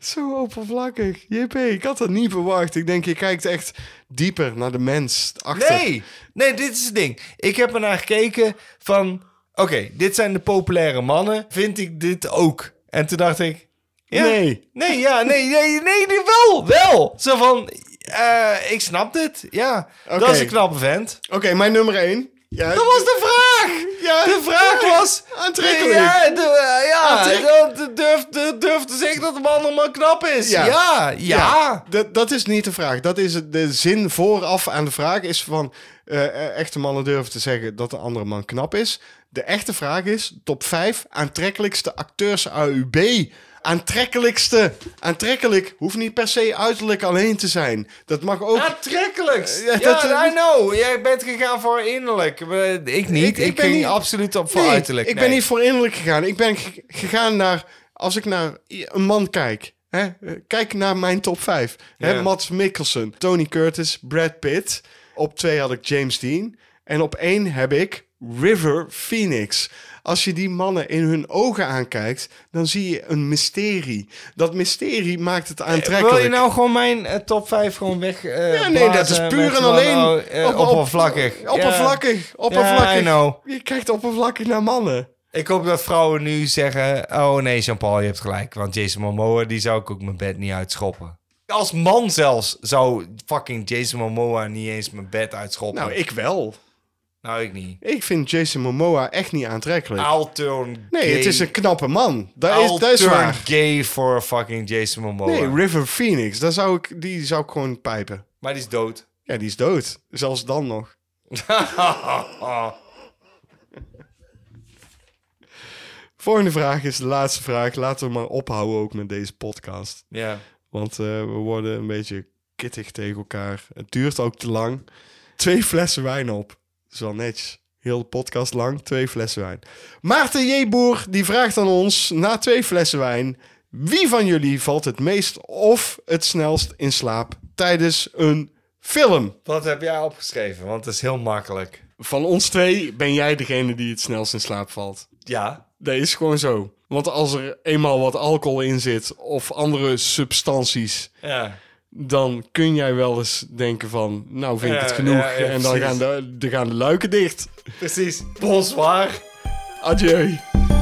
S2: Zo oppervlakkig. JP, ik had dat niet verwacht. Ik denk, je kijkt echt dieper naar de mens. Achter.
S1: Nee, nee, dit is het ding. Ik heb er naar gekeken van... Oké, dit zijn de populaire mannen. Vind ik dit ook? En toen dacht ik... Ja,
S2: Nee.
S1: Nee, ja, nee, nee, nee, nee, wel, wel. Zo van, eh, ik snap dit, ja.
S2: Oké.
S1: Dat is een knappe vent.
S2: Oké, mijn nummer één. Ja,
S1: Dat was de vraag!
S2: ja,
S1: De vraag was...
S2: Aantrekkelijk.
S1: Ja, de, eh, ja
S2: Aantrekkelijk.
S1: dat durft, dat durft te zeggen dat de man allemaal knap is. Ja, ja.
S2: Ja, dat, dat is niet de vraag. Dat is het- de zin vooraf aan de vraag is van eh, eh, echte mannen durven te zeggen dat de andere man knap is. De echte vraag is top 5 aantrekkelijkste acteurs AUB. Aantrekkelijkste. Aantrekkelijk hoeft niet per se uiterlijk alleen te zijn. Dat mag ook.
S1: Aantrekkelijkst.
S2: Ja,
S1: Ja,
S2: dat-
S1: I know. Jij bent gegaan voor innerlijk. Maar Ik niet.
S2: Ik-
S1: Ik,
S2: ik ben
S1: ging
S2: niet-
S1: absoluut op voor
S2: Nee,
S1: uiterlijk.
S2: Ik
S1: nee.
S2: ben niet voor innerlijk gegaan. Ik ben g- gegaan naar als ik naar i- een man kijk. Hè? eh, Kijk naar mijn top 5. Hè?
S1: Ja.
S2: Mats Mikkelsen, Tony Curtis, Brad Pitt. Op twee had ik James Dean. En op één heb ik River Phoenix. Als je die mannen in hun ogen aankijkt, dan zie je een mysterie. Dat mysterie maakt het aantrekkelijk.
S1: Wil je nou gewoon mijn eh, top 5 gewoon weg? eh,
S2: Ja, nee, dat is
S1: blazen
S2: puur
S1: met
S2: en
S1: van,
S2: alleen
S1: oh, eh,
S2: op- op-
S1: oppervlakkig. Ja.
S2: Oppervlakkig, oppervlakkig.
S1: Ja, I know.
S2: Je kijkt oppervlakkig naar mannen.
S1: Ik hoop dat vrouwen nu zeggen... Oh nee, Jean-Paul, je hebt gelijk. Want Jason Momoa, die zou ik ook mijn bed niet uitschoppen. Als man zelfs zou fucking Jason Momoa niet eens mijn bed uitschoppen.
S2: Nou, ik wel.
S1: Nou, ik niet.
S2: Ik vind Jason Momoa echt niet aantrekkelijk.
S1: Aalturn
S2: Nee, het is een knappe man. Dat is, dat is
S1: Alter
S2: waar.
S1: gay voor fucking Jason Momoa.
S2: Nee, River Phoenix, daar zou ik, die zou ik gewoon pijpen.
S1: maar die is dood.
S2: Ja, die is dood. Zelfs dan nog.
S1: Ah,
S2: Volgende vraag is de laatste vraag. Laten we maar ophouden ook met deze podcast.
S1: ja.
S2: Want eh, we worden een beetje kittig tegen elkaar. Het duurt ook te lang. Twee flessen wijn op. Dat is wel netjes. Heel de podcast lang, twee flessen wijn. Maarten J. Boer, die vraagt aan ons, na twee flessen wijn... Wie van jullie valt het meest of het snelst in slaap tijdens een film?
S1: Wat heb jij opgeschreven? Want het is heel makkelijk.
S2: Van ons twee ben jij degene die het snelst in slaap valt.
S1: Ja.
S2: Dat is gewoon zo. Want als er eenmaal wat alcohol in zit of andere substanties...
S1: Ja.
S2: dan kun jij wel eens denken van, nou vind ik
S1: Ja,
S2: het genoeg.
S1: ja, ja,
S2: en dan
S1: precies.
S2: gaan de, dan gaan de luiken dicht.
S1: Precies. Bonsoir.
S2: Adieu.